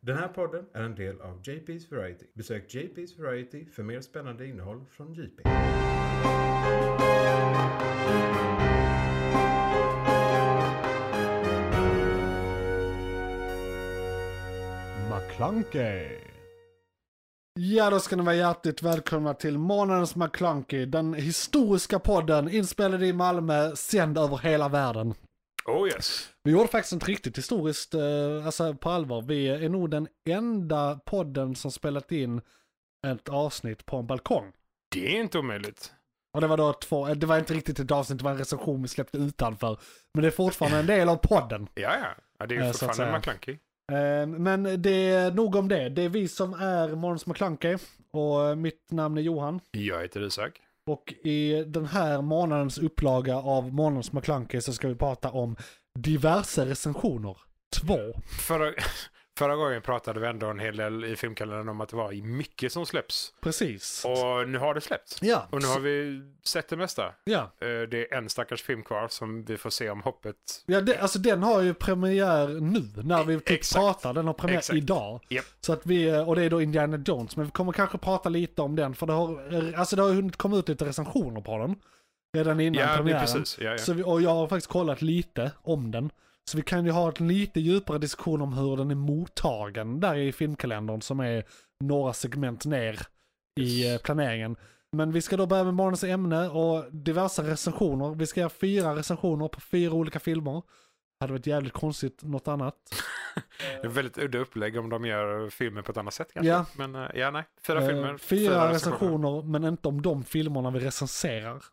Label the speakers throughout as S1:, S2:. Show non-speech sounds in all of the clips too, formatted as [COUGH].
S1: Den här podden är en del av JP's Variety. Besök JP's Variety för mer spännande innehåll från JP.
S2: McClunkey. Ja, då ska ni vara hjärtligt välkomna till månadens McClunkey. Den historiska podden inspelad i Malmö, sänd över hela världen.
S3: Oh yes.
S2: Vi gjorde faktiskt inte riktigt historiskt, eh, alltså på allvar. Vi är nog den enda podden som spelat in ett avsnitt på en balkong.
S3: Det är inte omöjligt.
S2: Och det var då två, eh, det var inte riktigt ett avsnitt, det var en recension vi släppte utanför. Men det är fortfarande en del av podden.
S3: Ja, ja. ja det är ju
S2: Eh, så att
S3: fortfarande
S2: säga.
S3: McKlunky.
S2: Eh, Men det är nog om det. Det är vi som är Måns McClunkey och eh, mitt namn är Johan.
S3: Jag heter Isak.
S2: Och i den här månadens upplaga av Månadens McClunkey så ska vi prata om diverse recensioner. Två.
S3: Förra, [LAUGHS] förra gången pratade vi ändå en hel del i filmkalendern om att det var mycket som släpps.
S2: Precis.
S3: Och nu har det släppts.
S2: ja.
S3: Och nu har vi sett det mesta.
S2: ja.
S3: Eh, Det är en stackars film kvar som vi får se om hoppet.
S2: Ja, det, alltså den har ju premiär nu när vi typ
S3: Exakt.
S2: pratar. Den har premiär
S3: Exakt.
S2: idag.
S3: Japp.
S2: Så att vi, eh, och det är då Indiana Jones. Men vi kommer kanske prata lite om den. För det har, eh, alltså det har ju hunnit komma ut lite recensioner på den. Redan innan
S3: Ja, det är
S2: premiären.
S3: precis. Ja, ja.
S2: Så vi, och jag har faktiskt kollat lite om den. Så vi kan ju ha en lite djupare diskussion om hur den är mottagen där i filmkalendern som är några segment ner i eh, planeringen. Men vi ska då börja med morgonens ämne och diverse recensioner. Vi ska göra fyra recensioner på fyra olika filmer. Hade varit jävligt konstigt något annat.
S3: Det är väldigt udda upplägg om de gör filmer på ett annat sätt kanske.
S2: Ja.
S3: Men eh, ja, nej. Fyra
S2: Eh,
S3: filmer.
S2: fyra, recensioner, men inte om de filmerna vi
S3: [LAUGHS]
S2: recenserar.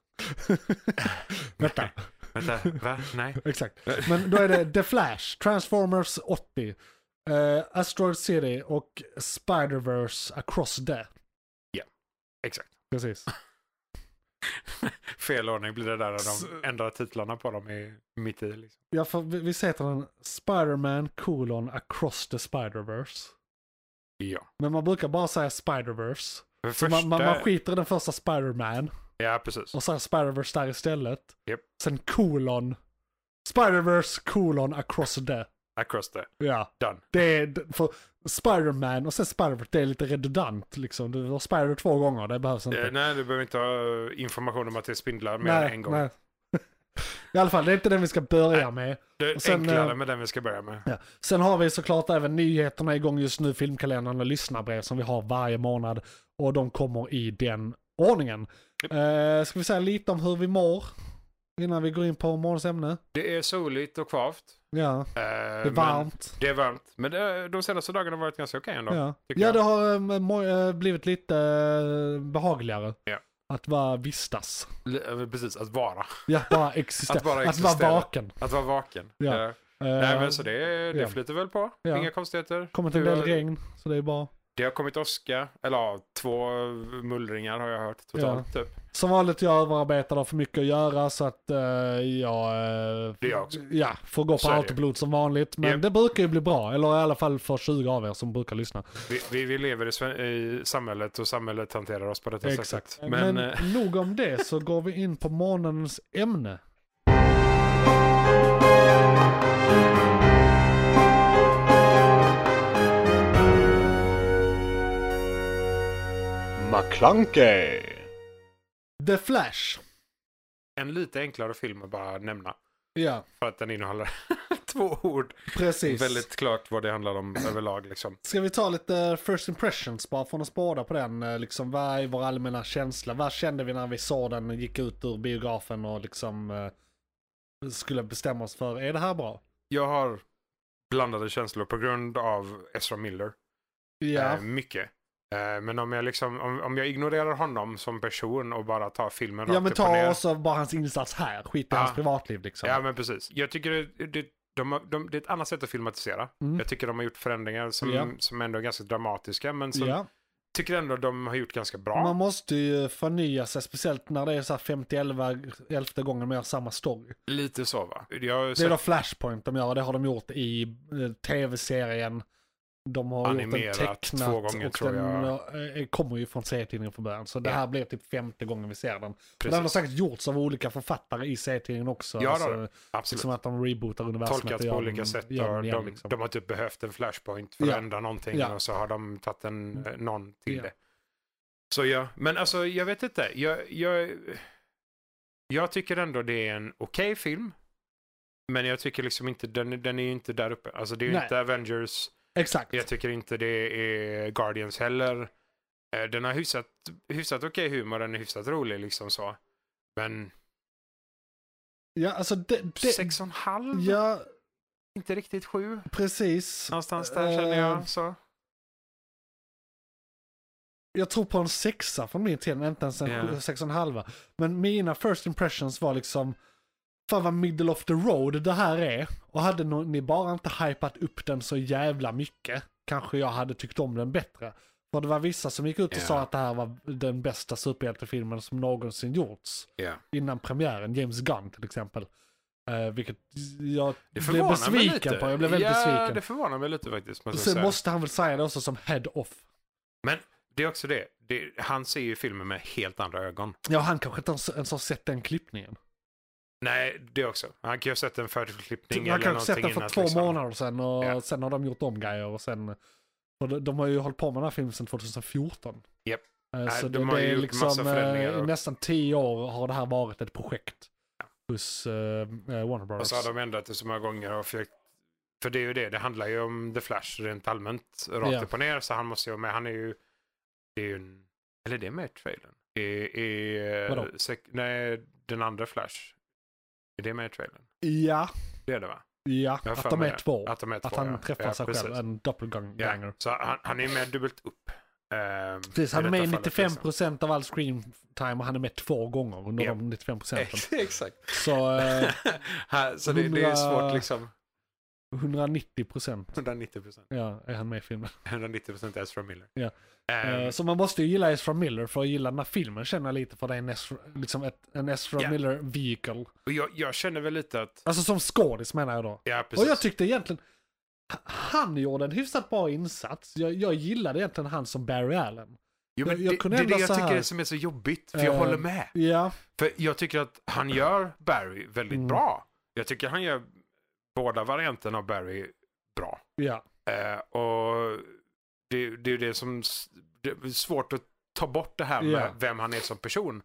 S2: Vänta,
S3: Vänta, va? Nej.
S2: exakt. Men då är det The Flash, Transformers 80, eh, Asteroid City och Spider-Verse Across Death.
S3: Exakt.
S2: Precis.
S3: Fel ordning blir det där när
S2: S-
S3: de ändrar titlarna på dem i, mitt i. Liksom.
S2: Ja, för vi, vi heter den Spider-Man colon Across the Spider-Verse.
S3: Ja.
S2: Men man brukar bara säga Spider-Verse.
S3: För
S2: Så man, man, man skiter i den första Spider-Man
S3: Ja, precis.
S2: och säger Spider-Verse där istället.
S3: Japp.
S2: Sen colon. Spider-Verse colon Across Death.
S3: Across the
S2: Ja.
S3: done.
S2: Det är d- för Spider-Man och sen Spider-Verse, det är lite redundant liksom. Du har Spider två gånger, det behövs inte.
S3: Eh, nej, du behöver inte ha eh, information om att det är spindlar mer än en gång.
S2: nej. [LAUGHS] I alla fall, det är inte den vi ska börja med.
S3: Det är
S2: Och sen,
S3: enklare
S2: eh,
S3: med den vi ska börja med.
S2: Ja. Sen har vi såklart även nyheterna igång just nu, filmkalendern och lyssnarbrev som vi har varje månad. Och de kommer i den ordningen.
S3: Japp.
S2: Eh, ska vi säga lite om hur vi mår? Innan vi går in på morgons ämne.
S3: Det är soligt och kvavt.
S2: Ja,
S3: Eh,
S2: det är varmt.
S3: Det är varmt. Men det, de senaste dagarna har varit ganska okej ändå.
S2: Ja,
S3: tycker
S2: ja
S3: jag.
S2: det har eh, må- eh, blivit lite eh, behagligare.
S3: Ja.
S2: Att vara vistas.
S3: L- eh, Precis, att vara.
S2: Ja, bara
S3: [LAUGHS]
S2: existera.
S3: Att bara
S2: Att
S3: existera.
S2: vara vaken.
S3: Att vara vaken.
S2: Ja.
S3: Eh,
S2: Eh,
S3: nej, men så det, det
S2: ja.
S3: flyter väl på.
S2: Ja.
S3: Inga konstigheter.
S2: kommit en
S3: Du
S2: del
S3: har-
S2: regn, så det är bra.
S3: Det har kommit åska. Eller ja, två mullringar har jag hört totalt. Typ.
S2: Som vanligt, jag överarbetar och har för mycket att göra så att eh, jag... eh,
S3: Det är jag också.
S2: Ja, får gå
S3: Så
S2: på
S3: är det.
S2: autopilot som vanligt. Men
S3: Japp.
S2: det brukar ju bli bra. Eller i alla fall för 20 av er som brukar lyssna.
S3: Vi, vi, vi lever i, sve- i samhället och samhället hanterar oss på detta
S2: Exakt.
S3: sättet.
S2: Men,
S3: Men, eh,
S2: nog om det så går vi in på månadens ämne.
S3: McClunkey.
S2: The Flash.
S3: En lite enklare film att bara nämna.
S2: Ja,
S3: För att den innehåller [LAUGHS] två ord.
S2: precis.
S3: Väldigt klart vad det handlar om överlag liksom.
S2: Ska vi ta lite first impressions bara från att spara på den? eh, Liksom, vad är vår allmänna känsla? Vad kände vi när vi såg den, gick ut ur biografen och liksom eh, skulle bestämma oss för, är det här bra?
S3: Jag har blandade känslor på grund av Ezra Miller.
S2: Ja,
S3: Eh, mycket. Eh, men om jag, liksom, om, om jag ignorerar honom som person och bara tar filmen
S2: ja
S3: rakt
S2: men
S3: upp och
S2: ta
S3: ner.
S2: också bara hans insats här, skit i
S3: Ja.
S2: hans privatliv liksom.
S3: Ja men precis. Jag tycker det, det, de, har- de, det är ett annat sätt att filmatisera.
S2: Mm.
S3: Jag tycker de har gjort förändringar som,
S2: Ja.
S3: som ändå är ganska dramatiska. Men som
S2: Ja.
S3: tycker ändå de har gjort ganska bra.
S2: Man måste ju förnya sig, speciellt när det är så här 50 11, elfte gången de gör samma story.
S3: Lite så va? Jag har
S2: Det är
S3: sett,
S2: då Flashpoint de gör, det har de gjort i eh, tv-serien. de har
S3: Animerat
S2: gjort den tecknat
S3: två gånger,
S2: och
S3: tror
S2: den
S3: jag.
S2: eh, kommer ju från serietidningen från början. Så det
S3: Ja.
S2: här blir typ femte gången vi ser den. Och Den har
S3: Precis.
S2: säkert gjorts av olika författare i serietidningen också.
S3: Ja, det har
S2: alltså,
S3: det. Absolut.
S2: liksom att de rebootar universumet. och
S3: Tolkats
S2: gör
S3: på
S2: den-
S3: olika sätt. Och
S2: gör den
S3: de,
S2: igen, liksom.
S3: de har typ behövt en flashpoint för
S2: Ja.
S3: att ändra någonting
S2: Ja. Mm.
S3: och så har de tagit en, eh, någon till
S2: Ja.
S3: det. Så ja, men alltså jag vet inte. Jag, jag, jag tycker ändå det är en okej film. Men jag tycker liksom inte, den, den är ju inte där uppe. Alltså det är ju
S2: Nej.
S3: inte Avengers.
S2: Exakt.
S3: Jag tycker inte det är Guardians heller. Eh, Den har hyfsat, hyfsat okej humor, den är hyfsat rolig liksom så. Men
S2: Ja, alltså det, det,
S3: sex och en halv?
S2: ja,
S3: Inte riktigt sju?
S2: precis.
S3: Någonstans där känner jag
S2: Eh,
S3: så.
S2: Jag tror på en sexa från min tid, inte ens en
S3: Ja.
S2: sex och en halva. Men mina first impressions var liksom, fan vad middle of the road det här är. Och hade no- ni bara inte hypat upp den så jävla mycket, kanske jag hade tyckt om den bättre. För det var vissa som gick ut och
S3: Ja.
S2: sa att det här var den bästa superhjältefilmen som någonsin gjorts.
S3: Ja.
S2: Innan premiären, James Gunn till exempel. Eh, vilket jag
S3: Det
S2: blev
S3: förvånar mig
S2: besviken
S3: lite.
S2: på, jag blev väldigt
S3: ja,
S2: besviken.
S3: det förvånar mig lite faktiskt. måste jag
S2: Sen
S3: säga.
S2: måste han väl säga det också som head off.
S3: Men det är också det. det. Han ser ju filmen med helt andra ögon.
S2: Ja, han kanske inte ens- ens har sett den klippningen.
S3: Nej, det också. Han kan ju ha sett en förklippning
S2: han
S3: eller
S2: kanske
S3: någonting
S2: sett den för
S3: innan,
S2: två
S3: liksom.
S2: månader sedan och
S3: Ja.
S2: sen har de gjort om grejer och sen... Och de, de har ju hållit på med den här filmen sedan 2014.
S3: Japp.
S2: Eh,
S3: Nej,
S2: Så
S3: de
S2: det,
S3: har
S2: det
S3: ju
S2: är
S3: gjort massa
S2: liksom
S3: förändringar
S2: eh, i
S3: och-
S2: nästan tio år har det här varit ett projekt. Hos eh, eh, Warner
S3: Och
S2: Brothers.
S3: så har de ändrat det så många gånger och försökt. För det är ju det. Det handlar ju om The Flash rent allmänt. Rakt
S2: Ja.
S3: upp och ner. Så han måste ju vara med. Han är ju... Det är ju en... Eller det är med i trailern. I, i, eh,
S2: Vadå?
S3: sek- nej, den andra Flash. Är det med i trailern?
S2: Ja,
S3: Det är det va?
S2: ja.
S3: Jag har för
S2: Att de
S3: mig
S2: är
S3: det.
S2: två. Att,
S3: Att de är två,
S2: han
S3: ja.
S2: träffar
S3: ja,
S2: sig
S3: precis.
S2: själv, en doppelganger.
S3: Ja. Så han, han är med dubbelt upp. ehm,
S2: Precis, han
S3: i
S2: är med i
S3: detta fallet, liksom.
S2: 95% av all screentime och han är med två gånger under
S3: Ja.
S2: de 95 procenten.
S3: liksom. [LAUGHS] Exakt.
S2: Så
S3: [LAUGHS]
S2: eh,
S3: Här, så det, det är svårt liksom.
S2: 190 procent
S3: 190 procent.
S2: ja, är han med i filmen.
S3: 190 procent Ezra Miller.
S2: Ja.
S3: Ehm,
S2: Eh, så man måste ju gilla Ezra Miller för att gilla den här filmen känner jag lite för det är en Ezra, liksom ett, en Ezra
S3: Ja.
S2: Miller vehicle.
S3: och jag, jag känner väl lite att...
S2: Alltså som skådis menar jag då.
S3: Ja, precis.
S2: Och jag tyckte egentligen, h- han gjorde en hyfsat bra insats. Jag, jag gillade egentligen han som Barry Allen.
S3: jo, men
S2: jag- jag
S3: det,
S2: kunde
S3: det är
S2: ändå
S3: det jag
S2: så här.
S3: tycker är som är så jobbigt. För jag
S2: Ehm,
S3: håller med.
S2: Ja,
S3: För jag tycker att han gör Barry väldigt
S2: Mm.
S3: bra. Jag tycker han gör båda varianterna av Barry bra.
S2: ja.
S3: Eh, och det, det är ju det som s- det är svårt att ta bort det här med
S2: Ja.
S3: vem han är som person.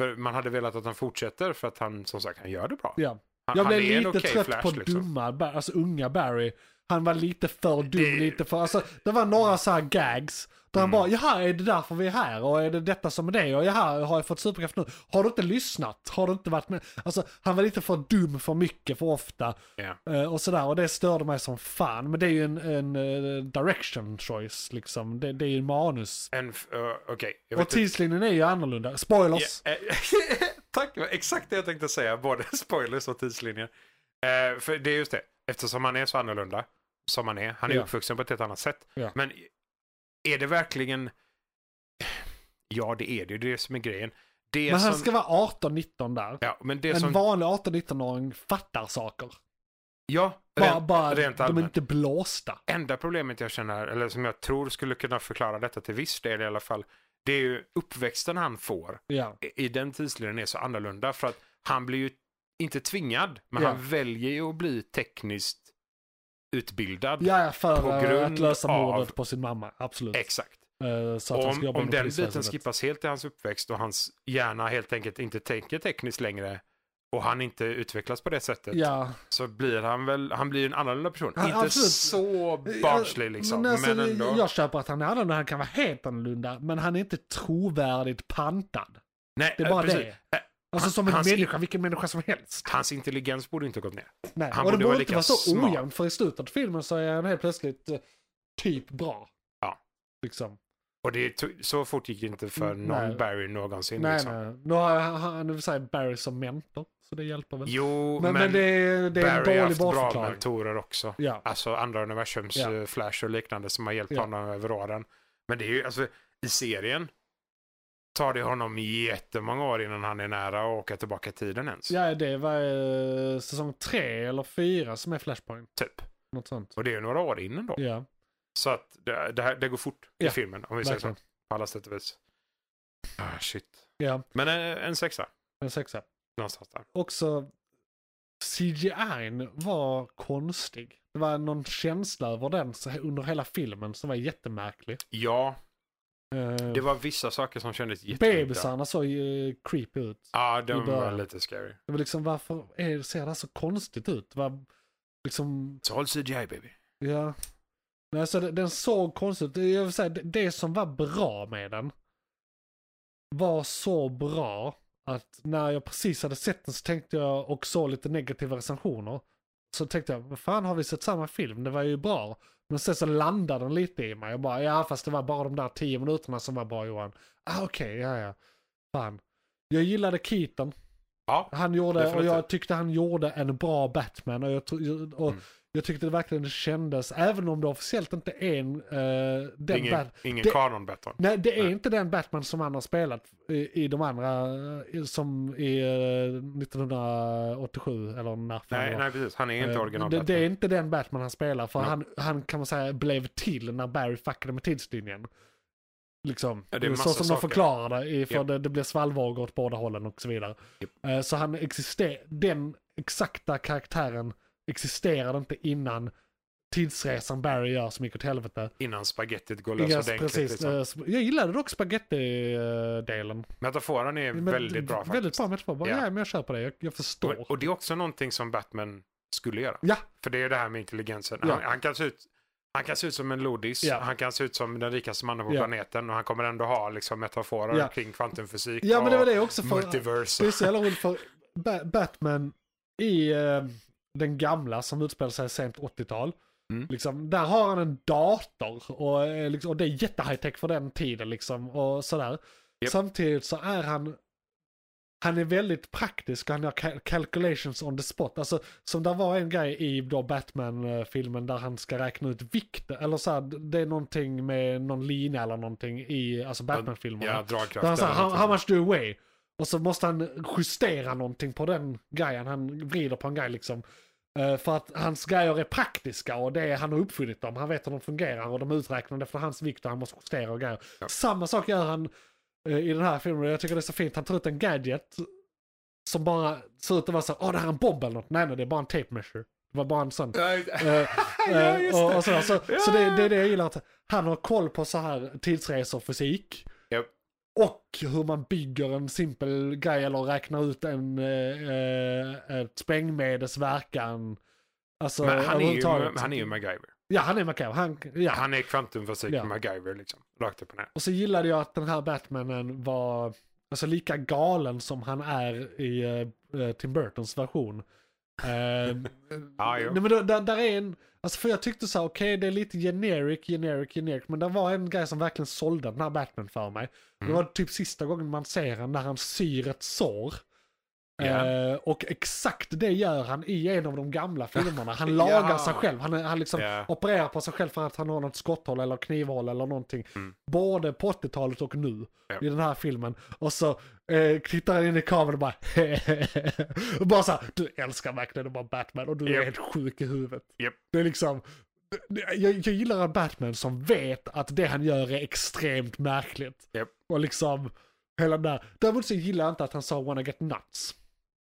S3: För man hade velat att han fortsätter för att han som sagt han gör det bra.
S2: ja.
S3: Han,
S2: Jag
S3: han
S2: blev
S3: är en
S2: lite
S3: okej
S2: trött
S3: Flash,
S2: på
S3: liksom.
S2: dumma, Bar- alltså unga Barry. Han var lite för dum,
S3: Det- Mm.
S2: lite för, alltså det var några så här gags. Där han bara, jaha är det därför vi är här? Och är det detta som är det? Och jaha, har jag fått superkraft nu? Har du inte lyssnat? Har du inte varit med? Alltså han var lite för dum för mycket, för ofta.
S3: Ja.
S2: Eh, Och sådär, och det störde mig som fan. Men det är ju en, en eh, direction choice liksom. Det, det är ju manus.
S3: En, f- eh, okej. jag vet
S2: Och
S3: inte-
S2: tidslinjen är ju annorlunda. Spoilers!
S3: Ja, eh, [LAUGHS] Tack, det var exakt det jag tänkte säga. Både [LAUGHS] spoilers och tidslinjer. Eh, för det är just det, eftersom han är så annorlunda som han är. Han är
S2: Ja.
S3: uppvuxen på ett helt annat sätt.
S2: Ja.
S3: Men är det verkligen... Ja, det är det. Det är det som är grejen. Det
S2: Men han
S3: som...
S2: ska vara 18-19 där.
S3: Ja, men det
S2: En
S3: som...
S2: vanlig 18-19-åring fattar saker.
S3: Ja,
S2: Bara,
S3: rent,
S2: bara
S3: rent
S2: de är
S3: allmänt.
S2: inte blåsta.
S3: Enda problemet jag känner, eller som jag tror skulle kunna förklara detta till viss del i alla fall, det är ju uppväxten han får
S2: Ja,
S3: i- i den tidslinjen är så annorlunda för att han blir ju inte tvingad, men
S2: Ja.
S3: han väljer ju att bli tekniskt utbildad.
S2: ja ja, för
S3: På
S2: eh,
S3: grund
S2: att lösa
S3: av-
S2: mordet på sin mamma. Absolut.
S3: Exakt.
S2: Eh, så att han ska
S3: Om,
S2: jobba
S3: om
S2: med
S3: den biten
S2: polisväsendet.
S3: skippas helt i hans uppväxt och hans hjärna helt enkelt inte tänker tekniskt längre och han inte utvecklas på det sättet
S2: Ja,
S3: så blir han väl, han blir en annorlunda person.
S2: Ja,
S3: inte
S2: absolut.
S3: så barnslig liksom,
S2: Men,
S3: men,
S2: alltså, det-
S3: ändå.
S2: Jag köper att han är annorlunda, han kan vara helt annorlunda, men han är inte trovärdigt pantad.
S3: Nej,
S2: Det är bara
S3: precis.
S2: det.
S3: Eh,
S2: Alltså som en
S3: hans-
S2: människa, vilken människa som helst.
S3: Hans intelligens borde inte ha gått ner.
S2: Nej.
S3: Han
S2: och det
S3: borde vara
S2: borde inte
S3: lika
S2: vara så
S3: smart.
S2: ojämn, för i slutet av filmen så är han helt plötsligt eh, typ bra.
S3: Ja.
S2: Liksom.
S3: Och det, to- så fort gick det inte för
S2: Mm,
S3: någon
S2: nej.
S3: Barry någonsin.
S2: Nej,
S3: liksom.
S2: nej. Nu har han- han, det vill säga, Barry som mentor, så det hjälper väl.
S3: Jo,
S2: men, men, det, är- det är
S3: Barry har
S2: en dålig
S3: haft bra
S2: bortförklaring.
S3: mentorer också.
S2: Ja.
S3: Alltså andra universums
S2: Ja.
S3: eh, Flash och liknande som har hjälpt
S2: Ja.
S3: honom över åren. Men det är ju, alltså i serien tar det honom jättemånga år innan han är nära att åka tillbaka i tiden ens.
S2: Ja, det var eh, säsong tre eller fyra som är Flashpoint.
S3: Typ.
S2: Något sånt.
S3: Och det är ju några år innan då.
S2: Ja.
S3: Så att det, det, här, det går fort i
S2: Ja,
S3: filmen, om vi säger så.
S2: Verkligen.
S3: På alla sätt och vis. Ah, shit.
S2: Ja,
S3: Men en, en sexa,
S2: en sexa.
S3: någonstans där.
S2: Också CGI var konstig. Det var någon känsla över den så- under hela filmen som var jättemärklig.
S3: Ja,
S2: Eh,
S3: det var vissa saker som kändes jätteudda.
S2: Bebisarna såg ju creepy ut.
S3: Ja,
S2: i
S3: de var
S2: början.
S3: lite scary.
S2: Det var liksom varför är, ser det här så konstigt ut? Det var liksom,
S3: Så håll CGI baby.
S2: ja. Nej, så den, den såg konstigt ut. Jag vill säga, det, det som var bra med den var så bra att när jag precis hade sett den så tänkte jag och såg lite negativa recensioner. Så tänkte jag, vad fan har vi sett samma film? Det var ju bra. Men sen så landade den lite i mig. Jag bara, ja fast det var bara de där tio minuterna som var bra Johan. Ah okej, ja ja. Fan. Jag gillade Keaton.
S3: Ja,
S2: Han gjorde, och
S3: Definitivt.
S2: jag tyckte han gjorde en bra Batman. Och jag, tro- och
S3: Mm.
S2: jag tyckte det verkligen kändes, även om det officiellt inte är en, eh,
S3: det är
S2: den
S3: ingen,
S2: Bat-
S3: ingen
S2: det-
S3: kanon Batman.
S2: Nej, det är
S3: Nej.
S2: inte den Batman som han har spelat i, i de andra, eh, som i eh, 1987 eller när fan det
S3: Nej,
S2: var.
S3: nej, precis. Han är inte
S2: Eh,
S3: original
S2: det, det
S3: Batman.
S2: är inte den Batman han spelar, för
S3: Nej.
S2: han, han kan man säga blev till när Barry fuckade med tidslinjen. Liksom.
S3: Ja, det är
S2: så
S3: massa
S2: som de
S3: saker.
S2: förklarar det, i- för
S3: Japp.
S2: det, det blir svallvågor åt båda hållen och så vidare. Eh, Så han existerar, den exakta karaktären existerade inte innan tidsresan Barry gör som gick åt helvete.
S3: Innan spagettit går
S2: Inga-
S3: lös ordentligt.
S2: precis,
S3: Liksom.
S2: eh, sp- Jag gillade dock spagetti-delen.
S3: Metaforen är väldigt bra faktiskt.
S2: Väldigt bra metafor. Bara,
S3: Ja.
S2: Ja, men jag köper det. Jag, jag förstår.
S3: Och, och det är också någonting som Batman skulle göra.
S2: Ja,
S3: För det är det här med intelligensen.
S2: Ja.
S3: Han, han, kan se ut, han kan se ut som en lodis,
S2: Ja.
S3: han kan se ut som den rikaste mannen på
S2: Ja.
S3: planeten och han kommer ändå ha liksom, metaforer
S2: Ja.
S3: kring kvantumfysik
S2: ja men det var det också.
S3: och
S2: För,
S3: multiverse.
S2: Det är så jävla roligt för ba- Batman i eh, den gamla som utspelar sig sent 80-tal.
S3: Mm.
S2: Liksom, där har han en dator och, eh, liksom, och det är jättehigh-tech för den tiden liksom och sådär.
S3: Japp.
S2: Samtidigt så är han han är väldigt praktisk och han gör cal- calculations on the spot. Alltså, som där var en grej i då Batman-filmen där han ska räkna ut vikt. Eller så här, det är någonting med någon lina eller någonting i alltså Batman-filmerna.
S3: Ja,
S2: Där han
S3: dragkraft.
S2: sa,
S3: eller
S2: how,
S3: någonting.
S2: how much do you weigh? Och så måste han justera någonting på den grejen. Han vrider på en grej liksom. Eh, för att hans grejer är praktiska och det är, han har uppfunnit dem. Han vet hur de fungerar och de är uträknade för hans vikt och han måste justera och grejer.
S3: Ja.
S2: Samma sak gör han eh, i den här filmen. Jag tycker det är så fint. Han tar ut en gadget som bara ser ut att vara så här, åh det här är en bomb eller något. Nej nej, det är bara en tape measure. Det var bara en sån.
S3: Ja,
S2: Eh,
S3: [LAUGHS] Ja,
S2: eh,
S3: just
S2: och,
S3: det.
S2: och sådär. Så,
S3: Ja,
S2: så det,
S3: ja,
S2: det är det jag gillar. Att han har koll på så här tidsresor, fysik.
S3: Japp.
S2: Och hur man bygger en simpel grej eller räknar ut en eh, eh, ett sprängmedelsverkan. Alltså,
S3: men han, är ju,
S2: överhuvudtaget.
S3: han är ju MacGyver.
S2: Ja, han är MacGyver. Han, ja.
S3: Han är kvantumfysik
S2: Ja.
S3: MacGyver liksom. Rakt upp och ner.
S2: Och så gillade jag att den här Batmanen var alltså, lika galen som han är i eh, Tim Burtons version. Eh,
S3: Ja, jo.
S2: Nej men då, där, där är en, alltså för jag tyckte så här, okej det är lite generic, generic, generic, men det var en grej som verkligen sålde den här Batman för mig.
S3: Mm.
S2: Det var typ sista gången man ser han när han syr ett sår.
S3: Ja.
S2: Eh, och exakt det gör han i en av
S3: [LAUGHS]
S2: de gamla filmerna. Han lagar
S3: Ja.
S2: sig själv, han, är- han liksom
S3: Ja.
S2: opererar på sig själv för att han har något skotthål eller knivhål eller någonting.
S3: Mm.
S2: Både på 80-talet och nu
S3: Ja.
S2: i den här filmen. Och så eh, tittar han in i kameran och bara [LAUGHS] och bara så här, du älskar verkligen att vara Batman och du är
S3: Japp.
S2: helt sjuk i huvudet.
S3: Japp.
S2: Det är liksom, det- jag, jag gillar en Batman som vet att det han gör är extremt märkligt.
S3: Japp.
S2: Och liksom, hela den där. Däremot så gillar jag inte att han sa wanna get nuts.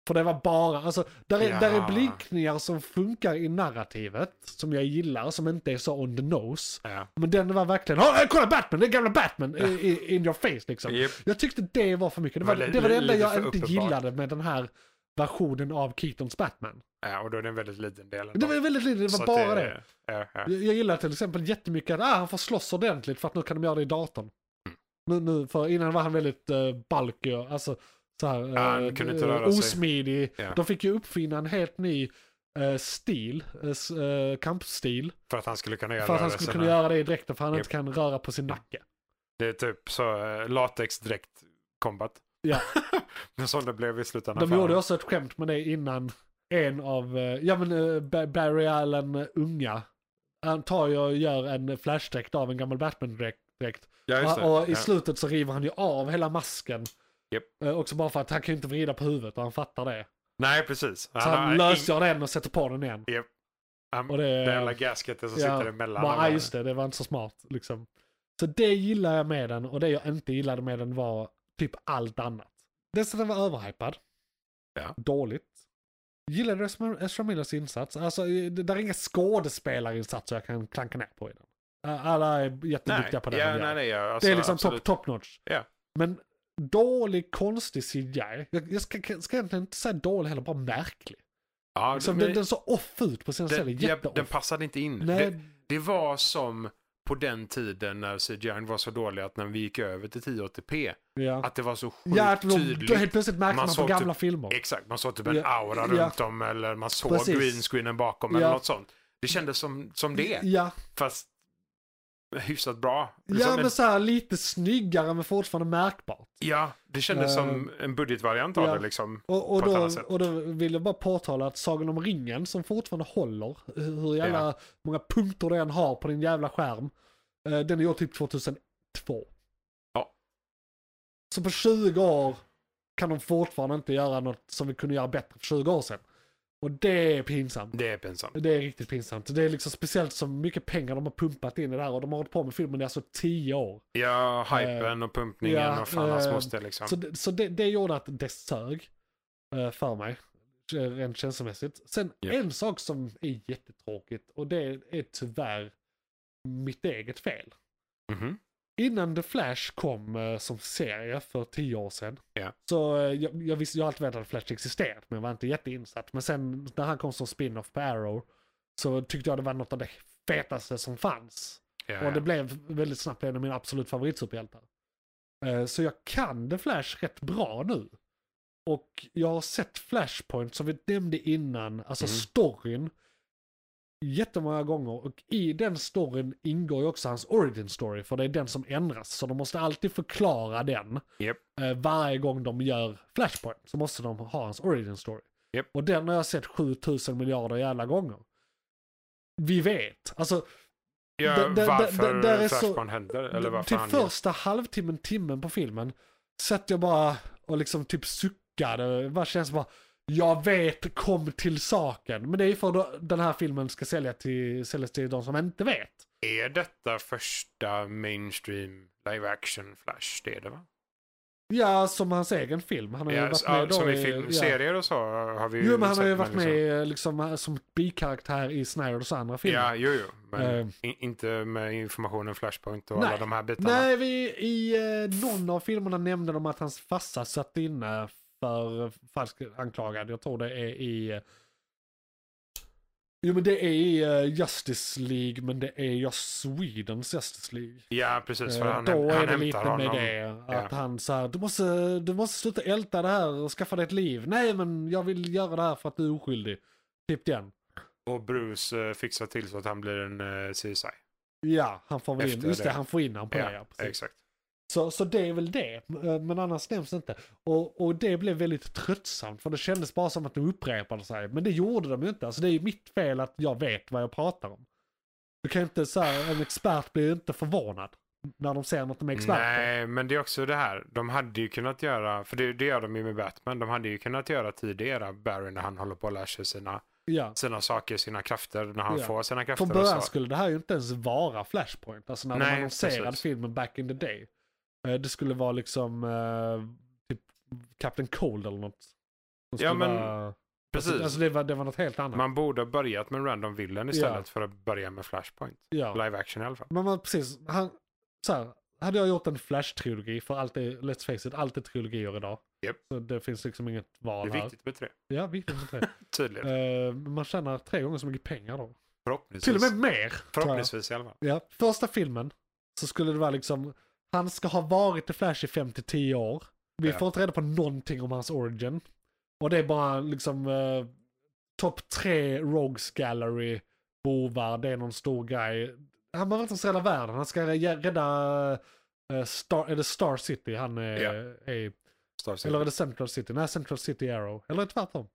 S2: För det var bara, alltså, där är, där är
S3: Ja.
S2: blinkningar som funkar i narrativet, som jag gillar, som inte är så on the nose.
S3: Ja.
S2: Men den var verkligen, "Åh, kolla Batman, den gamla Batman i- i- in your face liksom.
S3: Japp.
S2: Jag tyckte det var för mycket. Det var
S3: Men li-
S2: det, var det enda
S3: lite
S2: jag
S3: för
S2: inte
S3: uppenbart.
S2: gillade med den här versionen av Keatons Batman.
S3: ja, och då är det en väldigt liten del.
S2: Det var väldigt lite, det var bara det.
S3: Ja, ja.
S2: Jag, jag gillar till exempel jättemycket att ah, han får slåss ordentligt för att nu kan de göra det i datorn. Nu, nu, för innan var han väldigt eh, balkig och alltså, så här,
S3: Ja, han
S2: eh,
S3: kunde inte
S2: eh,
S3: röra sig.
S2: osmidig.
S3: Ja.
S2: De fick ju uppfinna en helt ny eh, stil, eh, s- eh, kampstil.
S3: För att han skulle kunna göra
S2: För att han skulle
S3: rörelserna.
S2: kunna göra det i dräkten för han
S3: Japp.
S2: inte kan röra på sin nacke.
S3: Det är typ så eh, latexdräkt combat.
S2: Ja.
S3: [LAUGHS] Men som det blev i slutändan.
S2: De gjorde också ett skämt med det innan en av, eh, ja men eh, Ba- Barry Allen eh, unga, han tar ju och gör en flashdräkt av en gammal Batman-dräkt.
S3: Ja, just det.
S2: Och, och i
S3: Ja.
S2: slutet så river han ju av hela masken.
S3: Japp.
S2: Eh, Också bara för att han kan ju inte vrida på huvudet och han fattar det.
S3: Nej, precis.
S2: Så han
S3: har ing-
S2: lösgör den och sätter på den igen.
S3: Japp. Um,
S2: Och det är-
S3: Den jävla gasketen som sitter emellan.
S2: Bara,
S3: alla.
S2: "Ah, just det, det var inte så smart. Liksom. Så det gillar jag med den och det jag inte gillade med den var typ allt annat. Dels att den var överhypad.
S3: Ja.
S2: Dåligt. Gillade Ezra- Ezra Millers insats. Alltså, det, där är inga skådespelarinsatser jag kan klanka ner på i den. Äh, Alla är jätteduktiga
S3: nej,
S2: på det
S3: ja,
S2: de gör.
S3: nej, nej, ja, alltså,
S2: Det är liksom
S3: absolut.
S2: top, top notch.
S3: Ja.
S2: Men dålig, konstig CGI. Jag, jag ska, ska egentligen inte säga dålig heller, bara märklig.
S3: Ja,
S2: Liksom,
S3: men-
S2: den, den såg off ut på sina ställen.
S3: den, ja, den
S2: Jätteoff.
S3: passade inte in.
S2: Nej,
S3: Det, det var som på den tiden när CGI var så dålig att när vi gick över till 1080p,
S2: ja.
S3: att det var så sjukt
S2: Ja, att de,
S3: tydligt.
S2: då helt plötsligt
S3: Man
S2: märkte man, på
S3: såg
S2: gamla filmer.
S3: Exakt, man såg typ en
S2: Ja,
S3: aura
S2: ja.
S3: runt om eller man såg
S2: Precis.
S3: greenscreenen bakom
S2: Ja.
S3: eller något sånt. Det kändes som, som det,
S2: Ja,
S3: fast hyfsat bra. Liksom
S2: ja
S3: en-
S2: men så här lite snyggare men fortfarande märkbart.
S3: ja det kändes
S2: Eh,
S3: som en budgetvariant av
S2: ja.
S3: det liksom.
S2: Och, och,
S3: På ett
S2: då,
S3: annat sätt.
S2: och då vill jag bara påtala att Sagan om ringen som fortfarande håller, hur hur jävla
S3: Ja.
S2: många punkter den har på din jävla skärm, eh, den är gjord typ 2002.
S3: Ja.
S2: Så på 20 år kan de fortfarande inte göra något som vi kunde göra bättre för 20 år sedan. Och det är pinsamt.
S3: Det är pinsamt.
S2: Det är riktigt pinsamt. Det är liksom speciellt så mycket pengar de har pumpat in i det här och de har hållit på med filmen i alltså tio år.
S3: Ja, hypen och pumpningen
S2: ja,
S3: och fan hans
S2: eh,
S3: moster liksom.
S2: Så, det, så det, det gjorde att det sög eh, för mig. eh, Rent känslomässigt. Sen
S3: Ja.
S2: en sak som är jättetråkigt och det är tyvärr mitt eget fel.
S3: Mhm.
S2: Innan The Flash kom eh, som serie för tio år sedan.
S3: Ja.
S2: Så eh, jag, jag visste, jag har alltid vetat att Flash existerat men jag var inte jätteinsatt. Men sen när han kom som spin-off på Arrow så tyckte jag det var något av det fetaste som fanns.
S3: Ja,
S2: Och det
S3: ja.
S2: blev väldigt snabbt en av mina absolut favoritsuperhjältar. Eh, Så jag kan The Flash rätt bra nu. Och jag har sett Flashpoint som vi nämnde innan, alltså
S3: Mm.
S2: storyn, jättemånga gånger. Och i den storyn ingår ju också hans origin story, för det är den som ändras. Så de måste alltid förklara den.
S3: Japp.
S2: Eh, Varje gång de gör Flashpoint så måste de ha hans origin story.
S3: Japp.
S2: Och den har jag sett 7000 miljarder jävla gånger. Vi vet, alltså
S3: Ja,
S2: där- där-
S3: varför
S2: där- där är så- typ
S3: Flashman händer eller varför
S2: till
S3: han gör-
S2: första halvtimmen, timmen på filmen satt jag bara och liksom typ suckade. Bara känns bara, jag vet, kom till saken. Men det är ju för att den här filmen ska sälja till, säljas till de som inte vet.
S3: Är detta första mainstream live action Flash? Det är det va?
S2: Ja, som hans egen film. Han har ju
S3: Ja,
S2: varit
S3: s-
S2: med
S3: ja,
S2: då
S3: som i
S2: ja.
S3: filmserier och så har vi ju
S2: Jo, men han
S3: sett,
S2: har ju varit
S3: liksom-
S2: med liksom, som bikaraktär i Snyders andra filmer.
S3: Ja, jo, jo. Men
S2: Eh.
S3: i- inte med informationen Flashpoint och
S2: Nej.
S3: alla de här bitarna.
S2: Nej, vi, i eh, någon av filmerna nämnde de att hans farsa satt inne för falsk anklagad. Jag tror det är i... eh, Jo men det är i eh, Justice League, men det är just Swedens Justice League.
S3: Ja, precis. För
S2: Eh,
S3: han,
S2: Då
S3: häm-
S2: är
S3: han
S2: det
S3: hämtar
S2: lite
S3: honom.
S2: med det. Att
S3: Ja.
S2: han säger du måste, du måste sluta älta det här och skaffa dig ett liv. Nej men jag vill göra det här för att du är oskyldig. Typ den.
S3: Och Bruce eh, fixar till så att han blir en uh, CSI.
S2: Ja, han får väl in,
S3: Efter
S2: just det,
S3: det.
S2: han får in han på det.
S3: Ja,
S2: Ja, precis.
S3: exakt.
S2: Så, så det är väl det, eh, men annars nämns det inte. Och, och det blev väldigt tröttsamt för det kändes bara som att de upprepade sig. Men det gjorde de ju inte, alltså det är ju mitt fel att jag vet vad jag pratar om. Du kan inte säga, en expert blir ju inte förvånad när de ser något de är experter.
S3: Nej, men det är också det här. De hade ju kunnat göra, för det, det gör de ju med Batman, de hade ju kunnat göra tidigare Barry när han håller på att lära sig sina,
S2: Ja.
S3: sina saker, sina krafter, när han
S2: Ja.
S3: får sina krafter
S2: Från
S3: och så.
S2: början skulle det här ju inte ens vara Flashpoint, alltså när de
S3: Nej,
S2: annonserade
S3: precis.
S2: filmen back in the day. Eh, Det skulle vara liksom eh, typ Captain Cold eller något. Som
S3: Ja,
S2: skulle
S3: men
S2: vara...
S3: Precis.
S2: Alltså det var, det var något helt annat.
S3: Man borde ha börjat med Random Villain istället för att börja med Flashpoint.
S2: ja.
S3: Live action i alla fall.
S2: Men man, precis, han, så här, hade jag gjort en Flash-trilogi, för allt är, let's face it, allt är trilogier idag.
S3: Japp.
S2: Så det finns liksom inget
S3: Det
S2: val
S3: är viktigt med tre.
S2: här. Ja,
S3: [LAUGHS]
S2: viktigt. med det.
S3: Tydligt.
S2: Eh, man tjänar tre gånger så mycket pengar då.
S3: Förhoppningsvis.
S2: Till och med mer. tror jag.
S3: Förhoppningsvis i alla fall.
S2: Ja, första filmen så skulle det vara liksom, han ska ha varit i Flash i 5-10 år. Vi
S3: Ja.
S2: får inte reda på någonting om hans origin. Och det är bara liksom eh, topp tre Rogues Gallery bovar, det är någon stor guy. Han behöver inte ens rädda världen, han ska rä- rädda eh, Star, är det Star City han är,
S3: Ja.
S2: är
S3: Star City.
S2: Eller är det Central City? Nej, Central City Arrow. Eller tvärtom.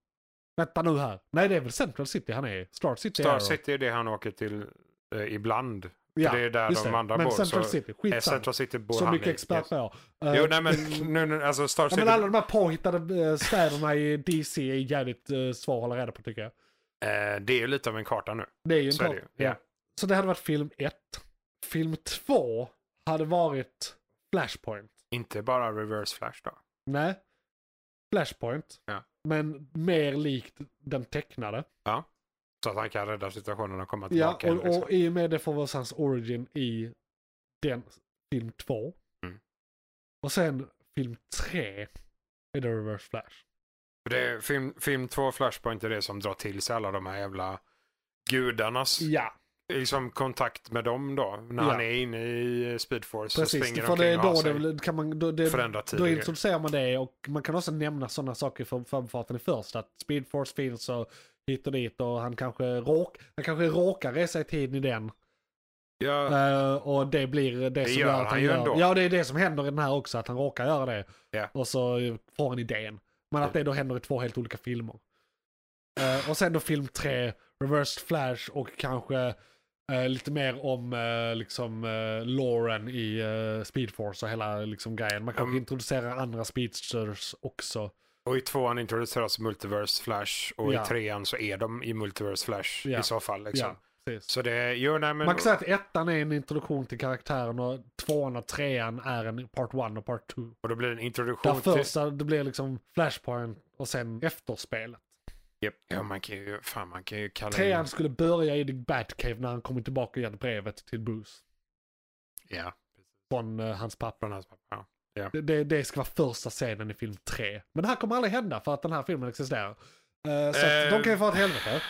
S2: Vänta nu här. Nej, det är väl Central City han är. Star City
S3: Star
S2: Arrow.
S3: City är det han åker till eh, ibland.
S2: Ja,
S3: det är där
S2: just
S3: de
S2: det.
S3: andra
S2: Men
S3: bor,
S2: Central
S3: så-
S2: City,
S3: Är
S2: skitsamma.
S3: Central City bor
S2: Så
S3: han
S2: mycket
S3: i.
S2: expert
S3: Yes.
S2: var jag.
S3: Jo,
S2: Eh,
S3: nej
S2: [LAUGHS]
S3: men nu, nu, alltså Star
S2: ja,
S3: City.
S2: men alla de här påhittade eh, städerna i DC är jävligt eh, svåra att hålla reda på tycker jag.
S3: Eh, det är ju lite av en karta nu.
S2: Det är ju en
S3: Så är
S2: kort.
S3: det ju. Ja.
S2: Så det hade varit film ett. Film två hade varit Flashpoint.
S3: Inte bara reverse flash då.
S2: Nej. Flashpoint.
S3: Ja.
S2: Men mer likt den tecknade.
S3: Ja. Så att han kan rädda situationen och komma
S2: Ja,
S3: tillbaka.
S2: och,
S3: liksom.
S2: och i och med det får vi oss hans origin i den film två.
S3: Mm.
S2: Och sen film tre är det Reverse Flash.
S3: För det är film, film 2 Flashpoint är det som drar till sig alla de här jävla gudarnas
S2: Ja,
S3: liksom, kontakt med dem då. När
S2: Ja.
S3: han är inne i Speed Force och
S2: precis.
S3: springer
S2: För det är
S3: omkring och
S2: då
S3: har sig.
S2: det kan man... Då, det,
S3: Förändra
S2: Då
S3: tidigare.
S2: introducerar man det och man kan också nämna sådana saker från förbifarten i först. Att Speedforce finns och hit och dit och han kanske, råk, han kanske råkar resa i tiden i den.
S3: Ja,
S2: Eh, och det blir det
S3: Det
S2: som
S3: gör
S2: gör att han,
S3: han ju
S2: gör
S3: ändå.
S2: Ja, det är det som händer i den här också, att han råkar göra det.
S3: Ja.
S2: Och så får han idén. Men att det då händer i två helt olika filmer. Eh, och sen då film tre, Reversed Flash och kanske eh, lite mer om eh, liksom eh, Lauren i eh, Speed Force och hela liksom, grejen. Man kanske
S3: Mm.
S2: introducerar andra speedsters också.
S3: Och i tvåan introduceras Multiverse Flash och
S2: Ja.
S3: i trean så är de i Multiverse Flash
S2: Ja.
S3: i så fall. Liksom.
S2: Ja, precis.
S3: Så det, jo, nej, men,
S2: Man kan säga att ettan är en introduktion till karaktären och tvåan och trean är en part one och part two.
S3: och då blir det en
S2: Där
S3: introduktion till...
S2: första, det blir liksom Flashpoint och sen efterspelet.
S3: Japp. Ja, man kan ju, fan, man kan ju kalla
S2: Trean skulle börja i The Batcave när han kommer tillbaka och ger brevet till Bruce.
S3: in... Ja,
S2: Från eh, hans pappa.
S3: från hans pappa. Ja.
S2: Det, det, det ska vara första scenen i film 3. Men det här kommer aldrig hända för att den här filmen existerar. Eh, så att
S3: Eh,
S2: de kan ju få ett helvete.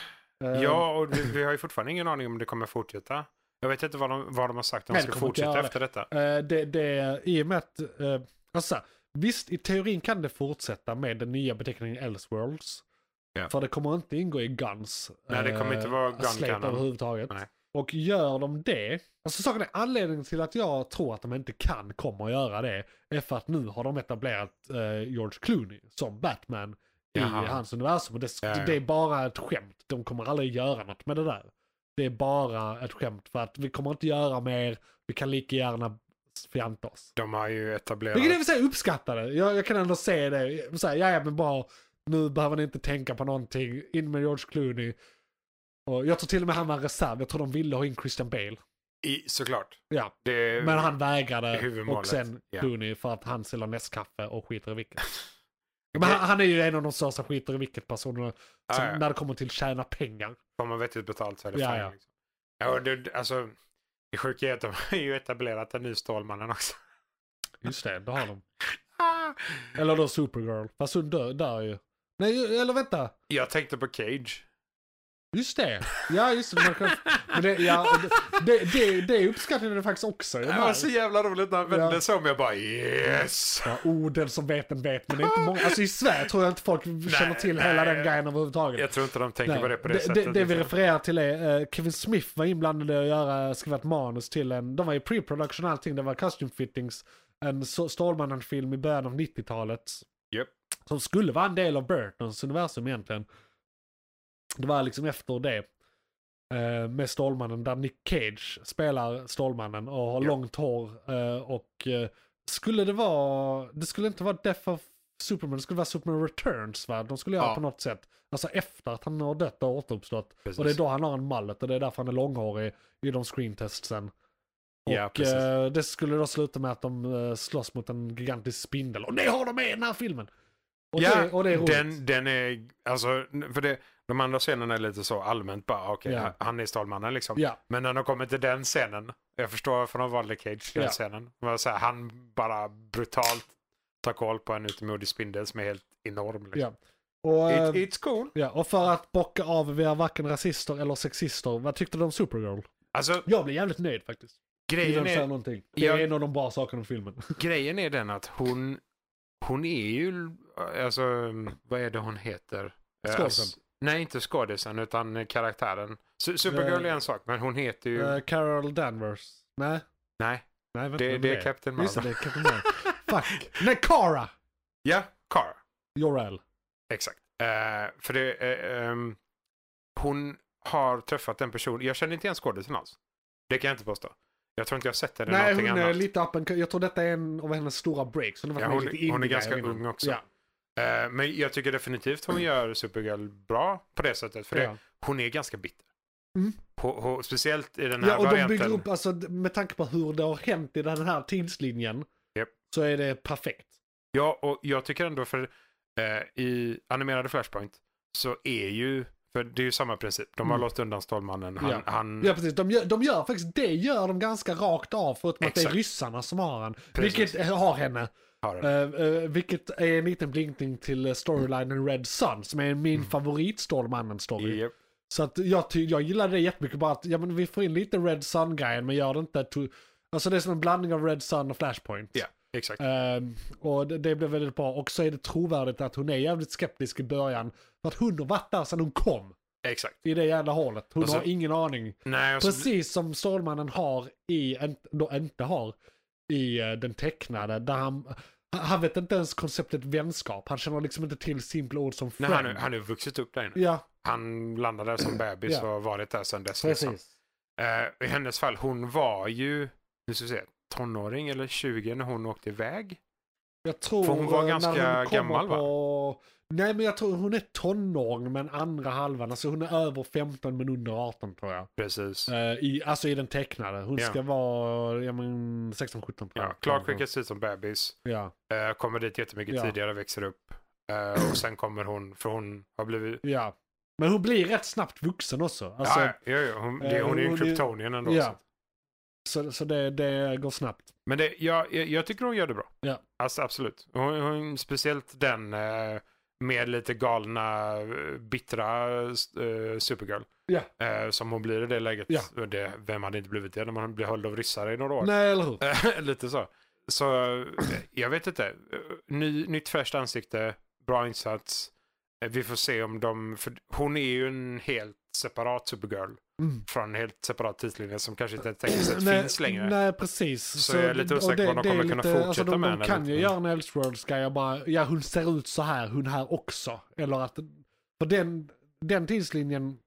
S2: Eh,
S3: Ja, och vi, vi har ju fortfarande ingen aning om det kommer fortsätta. Jag vet inte vad de, vad de har sagt om
S2: Nej,
S3: de
S2: det
S3: ska
S2: kommer inte
S3: fortsätta
S2: göra det.
S3: efter detta.
S2: eh, det, det, I och med att... eh, alltså, så här, visst, i teorin kan det fortsätta med den nya beteckningen Elseworlds.
S3: Ja.
S2: För det kommer inte ingå i Guns.
S3: Nej, det kommer inte vara
S2: eh,
S3: Gun
S2: slate
S3: Cannon.
S2: överhuvudtaget.
S3: Nej.
S2: Och gör de det, alltså saken är anledningen till att jag tror att de inte kan komma att göra det är för att nu har de etablerat eh, George Clooney som Batman
S3: Jaha.
S2: i hans universum. Och det,
S3: Ja, ja.
S2: det är bara ett skämt, de kommer aldrig göra något med det där. Det är bara ett skämt för att vi kommer inte göra mer, vi kan lika gärna fjanta oss.
S3: De har ju etablerat...
S2: Vilket i och för sig uppskattar det. Jag, jag kan ändå se det. Så här, ja, ja, men bra. Nu behöver ni inte tänka på någonting. In med George Clooney. Och jag tror till och med han var en reserv. Jag tror de ville ha in Christian Bale.
S3: I, såklart.
S2: Ja.
S3: Det,
S2: Men han
S3: det
S2: vägrade.
S3: är huvudmålet,
S2: Och sen
S3: ja.
S2: Clooney för att han säljer nästkaffe och skiter
S3: [LAUGHS]
S2: i vilket. Men han, han är ju en av de största skiter i vilket personerna. Som,
S3: Ja, ja.
S2: När det kommer till tjäna pengar.
S3: Får man vettigt betalt så är det
S2: Ja,
S3: fine.
S2: ja.
S3: Liksom. Ja, och det, alltså, det sjuka är att de har ju etablerat en ny Stålmannen
S2: [LAUGHS]
S3: också.
S2: Just det, det
S3: [LAUGHS]
S2: har de.
S3: Ah!
S2: Eller då Supergirl. Fast hon dör, dör ju. Nej, eller vänta.
S3: Jag tänkte på Cage.
S2: Just det. Ja, just det. Man kan... Men det, ja, det, det, det, det uppskattade jag faktiskt också. i den
S3: Det
S2: här.
S3: var så jävla roligt när han
S2: Ja.
S3: vände sig om. Jag bara yes!
S2: Ja, oh, den som vet den vet, men det är inte många. Alltså i Sverige tror jag inte folk känner till
S3: nej.
S2: hela den grejen överhuvudtaget.
S3: Jag tror inte de tänker
S2: Nej.
S3: på det på det,
S2: det,
S3: sättet.
S2: det, det vi
S3: liksom.
S2: refererar till är eh, Kevin Smith var inblandad i att göra, eh, skriva ett manus till en, de var i pre-production och allting, det var costume fittings, en so- Stålmannen-film i början av 90-talet
S3: Japp.
S2: som skulle vara en del av Burtons universum egentligen. Det var liksom efter det. eh, Med Stålmannen där Nick Cage spelar Stålmannen och har
S3: Ja.
S2: långt hår. eh, Och eh, skulle det vara, det skulle inte vara Death of Superman, det skulle vara Superman Returns va? De skulle göra
S3: Ja.
S2: på något sätt. Alltså efter att han har dött och återuppstått.
S3: Precis.
S2: Och det är då han har en mallet och det är därför han är långhårig i de screentestsen. Och
S3: Ja, precis.
S2: eh, det skulle då sluta med att de eh, slåss mot en gigantisk spindel. Och det har de med i den här filmen! Och,
S3: ja,
S2: det, och det är roligt.
S3: den, den är, alltså, för det, de andra scenerna är lite så allmänt bara, okej,
S2: Ja.
S3: han är Stålmannen liksom.
S2: Ja,
S3: Men när de kommer till den scenen, jag förstår varför de valde Cage den
S2: Ja.
S3: scenen. Det var så här, han bara brutalt tar koll på en utomjordisk spindel som är helt enorm. Liksom.
S2: ja. Och, eh,
S3: It, it's cool.
S2: ja. och för att bocka av, vi är varken rasister eller sexister. Vad tyckte du om Supergirl?
S3: Alltså,
S2: Jag blev jävligt nöjd faktiskt. Innan
S3: grejen
S2: du säger
S3: är,
S2: någonting. Det
S3: Jag-
S2: är en av de bra sakerna om filmen.
S3: grejen är den att hon, hon är ju, alltså, vad är det hon heter? Eh,
S2: Skådisen.
S3: alltså, nej, inte skådisen, utan eh, karaktären. Su- Supergirl
S2: Eh,
S3: är en sak, men hon heter ju,
S2: Eh, Carol Danvers. Nej,
S3: nej,
S2: nej vänta.
S3: det,
S2: vem
S3: det är Captain
S2: Just det,
S3: Marvel.
S2: det är
S3: [LAUGHS]
S2: Captain Marvel. Fuck. Nej, Kara!
S3: Ja, Kara.
S2: Jorel.
S3: Exakt. Eh, för det, eh, ehm, hon har träffat en person, jag känner inte igen skådisen alls. Det kan jag inte påstå. Jag tror inte jag har sett henne i
S2: Nej,
S3: någonting
S2: hon
S3: annat.
S2: är lite up and Jag tror detta är en av hennes stora breaks. Hon, har varit
S3: Ja,
S2: med
S3: hon-
S2: lite indie
S3: hon är ganska
S2: grejer innan.
S3: ung också.
S2: Ja,
S3: Eh, men jag tycker definitivt hon gör Supergirl bra på det sättet. För det,
S2: ja.
S3: hon är ganska bitter.
S2: Mm.
S3: Ho- ho- speciellt i den här
S2: Ja, och de
S3: varianten.
S2: bygger upp, alltså, med tanke på hur det har hänt i den här tidslinjen,
S3: Japp.
S2: så är det perfekt.
S3: Ja, och jag tycker ändå för eh, i animerade Flashpoint så är ju, för det är ju samma princip. De har
S2: Mm.
S3: låst undan Stålmannen. Han,
S2: Ja.
S3: han,
S2: Ja, precis. De gör, de gör faktiskt, det gör de ganska rakt av, förutom att det är
S3: Exakt.
S2: ryssarna som har han.
S3: Precis.
S2: Vilket eh, har henne.
S3: har den.
S2: Eh, eh, vilket är en liten blinkning till eh, storylinen Red Sun, som är
S3: Mm.
S2: min favorit Stålmannen-story.
S3: Japp.
S2: Så att jag, ty- jag gillar det jättemycket, bara att ja, men vi får in lite Red Sun-grejen, men gör det inte... To- alltså det är som en blandning av Red Sun och Flashpoint.
S3: Ja, exakt.
S2: Ehm, och det, det blev väldigt bra. Och så är det trovärdigt att hon är jävligt skeptisk i början. För att hon har varit där sedan hon kom.
S3: Exakt.
S2: I det jävla hålet. Hon
S3: Och så-
S2: har ingen aning.
S3: Nej, och så-
S2: Precis som Stålmannen har i, en- då inte har, i eh, den tecknade. Där han, han- han vet inte ens konceptet vänskap. Han känner liksom inte till simpla ord som
S3: Nej,
S2: friend.
S3: han, han har ju vuxit upp där inne.
S2: Ja,
S3: Han landade där som bebis
S2: Ja.
S3: och har varit där sedan dess. Liksom.
S2: precis.
S3: Eh, I hennes fall, hon var ju, nu ska vi se, tonåring eller 20 när hon åkte iväg.
S2: Jag tror...
S3: För hon var
S2: eh,
S3: ganska
S2: när hon kommer
S3: gammal, va?
S2: på... Nej men jag tror hon är tonåring men andra halvan. Alltså hon är över 15 men under 18 tror jag.
S3: Precis.
S2: Eh, i, alltså i den tecknade. Hon
S3: Ja.
S2: ska vara ja, men 16-17
S3: Ja, Clark skickas ut som bebis.
S2: Ja,
S3: Eh, kommer dit jättemycket
S2: Ja.
S3: tidigare, växer upp. Eh, och sen kommer hon, för hon har blivit...
S2: ja. Men hon blir rätt snabbt vuxen också. Alltså,
S3: ja, ja, ja, hon, det,
S2: eh,
S3: hon är ju en
S2: hon är-
S3: kryptonien ändå.
S2: ja.
S3: så.
S2: Så, så det, det går snabbt.
S3: Men det, jag, jag, jag tycker hon gör det bra.
S2: Ja.
S3: Alltså, absolut. Hon, hon, speciellt den eh, med lite galna, eh, bittra eh, Supergirl.
S2: Ja.
S3: Eh, som hon blir i det läget.
S2: Ja.
S3: Och Det, vem hade inte blivit det när man blir höljd av ryssar i några år?
S2: Nej, eller hur?
S3: Eh, [LAUGHS] lite så. Så eh, jag vet inte. Eh, Ny, nytt fräscht ansikte, bra insats. Eh, Vi får se om de... För hon är ju en helt separat Supergirl.
S2: Mm. Eh,
S3: Från en helt separat tidslinje som kanske inte tekniskt sett
S2: Nej,
S3: finns längre.
S2: Nej, precis.
S3: Så jag är lite
S2: och
S3: osäker på om de
S2: det är
S3: kommer kunna
S2: alltså,
S3: fortsätta
S2: de,
S3: med
S2: de
S3: henne
S2: kan
S3: lite,
S2: ju
S3: men-
S2: göra en Elseworlds grej och bara, ja hon ser ut så här, hon här också. Eller att, för den, den tidslinjen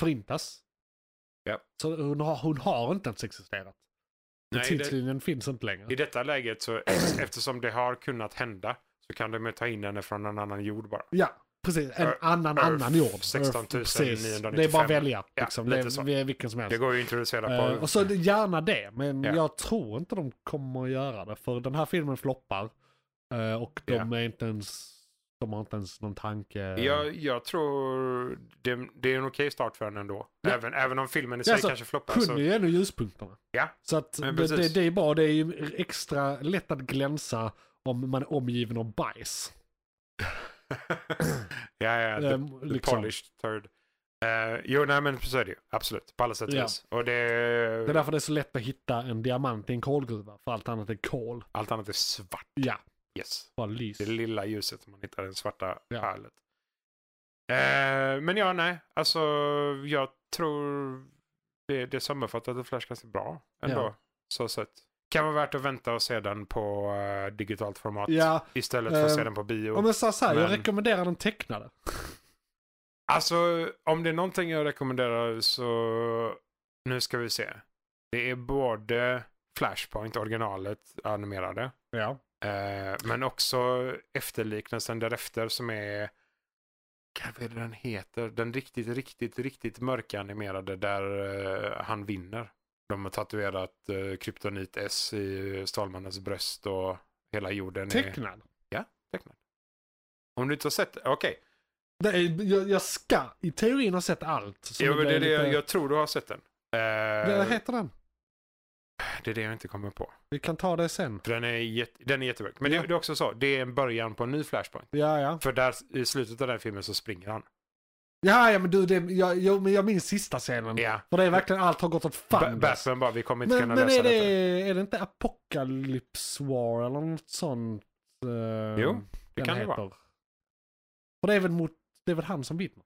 S2: förintas.
S3: Ja.
S2: Så hon har, hon har inte ens existerat.
S3: Nej, det-
S2: tidslinjen finns inte längre.
S3: I detta läget, så, eh, eftersom det har kunnat hända, så kan de ju ta in henne från en annan jord bara.
S2: Ja, precis. En
S3: Earth-
S2: annan annan
S3: Earth
S2: jord.
S3: 16
S2: precis.
S3: 995.
S2: Det är bara att välja.
S3: Ja,
S2: Liksom.
S3: lite
S2: det är,
S3: så.
S2: vi är vilken som helst.
S3: Det går ju att introducera på...
S2: Eh, och så gärna det, men
S3: Ja.
S2: jag tror inte de kommer att göra det. För den här filmen floppar. eh, och de
S3: Ja.
S2: är inte ens... De har inte ens någon tanke.
S3: jag, jag tror det, det är en okej start för henne ändå.
S2: Ja.
S3: Även, även om filmen i sig
S2: alltså,
S3: kanske floppar.
S2: Kunde
S3: så-
S2: ju ändå ljuspunkterna.
S3: Ja,
S2: Så att det,
S3: men
S2: det,
S3: precis.
S2: det är bra, det är ju extra lätt att glänsa om man är omgiven av bajs.
S3: [LAUGHS] ja, ja. The,
S2: Ehm,
S3: the
S2: liksom.
S3: polished third. Eh, jo, nej men så är det ju. Absolut. På alla sätt och
S2: Ja.
S3: vis. Och det,
S2: Det är därför det är så lätt att hitta en diamant i en kolgruva, för allt annat är kol.
S3: Allt annat är svart.
S2: Ja,
S3: Yes.
S2: bara lys.
S3: Det lilla ljuset om man hittar den svarta
S2: Ja.
S3: pärlet. Eh, men ja, nej. Alltså, jag tror det, det sammanfattade Flash ganska bra ändå.
S2: Ja.
S3: Så sett. Kan vara värt att vänta och se den på eh, digitalt format
S2: Ja,
S3: istället för att se
S2: Ehm,
S3: den på bio.
S2: om jag sa så här, jag
S3: Men-
S2: rekommenderar den tecknade.
S3: Alltså, om det är någonting jag rekommenderar så nu ska vi se. Det är både Flashpoint, originalet, animerade.
S2: Ja.
S3: Eh, men också efterliknelsen därefter som är... God, Vad är det den heter? Den riktigt, riktigt, riktigt mörka animerade där eh, han vinner. De har tatuerat eh, kryptonit S i Stålmannens bröst och hela jorden är
S2: Tecknad.
S3: tecknad. Om du inte har sett det? Okej.
S2: Nej, jag, jag ska i teorin ha sett allt. så
S3: Jo, men det är
S2: blir
S3: det jag,
S2: lite-
S3: jag tror du har sett den. Eh,
S2: Vad heter den?
S3: det är det jag inte kommer på.
S2: Vi kan ta det sen.
S3: För den är, jätte, den är jättemörk. Men
S2: Ja.
S3: det, det är också så. Det är en början på en ny Flashpoint.
S2: Ja, ja.
S3: För där, i slutet av den filmen så springer han.
S2: Mm. Ja, ja, men du, det, jag, jag, men jag minns sista scenen.
S3: Ja.
S2: För det är verkligen allt har gått åt
S3: Ba-
S2: fanders.
S3: Batman bara, vi kommer inte
S2: Men,
S3: kunna
S2: men
S3: lösa
S2: är, det,
S3: detta.
S2: är det inte Apocalypse War eller något sånt? eh,
S3: Jo, det
S2: den
S3: kan det vara.
S2: För det är väl, mot, det är väl han som vinner?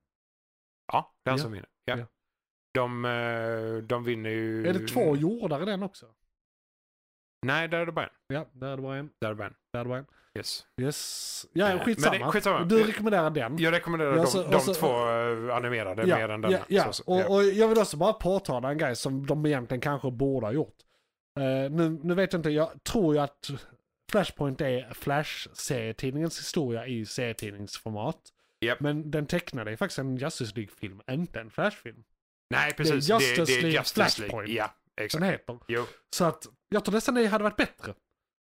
S3: Ja, den
S2: Ja.
S3: som vinner. Ja.
S2: Ja.
S3: De, eh, de vinner ju...
S2: Är det
S3: Mm.
S2: två jordar i den också?
S3: Nej, där är det bara en.
S2: Ja, där är det bara en.
S3: Där är det bara en.
S2: Där är det bara en.
S3: Yes.
S2: Yes. Ja,
S3: Eh,
S2: skitsamma.
S3: men det- skitsamma.
S2: Du
S3: Eh,
S2: rekommenderar den.
S3: Jag rekommenderar
S2: Ja, alltså,
S3: de, de
S2: alltså-
S3: två eh, animerade mer än denna.
S2: ja, ja.
S3: Så- så-
S2: och,
S3: ja.
S2: och jag vill också bara påtala en grej som de egentligen kanske borde ha gjort. Eh, nu, nu vet jag inte, jag tror ju att Flashpoint är Flash-serietidningens historia i serietidningsformat.
S3: Japp.
S2: Men den tecknade är faktiskt en Justice League-film, inte en Flash-film.
S3: Nej, precis. Det är
S2: Justice
S3: Justice, det,
S2: League
S3: är Justice
S2: Flashpoint.
S3: League. Ja,
S2: Den
S3: exakt.
S2: heter.
S3: Jo,
S2: Så att jag tror nästan det hade varit bättre.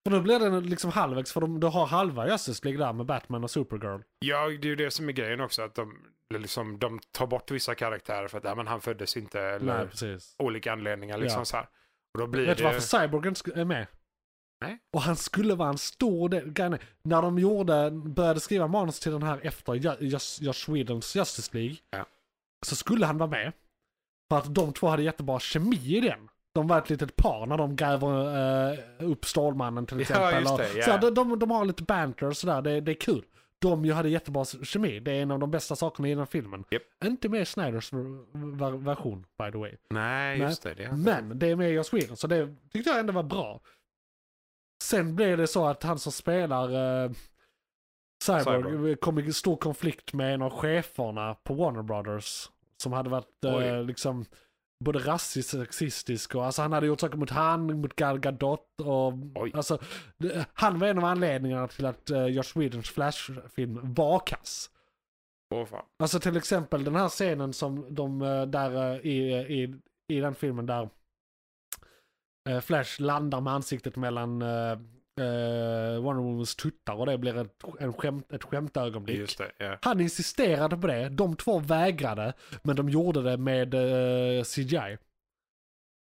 S2: För då blir den liksom halvvägs, för de, du har halva Justice League där med Batman och Supergirl.
S3: Ja, det är ju det som är grejen också. Att de, liksom, de tar bort vissa karaktärer för att ja, men han föddes inte. Eller
S2: Nej, precis.
S3: olika anledningar. Liksom
S2: Ja.
S3: så här. Och då blir
S2: Vet du
S3: det...
S2: varför Cyborg inte sk- är med?
S3: Nej.
S2: Och han skulle vara en stor del. grejen är, När de gjorde, började skriva manus till den här efter Ju- Just, Josh Whedons Justice League.
S3: Ja.
S2: Så skulle han vara med. För att de två hade jättebra kemi i den. De var ett litet par när de gräver eh, upp Stålmannen till
S3: Ja,
S2: exempel.
S3: just
S2: och-
S3: det, ja.
S2: så här, de, de, de har lite banter och sådär, det, det är kul. De ju hade jättebra kemi, det är en av de bästa sakerna i den filmen.
S3: Japp.
S2: Inte med i Snyders ver- ver- version, by the way.
S3: Nej,
S2: Nej. Mm.
S3: just det. det är...
S2: Men det är med Joss Whedon, så det tyckte jag ändå var bra. Sen blev det så att han som spelar eh, Cyborg,
S3: Cyborg.
S2: kom i stor konflikt med en av cheferna på Warner Brothers. Som hade varit eh,
S3: Oj.
S2: liksom både rasistisk och sexistisk. Och, alltså, han hade gjort saker mot han, mot Gal Gadot. Och,
S3: Oj.
S2: alltså, det, han var en av anledningarna till att eh, Josh Whedons Flash-film var kass.
S3: Åh, fan.
S2: Alltså till exempel den här scenen som de eh, där eh, i, i, i den filmen där eh, Flash landar med ansiktet mellan eh, eh, Wonder Womans tuttar och det blir ett, en skämt, ett skämtögonblick.
S3: Just det, ja.
S2: Han insisterade på det, de två vägrade, men de gjorde det med eh, CGI.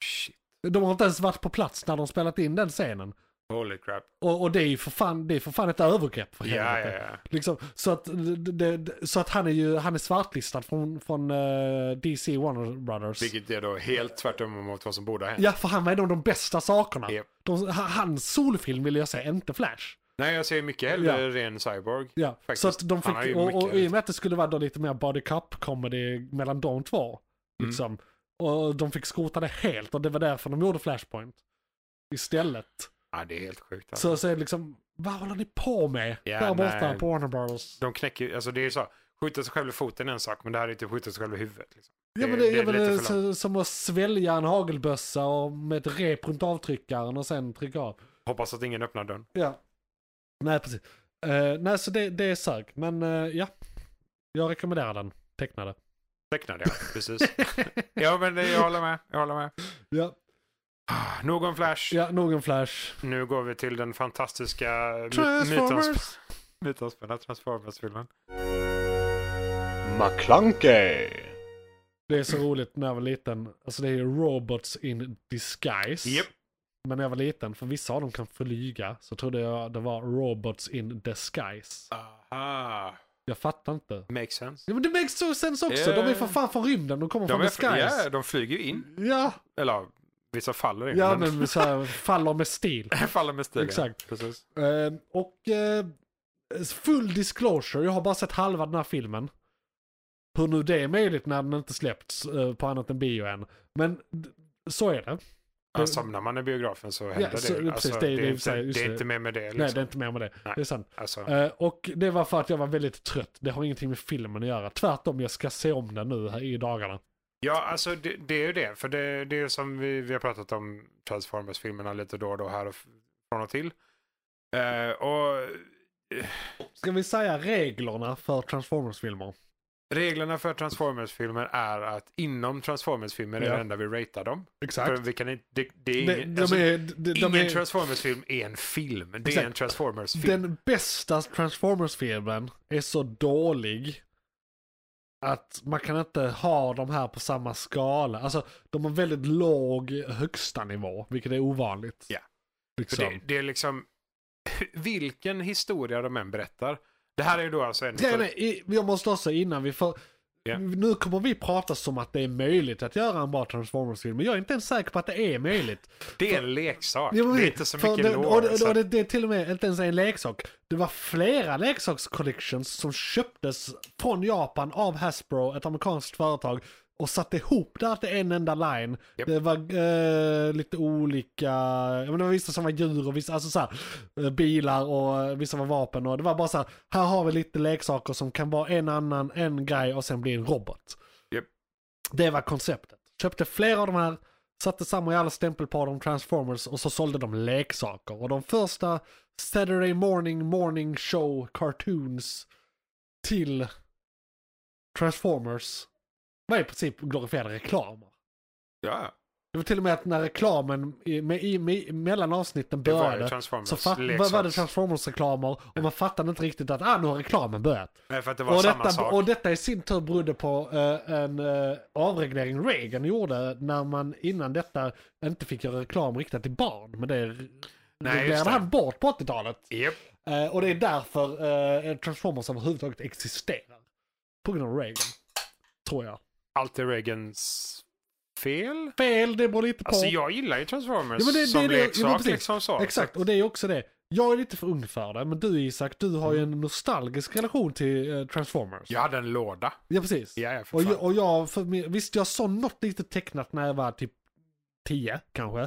S3: Shit.
S2: De har inte ens varit på plats när de spelat in den scenen.
S3: Holy crap.
S2: Och, och det är ju för fan, det är för fan ett övergrepp för
S3: Ja,
S2: helvete.
S3: ja, ja.
S2: Liksom, så, att, det- det, det, så att han är ju han är svartlistad från, från eh, DC Warner Brothers.
S3: Vilket är då helt tvärtom mot vad som borde ha hänt.
S2: Ja, för han var en av de bästa sakerna.
S3: Japp.
S2: De, ha- hans solfilm ville jag säga, inte Flash.
S3: Nej, jag ser mycket hellre ren cyborg.
S2: Ja,
S3: Faktiskt.
S2: så att de
S3: Han har ju
S2: fick, och, och,
S3: mycket-
S2: i och med att det skulle vara då lite mer body cup comedy mellan de två.
S3: Mm.
S2: Liksom, Och de fick skrota det helt och det var därför de gjorde Flashpoint. Istället.
S3: Ja, det är helt sjukt. Alltså.
S2: Så, så är det liksom, vad håller ni på med?
S3: Ja,
S2: där borta
S3: nej.
S2: på Warner Brothers.
S3: De knäcker alltså det är ju så. Skjuta sig själv i foten är en sak, men det här är typ skjuta sig själv i huvudet. Liksom.
S2: Ja
S3: Det-
S2: men det,
S3: det
S2: ja,
S3: är
S2: men
S3: lite
S2: det är eh,
S3: för
S2: så- som att svälja en hagelbössa och med ett rep runt avtryckaren och sen trycka av.
S3: Hoppas att ingen öppnar dörren.
S2: Ja. Nej precis. Eh, nej så det, det är sög. Men eh, ja. Jag rekommenderar den.
S3: [LAUGHS]
S2: Tecknade.
S3: Tecknade jag,
S2: [LAUGHS]
S3: precis. ja, men det, jag håller med. Jag håller med.
S2: ja.
S3: Ah, Någon flash.
S2: ja, någon flash.
S3: Nu går vi till den fantastiska my- mytons-
S2: Transformers!
S3: mytomspunna Transformers-filmen.
S4: McClunkey.
S2: Det är så roligt när jag var liten. Alltså det är ju robots in disguise.
S3: Japp.
S2: Men när jag var liten, för vissa av dem kan flyga, så trodde jag det var robots in disguise.
S3: Aha.
S2: Jag fattar inte.
S3: Makes sense.
S2: Ja men det makes so sense också.
S3: Ja,
S2: De är
S3: ja,
S2: för
S3: ja.
S2: fan från rymden. De kommer från
S3: är,
S2: disguise.
S3: ja, de flyger ju in.
S2: Ja,
S3: Eller ja, vissa faller in.
S2: ja men så här, faller
S3: [LAUGHS]
S2: med stil.
S3: faller med stilen.
S2: Exakt.
S3: Precis.
S2: Eh, och eh, full disclosure, jag har bara sett halva den här filmen. Hur nu det är möjligt när den inte släppts eh, på annat än bio än. Men d- så är
S3: Liksom.
S2: det.
S3: Ja, somnar man i biografen så händer det.
S2: så-
S3: ju.
S2: precis,
S3: alltså,
S2: det är-
S3: det,
S2: det är
S3: är
S2: så här,
S3: inte,
S2: just
S3: det är
S2: det.
S3: inte mer med det. Liksom.
S2: Nej, det är inte mer med det.
S3: Nej.
S2: Det är sant.
S3: alltså,
S2: Eh, och det var för att jag var väldigt trött. Det har ingenting med filmen att göra. Tvärtom, jag ska se om den nu här i dagarna.
S3: Ja, alltså det, det är ju det. För det, det är ju som vi, vi har pratat om Transformers-filmerna lite då och då här och f- från och till. Eh, och
S2: Ska vi säga reglerna för Transformers-filmer?
S3: reglerna för Transformers-filmer är att inom Transformers-filmer är
S2: Ja.
S3: det enda vi ratear dem.
S2: Exakt.
S3: För vi kan inte, det, det är
S2: De,
S3: ingen,
S2: de
S3: alltså,
S2: är, de, de
S3: ingen
S2: är,
S3: Transformers-film är en film. Det
S2: Exakt.
S3: är en Transformers-film.
S2: Den bästa Transformers-filmen är så dålig att man kan inte ha de här på samma skala. Alltså, de har väldigt låg högsta nivå, vilket är ovanligt.
S3: Ja. För
S2: Liksom.
S3: det, det är liksom, [LAUGHS] vilken historia de än berättar. Det här är ju då alltså en...
S2: Grejen är, i- jag måste också innan vi får...
S3: Ja.
S2: Nu kommer vi prata som att det är möjligt att göra en bra Transformers-film, men jag är inte ens säker på att det är möjligt.
S3: det är en leksak.
S2: Jo, men
S3: det är
S2: vi-
S3: inte så
S2: för
S3: mycket
S2: det,
S3: lore.
S2: och, det,
S3: så
S2: och
S3: att-
S2: det, det är till och med inte ens en leksak. Det var flera leksakscollections som köptes från Japan av Hasbro, ett amerikanskt företag. Och satte ihop det här till en enda line.
S3: Japp.
S2: Det var eh, lite olika, jag menar, det var vissa som var djur och vissa, alltså så här, eh, bilar och eh, vissa var vapen. Och det var bara så här, här har vi lite leksaker som kan vara en annan, en grej och sen bli en robot.
S3: Japp.
S2: Det var konceptet. Köpte flera av de här, satte samma jävla stämpel på dem, Transformers, och så sålde de leksaker. Och de första Saturday morning morning show cartoons till Transformers var i princip glorifierade reklamer.
S3: Ja,
S2: Det var till och med att när reklamen i, med, i, med, mellan avsnitten
S3: det var ju
S2: började
S3: Transformers.
S2: så fatt,
S3: leksaks.
S2: var, var det Transformers-reklamer och man fattade inte riktigt att ah, nu har reklamen börjat.
S3: Nej, för att det var
S2: Och
S3: samma
S2: detta,
S3: sak.
S2: och detta i sin tur berodde på eh, en eh, avreglering Reagan gjorde när man innan detta inte fick göra reklam riktat till barn. Men det
S3: just
S2: reglerade
S3: det.
S2: han bort på 80-talet.
S3: Japp.
S2: Eh, och det är därför eh, Transformers överhuvudtaget existerar. På grund av Reagan. Tror jag.
S3: Allt är Reagans fel.
S2: Fel, det beror lite på.
S3: Alltså jag gillar ju Transformers
S2: Ja, men det- det-
S3: som
S2: det-
S3: leksak
S2: ja, men precis.
S3: liksom så.
S2: Exakt, och det är också det. Jag är lite för ung för det, men du Isak, du har
S3: Mm.
S2: ju en nostalgisk relation till eh, Transformers.
S3: Jag hade en låda.
S2: Ja, precis.
S3: Ja, ja, för
S2: och,
S3: fan.
S2: jag, och jag, för, min- visst jag såg något lite tecknat när jag var typ 10 kanske.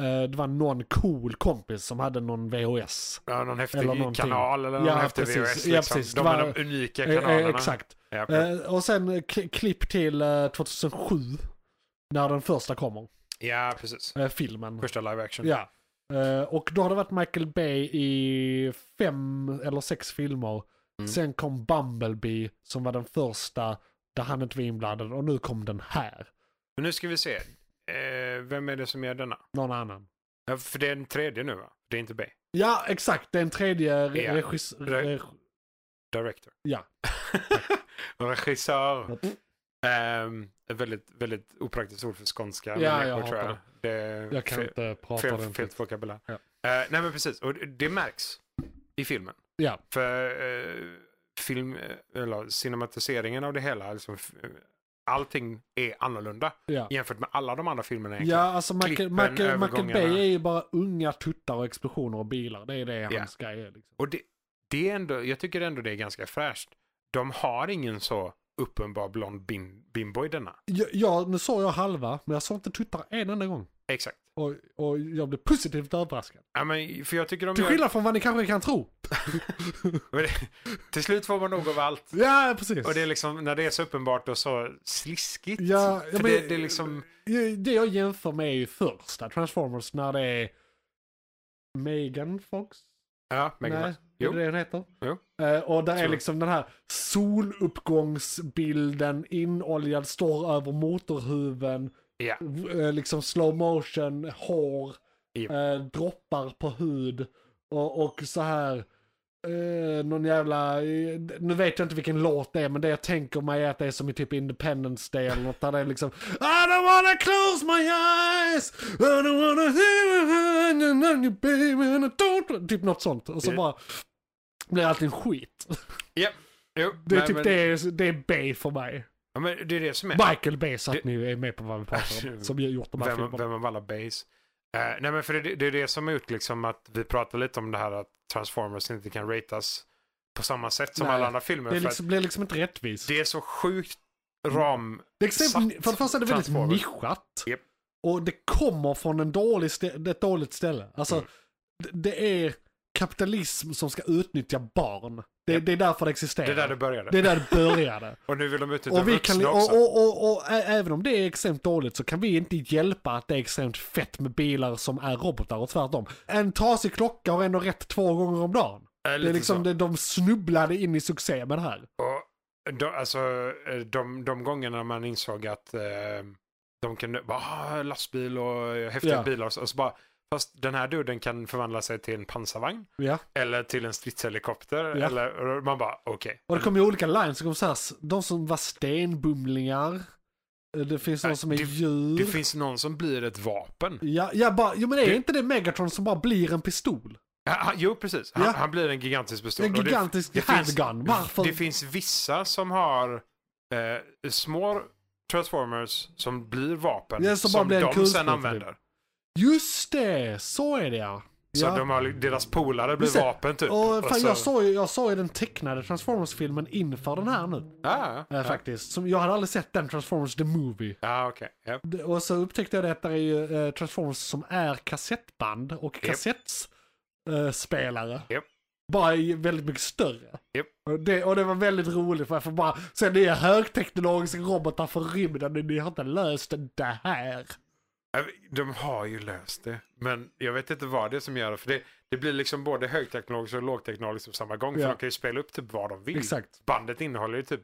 S2: Eh, det var någon cool kompis som hade någon VHS.
S3: Ja, någon häftig
S2: Eller någonting.
S3: kanal eller
S2: Ja,
S3: någon häftig
S2: precis.
S3: VHS. Liksom.
S2: Ja, precis.
S3: De
S2: Det
S3: är
S2: var-
S3: de unika
S2: Eh, eh,
S3: kanalerna.
S2: exakt.
S3: Ja, ja.
S2: Eh, och sen eh, kli- klipp till eh, 2007. När den första kommer.
S3: ja, precis.
S2: Eh, filmen.
S3: Första live action.
S2: Ja. Eh, och då har det varit Michael Bay i fem eller sex filmer.
S3: Mm.
S2: Sen kom Bumblebee som var den första där han inte var inblandad och nu kom den här.
S3: Men nu ska vi se. Eh, vem är det som gör denna?
S2: Någon annan.
S3: Ja, för det är den tredje nu va? Det är inte Bay.
S2: Ja, exakt. Den tredje re-
S3: Ja.
S2: regis-
S3: Re-
S2: reg-
S3: Director. [LAUGHS]
S2: Ja.
S3: Regissör. Ehm, ett väldigt, väldigt opraktiskt ord för skånska.
S2: Ja,
S3: människor,
S2: jag hatar
S3: Det är
S2: Jag kan
S3: fe-
S2: inte prata
S3: fel, fel
S2: ordentligt.
S3: vokabulär.
S2: Ja.
S3: Eh, nej men precis, och det- det märks i filmen.
S2: Ja.
S3: För eh, film, eh, eller cinematiseringen av det hela, liksom, f- eh, allting är annorlunda
S2: Ja.
S3: jämfört med alla de andra filmerna.
S2: Ja,
S3: egentligen.
S2: alltså Michael,
S3: Klippen,
S2: Michael, Michael
S3: övergångarna.
S2: Bay är ju bara unga tuttar och explosioner och bilar. Det är det
S3: Ja.
S2: hans grej är. Liksom.
S3: Och det, det är ändå, jag tycker ändå det är ganska fräscht. De har ingen så uppenbar blond bim, bimbo i denna.
S2: Ja, ja, nu såg jag halva, men jag såg inte tuttar en enda gång.
S3: Exakt.
S2: Och, och jag blev positivt överraskad.
S3: Ja, men, för jag tycker de [LAUGHS]
S2: Till
S3: gör,
S2: skillnad från vad ni kanske kan tro.
S3: till slut får man nog av allt.
S2: Ja, precis.
S3: Och det är liksom, när det är så uppenbart och så sliskigt.
S2: Ja, ja,
S3: för
S2: men-
S3: det, det är liksom,
S2: Ja, Det jag jämför med är ju första Transformers när det är Megan Fox.
S3: ja, Megan
S2: Nej,
S3: Fox.
S2: är
S3: Jo.
S2: det det hon heter?
S3: Jo.
S2: Eh, och där
S3: Tror
S2: är
S3: jag.
S2: liksom den här soluppgångsbilden inoljad, står över motorhuven,
S3: Ja.
S2: v- eh, liksom slow motion, hår,
S3: Japp.
S2: eh, droppar på hud och, och så här. Eh, någon jävla, eh, nu vet jag inte vilken låt det är men det jag tänker mig är att det är som i typ Independence Day eller något där det är liksom I don't wanna close my eyes, I don't wanna hear you baby and I don't Typ något sånt och så
S3: Ja.
S2: bara blir allting skit. [LAUGHS]
S3: Ja. Jo,
S2: Det är
S3: nej,
S2: typ
S3: men,
S2: det, det är Bay för mig.
S3: Ja, men det är det som är.
S2: Michael Bay så att
S3: Det-
S2: ni är med på vad vi pratar
S3: [LAUGHS]
S2: om. Som ju gjort de här
S3: Vem,
S2: filmerna.
S3: vem av alla base? Eh, nej men för det, det är det som har gjort liksom att vi pratar lite om det här att Transformers inte kan ratas på samma sätt som
S2: Nej,
S3: alla andra filmer.
S2: Det är
S3: för
S2: liksom, blir liksom inte rättvist.
S3: att det är så sjukt ram...
S2: Det är extremt,
S3: Satt
S2: för det första är det väldigt
S3: Transformers.
S2: nischat.
S3: Japp.
S2: Och det kommer från en dålig stä- ett dåligt ställe. Alltså,
S3: Mm.
S2: d- det är kapitalism som ska utnyttja barn. Det,
S3: Japp.
S2: det är därför det existerar.
S3: Det är där det började.
S2: Mm. det är där
S3: [LAUGHS]
S2: det började.
S3: Och nu vill de utnyttja
S2: och, vi kan,
S3: vuxna
S2: och,
S3: också.
S2: och, och, och ä- även om det är extremt dåligt så kan vi inte hjälpa att det är extremt fett med bilar som är robotar och tvärtom. En trasig klocka har ändå rätt två gånger om dagen.
S3: Eh,
S2: Det är
S3: lite
S2: liksom,
S3: så.
S2: det, de snubblade in i succé med det här.
S3: Och de, alltså, eh, de, de gångerna man insåg att eh, de kunde, bara, "Ah, lastbil och eh, häftiga
S2: Ja.
S3: bilar och så, och så bara, fast den här duden kan förvandla sig till en pansarvagn
S2: Ja.
S3: eller till en stridshelikopter.
S2: Ja.
S3: Eller, och man bara, okej.
S2: Och det kom ju olika lines, det kom så här, de som var stenbumlingar, Eh, det finns någon
S3: Nej,
S2: som är
S3: det-
S2: djur.
S3: Det finns någon som blir ett vapen.
S2: Ja, ja, bara, jo men är
S3: Det-
S2: inte det Megatron som bara blir en pistol?
S3: Ja, han, jo, precis. Han,
S2: Ja.
S3: han blir en gigantisk pistol.
S2: En
S3: Och det-
S2: gigantisk
S3: det finns-
S2: handgun, varför?
S3: Det finns vissa som har eh, små transformers som blir vapen
S2: Ja, som
S3: som,
S2: bara blir en
S3: de
S2: kulspruta,
S3: sen
S2: typ.
S3: använder.
S2: Just det, så är det ja.
S3: Så
S2: ja.
S3: de har, deras polare blir
S2: Just det.
S3: vapen typ.
S2: Och fan,
S3: så,
S2: jag, såg, ju- jag såg ju den tecknade Transformers-filmen inför den här nu. eh,
S3: Ja, ja.
S2: Faktiskt. Som, jag hade aldrig sett den Transformers the Movie.
S3: Ja, okej. Ja.
S2: Det- Och så upptäckte jag det att det är ju eh, Transformers som är kassettband och kassettspelare.
S3: Japp.
S2: Bara i väldigt mycket större.
S3: Japp.
S2: Och, det, och det var väldigt roligt för jag får bara se nya högteknologiska robotar från rymden och ni har inte löst det här.
S3: Mm. Ja, De har ju löst det. Men jag vet inte vad det är som gör det. För det, det blir liksom både högteknologiskt och lågteknologiskt på samma gång.
S2: Ja.
S3: För de kan ju spela upp typ vad de vill.
S2: Exakt.
S3: Bandet innehåller ju typ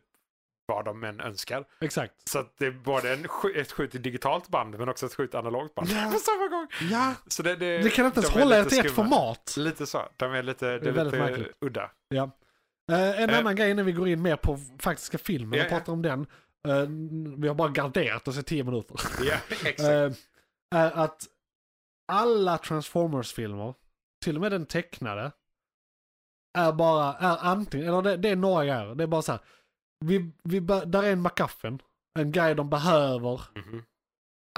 S3: vad de än önskar.
S2: Exakt.
S3: Så att det är både en, sk- ett skjut i digitalt band men också ett skjut i analogt band
S2: Ja.
S3: på samma gång.
S2: Ja.
S3: Så det, det,
S2: Det kan inte ens
S3: de är
S2: hålla
S3: lite
S2: ett i ett
S3: skumma.
S2: format.
S3: Lite så. De är lite, det är
S2: Det är väldigt
S3: lite
S2: märkligt. [LAUGHS]
S3: udda.
S2: Ja. Eh, en
S3: Eh.
S2: annan grej innan vi går in mer på faktiska filmen
S3: Ja,
S2: och pratar om den. Eh, vi har bara garderat oss i tio minuter.
S3: Ja, [LAUGHS] exakt.
S2: Eh, är att alla Transformers-filmer, till och med den tecknade, är bara, är antingen, eller det, det är några grejer. Det är bara så här, vi, vi, bör- där är en MacGuffin, en grej de behöver
S3: Mhm.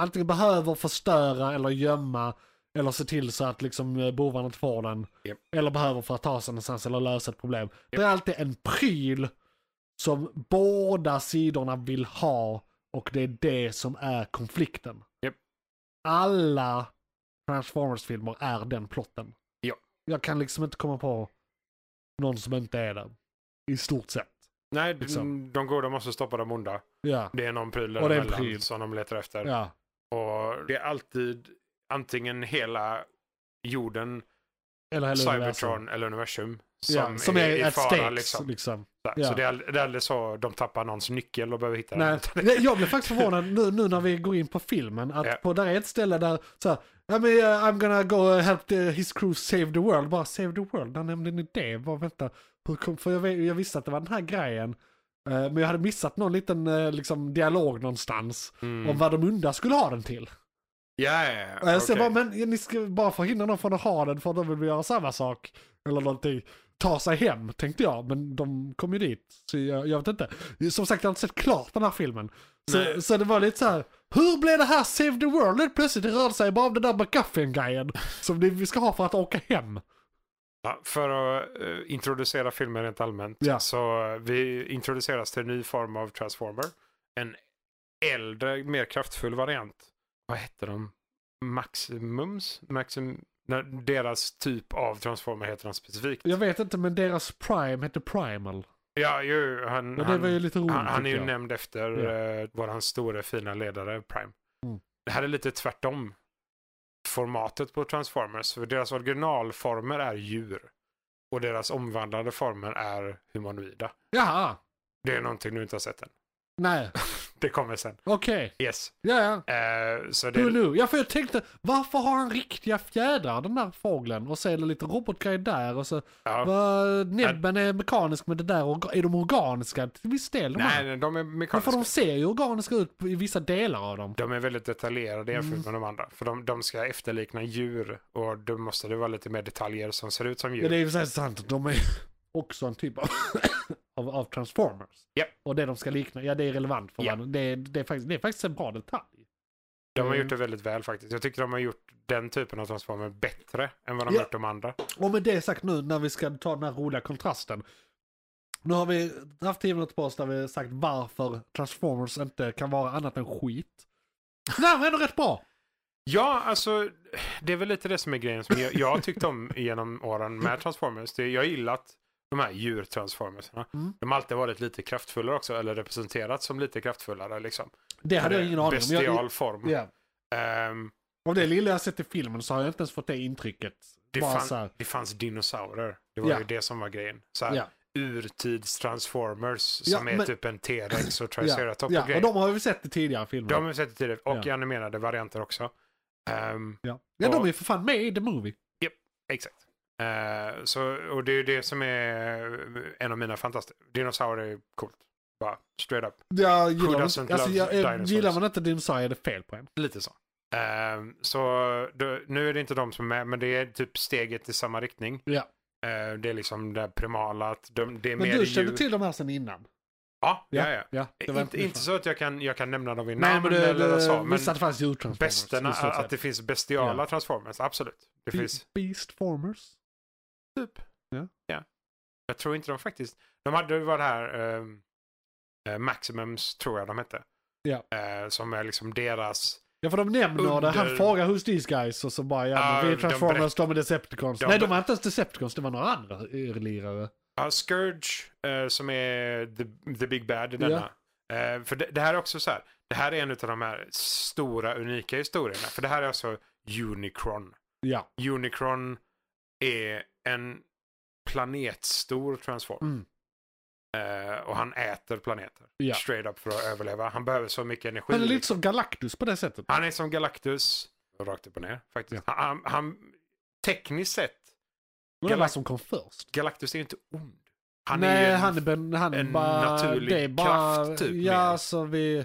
S2: antingen behöver förstöra eller gömma eller se till så att liksom eh, bovarna inte får den.
S3: Japp.
S2: Eller behöver för att ta sig någonstans eller lösa ett problem. Det är alltid en pryl som båda sidorna vill ha och det är det som är konflikten.
S3: Japp.
S2: Alla Transformers-filmer är den plotten.
S3: Ja.
S2: Jag kan liksom inte komma på någon som inte är det. I stort sett.
S3: Nej, d-
S2: liksom.
S3: de goda måste stoppa de onda.
S2: Ja.
S3: Det är någon pryl
S2: Och det är en
S3: däremellan
S2: pryl.
S3: som de letar efter.
S2: Ja.
S3: Och det är alltid antingen hela jorden,
S2: Eller hela
S3: Cybertron
S2: universum.
S3: eller universum som,
S2: Ja, som är,
S3: i
S2: ett
S3: fara.
S2: stakes,
S3: liksom.
S2: liksom.
S3: Så-
S2: ja.
S3: Så det är, ald- det är aldrig så de tappar någons nyckel och behöver hitta
S2: Nej,
S3: den.
S2: nej, jag blev faktiskt förvånad nu, nu när vi går in på filmen. Att
S3: Ja.
S2: på, där är ett ställe där så här, "Ja, men, eh, I'm gonna go eh, help the, his crew save the world. Bara save the world, när nämnde ni det? Bara, vänta, hur kom, för jag, vet- jag visste att det var den här grejen. Eh, Men jag hade missat någon liten eh, liksom, dialog någonstans
S3: Mm.
S2: om vad de onda skulle ha den till.
S3: Ja, ja, ja.
S2: Okay. Eh, Så jag bara,
S3: Okej.
S2: men ni ska bara förhindra dem från att ha den för de vill göra samma sak. Eller någonting. Ta sig hem, tänkte jag. Men de kom ju dit. Så jag, jag vet inte. Som sagt, jag har inte sett klart den här filmen. Så,
S3: Nej.
S2: så det var lite så här. Hur blev det här Save the World? Helt plötsligt det rörde sig bara om den där McGuffin-grejen. [LAUGHS] Som det- vi ska ha för att åka hem.
S3: Ja, för att eh, introducera filmen rent allmänt
S2: Ja.
S3: så eh, vi introduceras till en ny form av Transformer. En äldre, mer kraftfull variant. Vad hette de? Maximums? Maxim... Nej, deras typ av Transformer heter han specifikt.
S2: Jag vet inte, men deras Prime hette Primal.
S3: Ja, ju, han,
S2: Och det
S3: han,
S2: var ju lite roligt.
S3: han, han är ju
S2: tycker jag.
S3: nämnd efter eh, våran stora fina ledare Prime.
S2: Mm.
S3: Det här är lite tvärtom formatet på Transformers. För deras originalformer är djur. Och deras omvandlade former är humanoida.
S2: Jaha.
S3: Det är någonting du inte har sett än.
S2: Nej,
S3: Det kommer sen.
S2: okej.
S3: Yes.
S2: Ja, ja.
S3: Eh, så det,
S2: Who knew? Ja, för jag tänkte, varför har han riktiga fjädrar den där fågeln? Och så är det lite robotgrej där och så,
S3: ja.
S2: vad, näbben är mekanisk men det där, orga- är de organiska till viss del? De
S3: Nej,
S2: här?
S3: nej, de är
S2: Men för
S3: mekaniska.
S2: de ser ju organiska ut på- i vissa delar av dem.
S3: De är väldigt detaljerade
S2: Mm.
S3: jämfört med de andra. För de, de ska efterlikna djur och då måste det vara lite mer detaljer som ser ut som djur.
S2: Ja, det är ju så här sant, de är [LAUGHS] också en typ av, [COUGHS] av, av transformers.
S3: Ja.
S2: Och det de ska likna, ja det är relevant för
S3: Ja.
S2: varandra. Det, är- det, är faktiskt, det är faktiskt en bra detalj.
S3: De har
S2: Mm.
S3: gjort det väldigt väl faktiskt. Jag tycker de har gjort den typen av transformer bättre än vad de
S2: Ja.
S3: gjort de andra.
S2: Och med det sagt nu när vi ska ta den här roliga kontrasten. Nu har vi haft tio minuter på oss där vi har sagt varför Transformers inte kan vara annat än skit. Det här var ändå rätt bra.
S3: Ja, alltså det är väl lite det som är grejen som jag, jag har tyckt om genom åren
S2: Mm.
S3: med transformers. Det, jag har gillat de här djurtransformerserna.
S2: Mm.
S3: De har alltid varit lite kraftfullare också, eller representerats som lite kraftfullare liksom.
S2: Det hade jag
S3: Eh,
S2: ingen aning om. Jag,
S3: Bestial
S2: jag,
S3: form.
S2: ja.
S3: Ehm,
S2: Av det lilla jag sett i filmen så har jag inte ens fått det intrycket.
S3: det,
S2: Bara
S3: fann-
S2: så här.
S3: det fanns dinosaurer. Det var
S2: Ja.
S3: ju det som var grejen. Så här,
S2: Ja,
S3: Urtids-transformers
S2: Ja,
S3: som är
S2: men-
S3: typ en T-rex och
S2: ja,
S3: triceratops och
S2: ja.
S3: grejer.
S2: Och de har vi sett i tidigare filmer.
S3: De har vi sett det tidigare och
S2: Mm. Ja.
S3: animerade varianter också. Ehm,
S2: ja. ja, de är för fan med i The Movie.
S3: Exakt. Eh, så, och det är ju det som är eh, en av mina fantastiska... Dinosaurier är coolt. Bara straight up.
S2: Jag
S3: Who
S2: gillar,
S3: doesn't
S2: alltså,
S3: love
S2: jag, eh,
S3: dinosaurs?
S2: gillar man inte dinosaurier är det fel på en.
S3: Lite så. Eh, så då, nu är det inte de som är med, men det är typ steget i samma riktning.
S2: Ja.
S3: Eh, det är liksom det här primala, att de, det är
S2: Men
S3: mer
S2: du
S3: djur.
S2: kände till de här sen innan?
S3: Ja, ja, ja.
S2: ja det var
S3: Inte, inte så att jag kan, jag kan nämna dem vid
S2: Nej,
S3: namn
S2: men du,
S3: eller så,
S2: du
S3: men
S2: visste att det fanns djurtransformers.
S3: besterna,
S2: visste jag
S3: att
S2: säga.
S3: det finns bestiala
S2: Ja.
S3: transformers, absolut. Det
S2: Be-
S3: finns
S2: Beastformers.
S3: typ.
S2: Ja.
S3: Jag tror inte de faktiskt... De hade ju varit här... ehm, eh, Maximums tror jag de hette.
S2: Ja.
S3: Eh, som är liksom deras...
S2: Ja för de nämner det, han
S3: Under-
S2: frågar who's these guys och så bara ja
S3: Ja,
S2: men vi är
S3: de
S2: Transformers,
S3: berätt-
S2: de är Decepticons.
S3: De
S2: Nej de
S3: ber-
S2: var inte ens Decepticons, det var några andra lirare.
S3: Ja, Scourge eh, som är the, the Big Bad i denna. Eh, för det, det här är också så här. Det här är en av de här stora unika historierna. För det här är alltså Unicron.
S2: Ja.
S3: Unicron är en planetstor transform.
S2: Mm.
S3: Eh, och han äter planeter.
S2: Ja.
S3: Straight up för att överleva. Han behöver så mycket energi.
S2: Han är lite som Galactus på det sättet.
S3: Han är som Galactus. Rakt upp och ner faktiskt. Han, han, tekniskt sett,
S2: Det var
S3: Galact-
S2: som kom först.
S3: Galactus är ju inte ond. Han
S2: Nej,
S3: är ju en,
S2: han är, ben, han
S3: en
S2: bara,
S3: naturlig
S2: det är bara,
S3: kraft, typ,
S2: Ja,
S3: mer.
S2: alltså vi...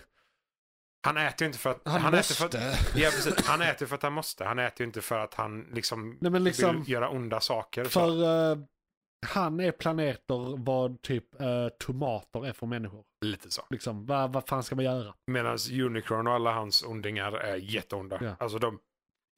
S3: han äter ju inte för att
S2: Han,
S3: äter
S2: måste.
S3: för att, ja, precis. han äter för att han måste. Han äter ju inte för att han liksom,
S2: [LAUGHS] Nej, men liksom-
S3: vill göra onda saker.
S2: För
S3: så.
S2: eh, han är planeter vad typ eh, tomater är för människor.
S3: Lite så.
S2: Liksom, vad, vad fan ska man göra?
S3: Medan Unicron och alla hans ondingar är jätteonda.
S2: Ja.
S3: Alltså de,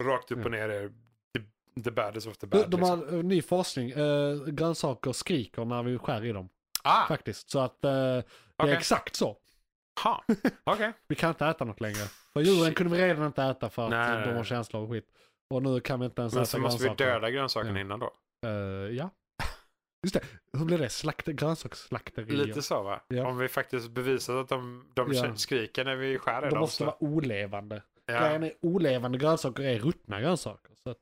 S3: rakt upp
S2: Ja.
S3: och ner är the, the baddest of the bad.
S2: De, de
S3: liksom.
S2: har eh, ny forskning. Eh, grönsaker skriker när vi skär i dem.
S3: Ah,
S2: Faktiskt. Så att eh, det
S3: Okej.
S2: är exakt så. [LAUGHS]
S3: ha. Okej.
S2: Vi kan inte äta något längre. För djuren
S3: Shit.
S2: kunde vi redan inte äta för att
S3: Nej, nej,
S2: de har
S3: nej.
S2: känslor och skit. Och nu kan vi inte ens
S3: Men
S2: äta
S3: så måste vi
S2: grönsaker.
S3: döda grönsakerna
S2: Ja.
S3: innan då.
S2: Eh, ja. [LAUGHS] Just det. Hur blir det? Slakt, grönsaksslakterier.
S3: Lite så va?
S2: Ja.
S3: Om vi faktiskt bevisat att de, de
S2: Ja.
S3: kän- skriker när vi skär i
S2: De
S3: dem.
S2: måste
S3: så-
S2: vara olevande.
S3: ja.
S2: Grejen är olevande grönsaker är ruttna grönsaker. Så att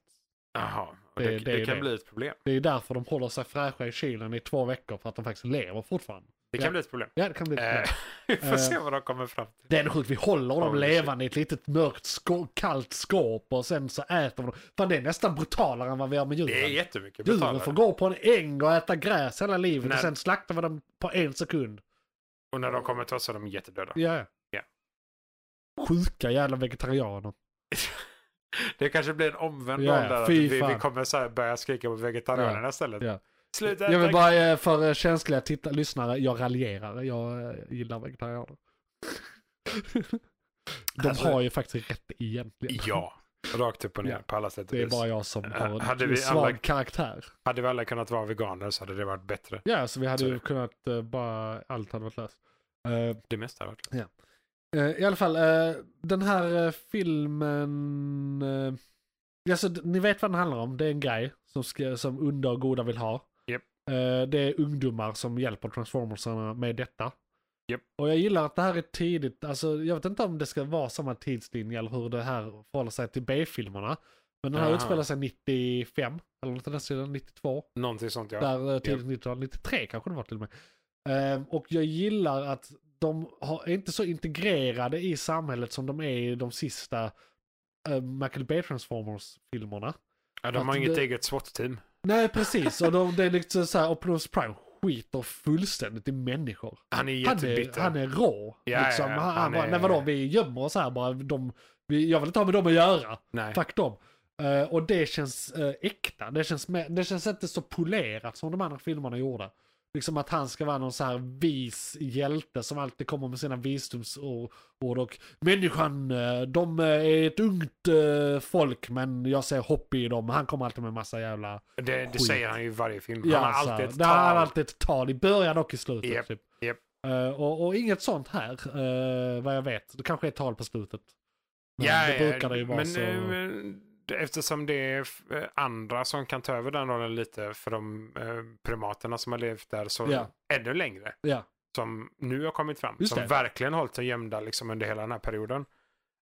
S3: Jaha, och
S2: Det-
S3: det,
S2: det
S3: det,
S2: är ju
S3: kan
S2: det.
S3: bli ett problem.
S2: det är därför de håller sig fräscha i kylen i två veckor. För att de faktiskt lever fortfarande.
S3: Det
S2: Ja.
S3: kan bli ett problem.
S2: Ja, det kan bli ett
S3: Eh,
S2: problem.
S3: [LAUGHS] vi får
S2: Eh.
S3: se vad de kommer fram till.
S2: Det är ändå sjukt, vi håller dem
S3: Oh, shit.
S2: levande i ett litet mörkt skå- kallt skåp och sen så äter vi dem. Fan det är nästan brutalare än vad vi gör med
S3: Det är
S2: djuren.
S3: jättemycket
S2: Djuren får
S3: betalare.
S2: gå på en äng och äta gräs hela livet och
S3: Nej.
S2: sen slaktar vi dem på en sekund.
S3: Och när de kommer till oss så är de jättedöda.
S2: Ja, ja.
S3: Ja.
S2: Sjuka jävla vegetarianer.
S3: Det kanske blir en omvänd
S2: Ja,
S3: roll där. Att
S2: fy
S3: vi, vi
S2: fan.
S3: kommer så här börja skrika på vegetarianerna istället.
S2: ja.
S3: Sluta
S2: Jag vill
S3: äta
S2: bara eh, för eh, känsliga titta- lyssnare, jag raljerar. Jag eh,
S3: [LAUGHS]
S2: gillar vegetarianer. De
S3: Alltså-
S2: har ju faktiskt rätt egentligen.
S3: Ja, rakt upp och ner
S2: Ja.
S3: på alla sätt och
S2: Det är
S3: vis.
S2: bara jag som har en
S3: Hade vi
S2: svag
S3: alla-
S2: karaktär.
S3: Hade vi alla kunnat vara veganer så hade det varit bättre.
S2: Ja, så vi hade
S3: Så
S2: ju
S3: det-
S2: kunnat eh, bara, allt hade varit löst. Eh,
S3: Det mesta hade varit.
S2: eh, I alla fall, eh, den här eh, filmen, eh, alltså d- ni vet vad den handlar om, det är en grej som, ska, som onda och goda vill ha.
S3: Japp.
S2: Eh, det är ungdomar som hjälper transformersarna med detta.
S3: Japp.
S2: Och jag gillar att det här är tidigt, alltså jag vet inte om det ska vara samma tidslinje eller hur det här förhåller sig till B-filmerna. Men den här
S3: Aha.
S2: utspelar sig 95, eller något i den stilen, 92.
S3: Någonting sånt ja.
S2: Där eh, tidigt 90-tal, 93 kanske det var till och med. Ehm, och jag gillar att de har, är inte så integrerade i samhället som de är i de sista uh, Michael Bay Transformers-filmerna.
S3: ja de har
S2: att
S3: inget
S2: det-
S3: eget SWAT-team.
S2: Nej, precis. Och de, det är liksom så här, Optimus Prime skiter fullständigt i människor.
S3: Han är
S2: Han är,
S3: jättebitter.
S2: han är rå.
S3: Ja,
S2: liksom.
S3: ja,
S2: han,
S3: ja.
S2: han,
S3: Han
S2: bara,
S3: är-
S2: nej vadå, vi gömmer oss här bara. De, vi, jag vill inte ha med dem att göra.
S3: Nej.
S2: Fuck dem. Eh, och det känns eh, äkta. Det känns, mer- det känns inte så polerat som de andra filmerna gjorde. Liksom att han ska vara någon så här vis hjälte som alltid kommer med sina visdomsord. Och människan, eh, de eh, är ett ungt eh, folk men jag ser hopp i dem. Han kommer alltid med massa jävla...
S3: Det, det
S2: Skit.
S3: säger han ju i varje film.
S2: Ja,
S3: han har
S2: så här.
S3: alltid ett
S2: Det har han
S3: tal.
S2: alltid ett tal. I början och i slutet.
S3: Japp,
S2: typ.
S3: japp.
S2: Eh, och, och inget sånt här, eh, vad jag vet. Det kanske är ett tal på slutet. Men
S3: Ja,
S2: det
S3: ja,
S2: brukar det ju vara
S3: men,
S2: så.
S3: eh, men det- Eftersom det är f- eh, andra som kan ta över den rollen lite för de eh, primaterna som har levt där så
S2: Ja.
S3: ännu längre.
S2: Ja.
S3: Som nu har kommit fram.
S2: Just
S3: som
S2: det.
S3: verkligen hållit sig gömda liksom, under hela den här perioden.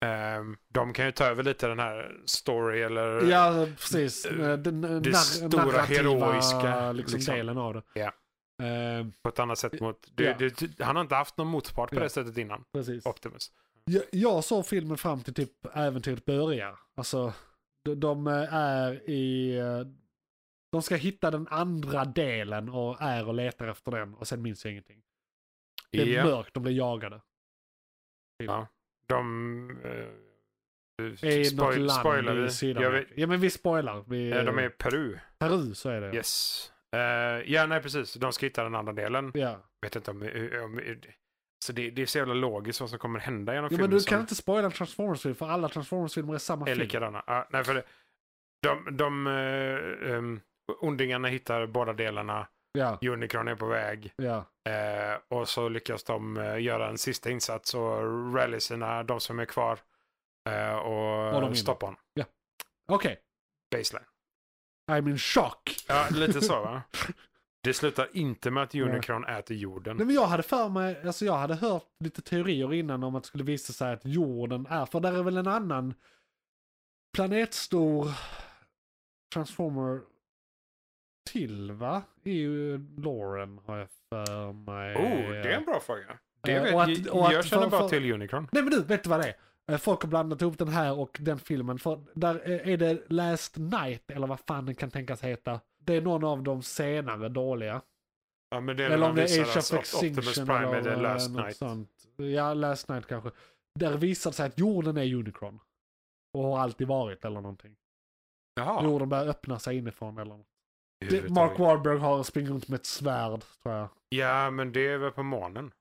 S3: Ehm, de kan ju ta över lite den här story eller...
S2: Ja, precis. Eh, Den det
S3: Eh, stora heroiska,
S2: liksom,
S3: liksom.
S2: delen av det.
S3: Ja.
S2: Eh,
S3: På ett annat sätt mot... Det,
S2: Ja.
S3: det, han har inte haft någon motpart på
S2: Ja.
S3: det sättet innan.
S2: precis.
S3: Optimus.
S2: Jag, jag såg filmen fram till typ äventyret börjar. Alltså, de, de eh, är i... eh, De ska hitta den andra delen och är och letar efter den och sen minns jag ingenting. Det är
S3: Ja.
S2: mörkt, de blir jagade.
S3: Ja. De... eh,
S2: Är i något land
S3: spoilar
S2: i
S3: vi. Jag
S2: Sydamerika.
S3: vet,
S2: Ja men vi spoilar. Vi,
S3: eh, de är i Peru.
S2: Peru så är det.
S3: Yes. Eh, ja, nej precis. De ska hitta den andra delen.
S2: Ja.
S3: Vet inte om... eh, om, om så det, det är så jävla logiskt vad som kommer hända genom
S2: ja men
S3: filmen.
S2: du
S3: som
S2: kan inte spoila en Transformers-film för alla Transformers-filmer är samma
S3: Är
S2: film.
S3: likadana. Ja, nej, för det, de... de eh, ehm, ondingarna hittar båda delarna.
S2: Ja,
S3: Unicron är på väg.
S2: ja.
S3: Eh, och så lyckas de eh, göra en sista insats och rally sina, de som är kvar. Eh,
S2: de
S3: och
S2: vinner.
S3: stoppa honom.
S2: Okej.
S3: Baseline.
S2: I'm in shock.
S3: Ja, lite så va? [LAUGHS] Det slutar inte med att Unicron äter jorden.
S2: Nej, men jag hade för mig, alltså jag hade hört lite teorier innan om att det skulle visa sig att jorden är, för där är väl en annan planetstor transformer till va? Är ju Lauren har jag för mig.
S3: Oh, det är en bra fråga. Det
S2: Eh,
S3: vet,
S2: och att-
S3: jag-
S2: och att
S3: jag känner
S2: för-
S3: bara
S2: för-
S3: till Unicron.
S2: Nej men du, vet du vad det är? Eh, Folk har blandat ihop den här och den filmen. För där eh, är det Last Night, eller vad fan den kan tänkas heta. Det är någon av de senare dåliga.
S3: Ja, men det är
S2: Eller om det är
S3: visar
S2: Age of
S3: alltså att Optimus
S2: Extinction
S3: Prime är
S2: eller
S3: The Last
S2: något
S3: Night.
S2: sånt. Ja, Last Night kanske. Där visar det sig att jorden är Unicron. Och har alltid varit eller någonting.
S3: Jaha.
S2: Jorden börjar öppna sig inifrån eller något. Det,
S3: överhuvudtaget.
S2: Mark Wahlberg har springer runt med ett svärd tror jag.
S3: Ja, men det är väl på månen.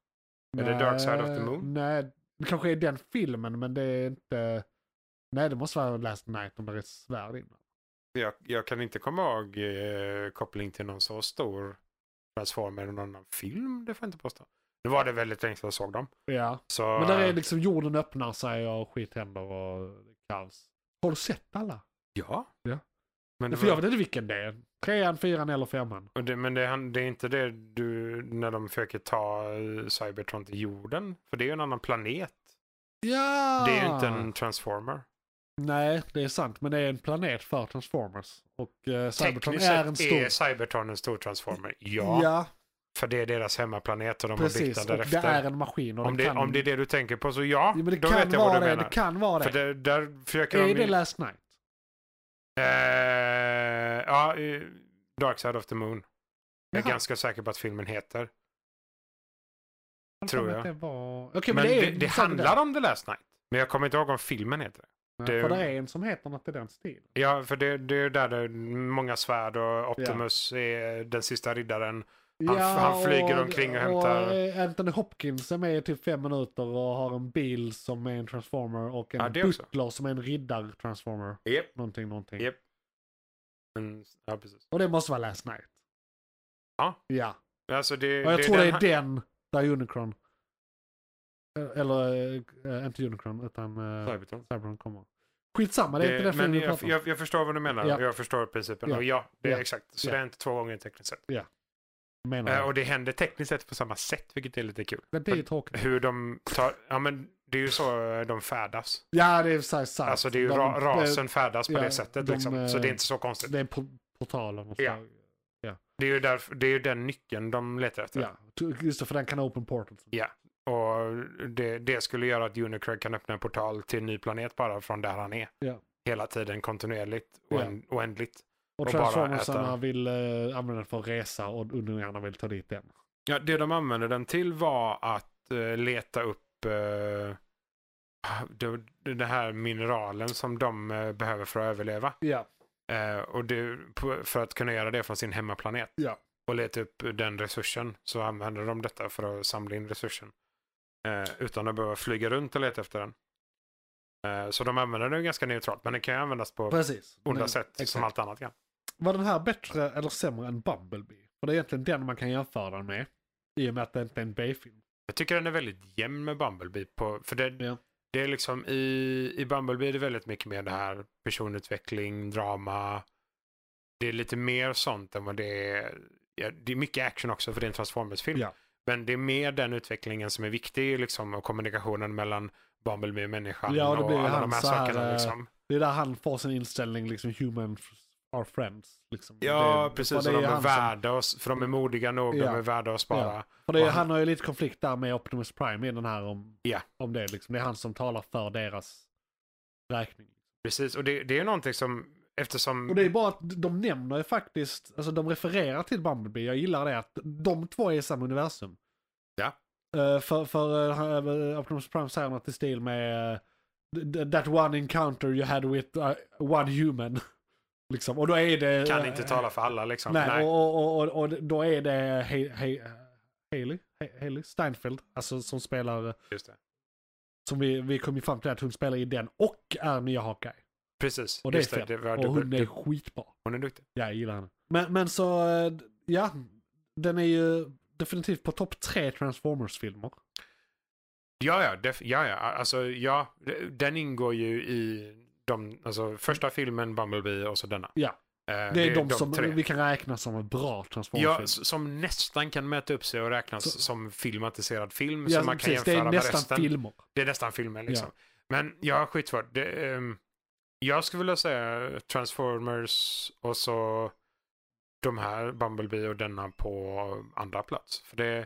S3: Är det Dark Side of the Moon?
S2: Nej, det kanske är den filmen men det är inte... Nej, det måste vara Last Night om det är ett svärd innan.
S3: Jag, jag kan inte komma ihåg eh, koppling till någon så stor transformer eller någon annan film. Det får jag inte påstå. Nu var det väldigt länge sedan jag såg dem.
S2: Ja,
S3: Så,
S2: men där är liksom jorden öppnar sig och skit händer och kaos. Har du sett alla?
S3: Ja.
S2: Ja.
S3: Men, det
S2: För jag
S3: var,
S2: vet inte vilken det är. Trean, fyran eller femman.
S3: och det, men det, är han- det är inte det du, när de försöker ta eh, Cybertron till jorden. För det är ju en annan planet.
S2: Ja!
S3: Det är ju inte
S2: Ah.
S3: en transformer.
S2: Nej, det är sant. Men det är en planet för Transformers. Och eh, Cybertron
S3: Tekniskt
S2: är
S3: sett
S2: en stor...
S3: är Cybertron en stor transformer. Ja,
S2: ja
S3: för det är deras hemmaplanet och de har byggt
S2: precis.
S3: den
S2: Och det är
S3: därefter.
S2: en maskin. Och
S3: Om
S2: den
S3: det,
S2: kan...
S3: om det är det du tänker på så ja,
S2: Ja, men det
S3: då
S2: kan
S3: vet jag vad
S2: vara
S3: du
S2: det.
S3: menar.
S2: Det kan vara
S3: För
S2: det.
S3: det, där försöker
S2: Är
S3: de...
S2: det Last Night?
S3: Eh, ja, eh, Dark Side of the Moon. Jag är
S2: Jaha.
S3: ganska säker på att filmen heter.
S2: Jag
S3: tror
S2: har för mig
S3: jag.
S2: att Det, var... Okej,
S3: men
S2: men
S3: det,
S2: är
S3: det handlar om The Last Night. Men jag kommer inte ihåg om filmen heter det.
S2: Ja,
S3: det-
S2: För det är en som heter något i den stilen.
S3: Ja, för det, det är där det är många svärd och Optimus är den sista riddaren. Han- han flyger omkring och hämtar-
S2: eh, Anthony Hopkins är med i typ fem minuter och har en bil som är en transformer och en
S3: Ja, det också.
S2: butler som är en riddar-transformer.
S3: Japp.
S2: Någonting, någonting.
S3: Japp. Mm, ja, precis.
S2: Och det måste vara Last Night.
S3: Ja.
S2: Ja.
S3: Alltså det,
S2: Och jag
S3: det,
S2: tror det är
S3: han-
S2: den där Unicron. eh, Eller, eh, inte Unicron, utan eh,
S3: Cybertron.
S2: Cybertron kommer. Skitsamma, det är
S3: Det-
S2: inte den
S3: men
S2: filmen vi
S3: jag,
S2: pratar om.
S3: jag, jag förstår vad du menar
S2: Ja.
S3: och jag förstår principen.
S2: Ja.
S3: Och ja, det är
S2: Ja.
S3: exakt. Så
S2: Ja.
S3: det är inte två gånger tekniskt sett.
S2: Menar
S3: Eh,
S2: jag.
S3: och det händer tekniskt sett på samma sätt, vilket är lite kul.
S2: Men det är ju tråkigt.
S3: Hur de tar, ja men det är ju så de färdas.
S2: Ja, det är så här sant.
S3: Alltså det är ju
S2: De-
S3: ra,
S2: de-
S3: rasen färdas på
S2: ja,
S3: det sättet
S2: de,
S3: liksom. Så det är
S2: eh,
S3: inte så konstigt.
S2: Det är en po- portal av något
S3: Ja.
S2: slag.
S3: Det är ju, därför, det är ju den nyckeln de letar efter.
S2: Ja, just det, för den kan ha open portals.
S3: Ja. Och det, det skulle göra att Unicred kan öppna en portal till en ny planet bara från där han är.
S2: Ja.
S3: Hela tiden kontinuerligt,
S2: Ja.
S3: oänd, oändligt.
S2: Och,
S3: Och bara
S2: transformersarna
S3: äta.
S2: vill eh, använda den för att resa och undringarna vill ta dit den.
S3: Ja, det de använde den till var att eh, leta upp eh, ah, det, den här mineralen som de eh, behöver för att överleva.
S2: Ja,
S3: Eh, och det, på, för att kunna göra det från sin hemmaplanet.
S2: Ja.
S3: Och leta upp den resursen så använder de detta för att samla in resursen. Eh, utan att behöva flyga runt och leta efter den. Eh, så de använder den ganska neutralt. Men den kan ju användas på
S2: precis.
S3: onda
S2: Men-
S3: sätt som
S2: exakt.
S3: allt annat kan.
S2: Var den här bättre eller sämre än Bumblebee? För det är egentligen den man kan jämföra den med. I och med att det inte är en B-film.
S3: Jag tycker den är väldigt jämn med Bumblebee. På, för det,
S2: Ja.
S3: det är liksom i, i Bumblebee är det väldigt mycket mer det här personutveckling, drama. Det är lite mer sånt än vad det är. Ja, det är mycket action också för det är en Transformers-film.
S2: Ja.
S3: Men det är mer den utvecklingen som är viktig liksom, och kommunikationen mellan Bumblebee och människan.
S2: Ja, och det blir
S3: alla
S2: han
S3: de här
S2: så här,
S3: sakerna.
S2: eh,
S3: Liksom.
S2: Det är där han får sin inställning, liksom human f- are friends. Liksom.
S3: Ja,
S2: det,
S3: precis.
S2: för
S3: Och
S2: det
S3: de är
S2: han som-
S3: värda oss, för de är modiga nog,
S2: Ja.
S3: de är värda att spara.
S2: För det,
S3: och
S2: är-
S3: han-
S2: han har ju lite konflikt där med Optimus Prime i den här om,
S3: Ja.
S2: om det. Liksom. Det är han som talar för deras räkning.
S3: Precis, och det, det är ju någonting som, eftersom...
S2: Och det är bara att de nämner ju faktiskt, alltså de refererar till Bumblebee. Jag gillar det att de två är i samma universum.
S3: Ja.
S2: Eh, för för uh, Optimus Prime säger något i stil med eh, that one encounter you had with eh, one human. [LAUGHS] liksom. Och då är det... eh,
S3: kan inte tala för alla liksom.
S2: Nej, Och, och, och, och då är det He- He- Haley, He- Haley Steinfeld, alltså som spelar,
S3: just det.
S2: som vi, vi kom ju fram till att hon spelar i den och är nya Hawkeye.
S3: Precis.
S2: Och det
S3: Just
S2: är fett.
S3: det var
S2: och
S3: dubbel-
S2: hon är
S3: dubbel-
S2: skitbra.
S3: hon är duktig.
S2: Ja, jag gillar henne. Men, men så, eh, ja, den är ju definitivt på topp tre Transformers-filmer.
S3: Ja, ja, def, ja, ja. Alltså, ja, den ingår ju i de, alltså, första filmen, Bumblebee och så denna.
S2: Ja.
S3: Eh,
S2: Det är de, som vi kan räkna som bra
S3: Ja,
S2: Transformers-filmer.
S3: s- som nästan kan mäta upp sig och räknas
S2: Så-
S3: som filmatiserad film.
S2: Ja,
S3: som man kan
S2: precis.
S3: jämföra
S2: det är
S3: med
S2: nästan
S3: resten.
S2: filmer.
S3: Det är nästan filmen liksom. Men ja, skitsvårt. Det, ehm, jag skulle vilja säga Transformers och så de här Bumblebee och denna på andra plats. För det,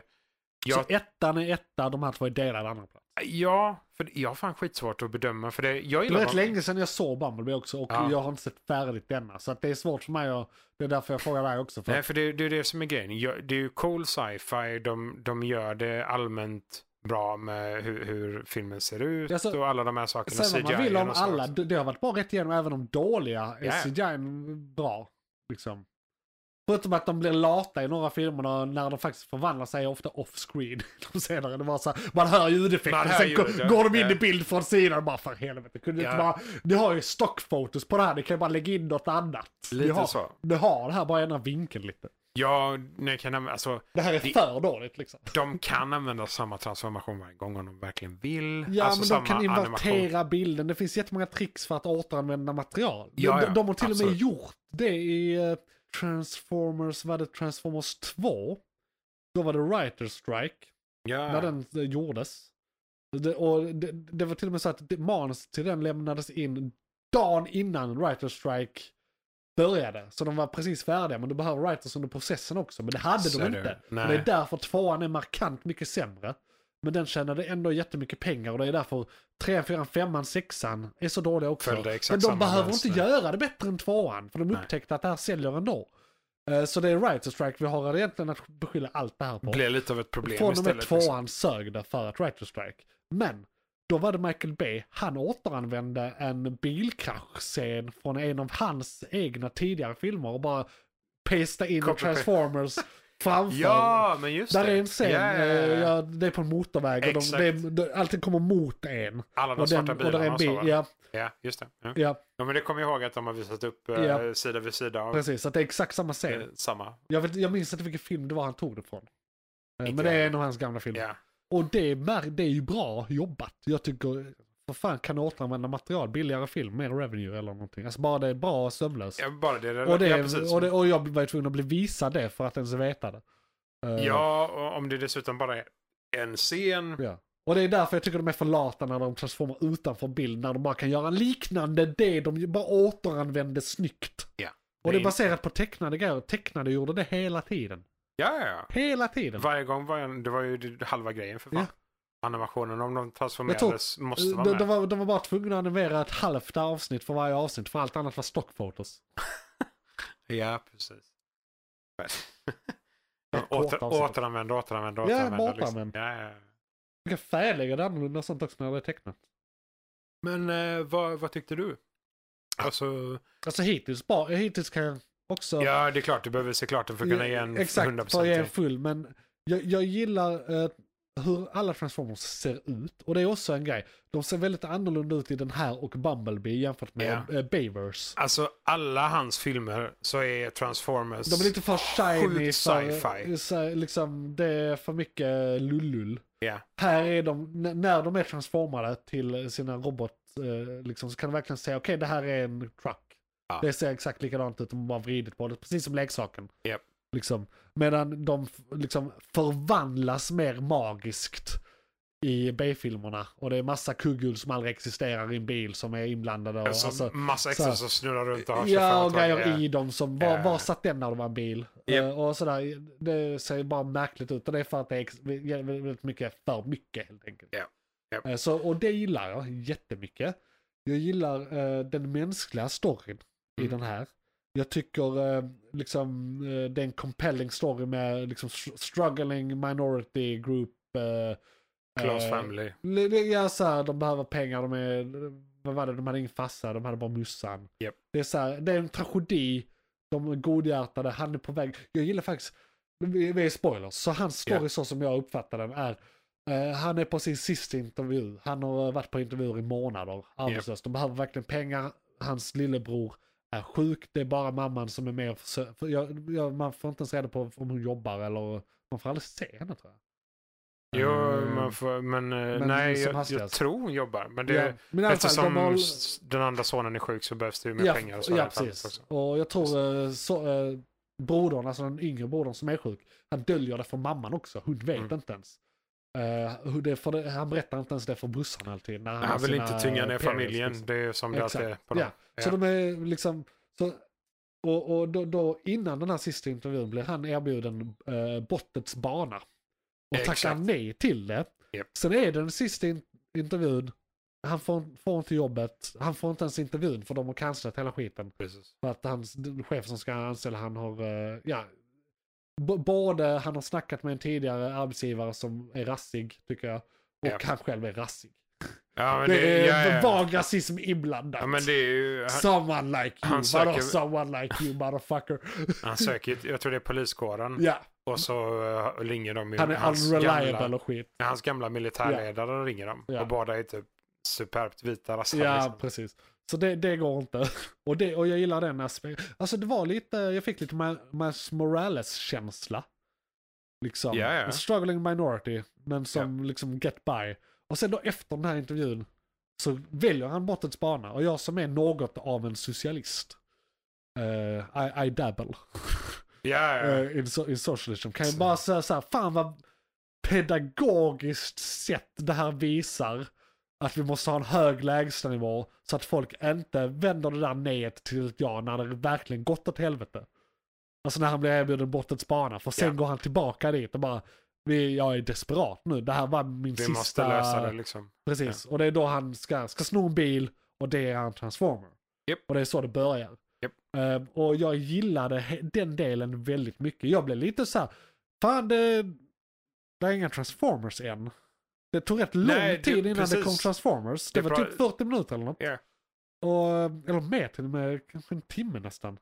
S2: Så
S3: jag,
S2: ettan är etta, de här två är delade andra plats.
S3: ja, för jag har fan skitsvårt att bedöma. För det, jag
S2: Det var
S3: gillar
S2: rätt länge sedan jag såg Bumblebee också och
S3: Ja.
S2: jag har inte sett färdigt denna. Så att det är svårt för mig att... Det är därför jag frågar dig också. För
S3: Nej, för det, det är det som är grejen. Jag- Det är ju cool sci-fi. De, de gör det allmänt bra med hur, hur filmen ser ut
S2: Alltså,
S3: och alla de här sakerna.
S2: Sen vad man vill om
S3: CGI-en och så
S2: alla,
S3: också.
S2: det det har varit bra rätt igenom, även de dåliga
S3: Ja.
S2: är CGI bra. Liksom. Förutom att de blir lata i några av filmerna när de faktiskt förvandlar sig ofta off-screen. [LAUGHS] De senare, det var så här, man hör
S3: Man
S2: ljudeffekter,
S3: hör
S2: sen
S3: ljudet, ja.
S2: går, går de in i
S3: Ja.
S2: bild från sidan och bara för helvete. Kunde
S3: Ja.
S2: inte bara, ni har ju stockfotos på det här, ni kan ju bara lägga in något annat. ni,
S3: Lite
S2: har,
S3: så.
S2: ni har det här, bara ändra vinkeln lite.
S3: Ja, nej, kan jag, alltså,
S2: Det här är
S3: Det-
S2: för dåligt liksom.
S3: de kan använda samma transformation varje gång om de verkligen vill.
S2: Ja,
S3: alltså,
S2: men
S3: samma
S2: de kan
S3: animation.
S2: invertera bilden. Det finns jättemånga tricks för att återanvända material. De-
S3: Ja, ja,
S2: de, de har till och
S3: absolut.
S2: med gjort det i eh, Transformers, vad är det, Transformers 2? Då var det Writer Strike, när
S3: Ja,
S2: den eh, gjordes. Det, och det, det var till och med så att det- manus till den lämnades in dagen innan Writer Strike började. Så de var precis färdiga, men du behöver writers under processen också. Men det hade
S3: Så
S2: de
S3: är det.
S2: inte. Och
S3: Nej.
S2: Det är därför tvåan är markant mycket sämre. Men den tjänade ändå jättemycket pengar och det är därför trean, fyran, femman, sexan är så dåliga också.
S3: Följde exakt
S2: Men de
S3: samma
S2: behöver
S3: mönster.
S2: inte göra det bättre än tvåan, för de
S3: Nej.
S2: upptäckte att det här säljer ändå. Eh, Så det är writer strike vi har egentligen att beskylla allt det här på.
S3: blir lite av ett problem
S2: Från och med
S3: istället. liksom.
S2: tvåan sög det för att Writer Strike. Men då var det Michael Bay, han återanvände en bilkraschscen från en av hans egna tidigare filmer och bara pesta in
S3: Copy-paste. [LAUGHS]
S2: Transformers framför.
S3: Ja, men just
S2: Där
S3: det.
S2: är en scen,
S3: Ja, ja, ja.
S2: eh, ja, det är på en motorväg och de,
S3: Exakt.
S2: det, är- det, allting kommer mot en.
S3: Alla de
S2: och
S3: svarta
S2: och där är
S3: bilarna
S2: en
S3: och så,
S2: bil,
S3: va?
S2: ja,
S3: Ja, just det. Ja.
S2: ja,
S3: Ja, men det kommer jag ihåg att de har visat upp eh,
S2: Ja.
S3: sida vid sida av
S2: precis. Så att det är exakt samma scen.
S3: eh, samma.
S2: Jag, vet, jag minns inte vilken film det var han tog det från. Eh,
S3: Inte
S2: Men det
S3: jag.
S2: är en av hans gamla filmer.
S3: Ja.
S2: Och det är, mär- det är ju bra jobbat. Jag tycker, vad fan kan du återanvända material? Billigare film, mer revenue eller någonting. Alltså bara det är bra och sömlöst.
S3: Ja, bara det.
S2: och, det,
S3: ja, precis.
S2: och, det, och jag var ju tvungen att bli visad det för att ens veta det. Eh,
S3: Ja, och om det dessutom bara är en scen.
S2: ja. Och det är därför jag tycker de är för lata när de transformar utanför bild. När de bara kan göra liknande det de ju bara återanvänder snyggt.
S3: Ja.
S2: Och det är
S3: in-
S2: baserat på tecknade grejer. Tecknade gjorde det hela tiden.
S3: Ja, ja, ja.
S2: Hela tiden.
S3: Varje gång var en, det var ju det- halva grejen för fan. Animationen, om de transformerades, måste vara
S2: Eh, de,
S3: med.
S2: de, var, de var bara tvungna att animera ett halvt avsnitt för varje avsnitt. För allt annat var stockfotos.
S3: Ja, precis.
S2: [LAUGHS] Ett kort
S3: Åter,
S2: avsnitt.
S3: återanvänd, återanvänd,
S2: Ja,
S3: återanvänd.
S2: bara
S3: liksom.
S2: återanvänd.
S3: Ja, ja. ja.
S2: Man kan färglägga det annorlunda och sånt också när det är tecknat.
S3: Men eh, vad, vad tyckte du? Alltså,
S2: Alltså hittills, bara, hittills kan jag också...
S3: ja det är klart, du behöver se klart den för att kunna ge en
S2: Exakt, för att ge en
S3: 100%.
S2: full. Men jag, jag gillar eh, hur alla Transformers ser ut. Och det är också en grej. De ser väldigt annorlunda ut i den här och Bumblebee jämfört med
S3: Ja.
S2: eh, Beavers.
S3: Alltså alla hans filmer så är Transformers...
S2: De är lite för shiny.
S3: Sjukt
S2: För,
S3: sci-fi.
S2: så, liksom, det är för mycket lullull.
S3: Ja.
S2: Här är de, n- när de är transformade till sina robot, eh, liksom, så kan de verkligen säga okej det här är en truck.
S3: Ja.
S2: Det ser exakt likadant ut, de har bara vridit på det, precis som leksaken.
S3: Japp.
S2: Liksom. Medan de f- liksom förvandlas mer magiskt i B-filmerna. Och det är massa kugghjul som aldrig existerar i en bil som är inblandade. Och,
S3: Alltså,
S2: alltså,
S3: massa
S2: så
S3: extra
S2: här-
S3: som snurrar runt och har
S2: ja, och
S3: 25 tag.
S2: grejer i dem som, var,
S3: Ja.
S2: var satt den när det var en bil?
S3: Japp.
S2: Eh, och sådär, det ser bara märkligt ut. Och det är för att det är ex- väldigt mycket för mycket helt enkelt.
S3: Japp. Japp.
S2: Eh, så, och det gillar jag jättemycket. Jag gillar eh, den mänskliga storyn i
S3: Mm.
S2: den här. Jag tycker eh, liksom eh, det är en compelling story med liksom str- struggling minority group. eh,
S3: Close
S2: eh,
S3: family.
S2: Le- le- Ja, så här, de behöver pengar, de är... Vad var det? De hade ingen farsa, de hade bara mussan.
S3: Japp.
S2: Det, är så här, det är en tragedi. De är godhjärtade, han är på väg. Jag gillar faktiskt, vi vi är spoilers, så hans story
S3: Japp.
S2: så som jag uppfattar den är eh, han är på sin sista intervju. Han har eh, varit på intervjuer i månader. Arbetslös. De behöver verkligen pengar. Hans lillebror är sjuk. Det är bara mamman som är med och försöker. För jag, jag, man får inte ens reda på om hon jobbar eller... Man får aldrig se henne tror jag.
S3: Jo,
S2: Eh,
S3: man får, men, eh,
S2: men
S3: nej,
S2: som
S3: jag, jag
S2: hastigast.
S3: tror hon jobbar. Men det,
S2: ja. men i alla fall,
S3: eftersom
S2: de har-
S3: s- den andra sonen är sjuk så behövs det ju mer
S2: ja,
S3: pengar. Och så
S2: ja,
S3: här fallet
S2: precis.
S3: också.
S2: Och jag tror eh, så, eh, brodern, alltså den yngre brodern som är sjuk, han döljer det för mamman också. Hon vet
S3: Mm.
S2: inte ens. Eh, hur det, för det, han berättar inte ens det för brorsan alltid. När har
S3: Han vill
S2: sina
S3: inte tynga ner
S2: periods,
S3: familjen.
S2: liksom.
S3: Det är ju som det alltid är
S2: Exakt.
S3: på dem.
S2: Ja. Så
S3: Ja.
S2: de är liksom, så Och, och då, då, innan den här sista intervjun blir han erbjuden eh, bottets bana. Och tackar
S3: Exakt.
S2: nej till det.
S3: Japp.
S2: Sen är det den sista in, intervjun. Han får, får inte jobbet. Han får inte ens intervjun för de har cancelat hela skiten.
S3: Precis.
S2: För att hans den chef som ska anställa han har, eh, ja, b- både han har snackat med en tidigare arbetsgivare som är rassig tycker jag. Och
S3: Ja.
S2: han själv är rassig.
S3: Ja, men
S2: det, är
S3: ja, ja.
S2: vag rasism inblandat.
S3: Ja, men det är ju, han,
S2: Someone like you,
S3: han
S2: vadå
S3: söker- Mm.
S2: someone like you motherfucker?
S3: han söker, jag tror det är poliskåren.
S2: ja,
S3: Och så eh, ringer de ju.
S2: han är
S3: hans
S2: unreliable
S3: gamla-
S2: och skit.
S3: Hans gamla militärledare ringer dem.
S2: Ja.
S3: Och båda är typ superbt vita rassar.
S2: Ja,
S3: liksom.
S2: precis. Så det, det går inte. [LAUGHS] Och, det, och jag gillar den aspekten. Alltså det var lite, jag fick lite Ma- Miles Morales-känsla. Liksom.
S3: Ja, ja.
S2: En struggling minority, men som liksom get by. Och sen då efter den här intervjun så väljer han bort ett bana. Och jag som är något av en socialist. eh, I, I dabble. [LAUGHS]
S3: Ja, ja.
S2: eh, i so- i socialism. Kan jag bara säga så här, fan vad pedagogiskt sätt det här visar att vi måste ha en hög lägstanivå så att folk inte vänder det där nejet till ett ja när det verkligen gått åt helvete. Alltså när han blir erbjuden bortåt Spana, för sen
S3: Ja.
S2: går han tillbaka dit och bara vi, jag är desperat nu, det här var min
S3: Vi
S2: sista...
S3: måste lösa det liksom.
S2: Precis, och det är då han ska, ska sno en bil och det är han transformer.
S3: Japp.
S2: Och det är så det börjar.
S3: Japp.
S2: Ehm, och jag gillade he- den delen väldigt mycket. Jag blev lite så här, fan det, det är inga transformers än. Det tog rätt lång
S3: Nej, det-
S2: tid innan det
S3: precis.
S2: kom transformers. Det,
S3: Det
S2: var
S3: pra-
S2: typ 40 minuter eller något.
S3: Ja.
S2: Och, eller mer till och med, kanske en timme nästan.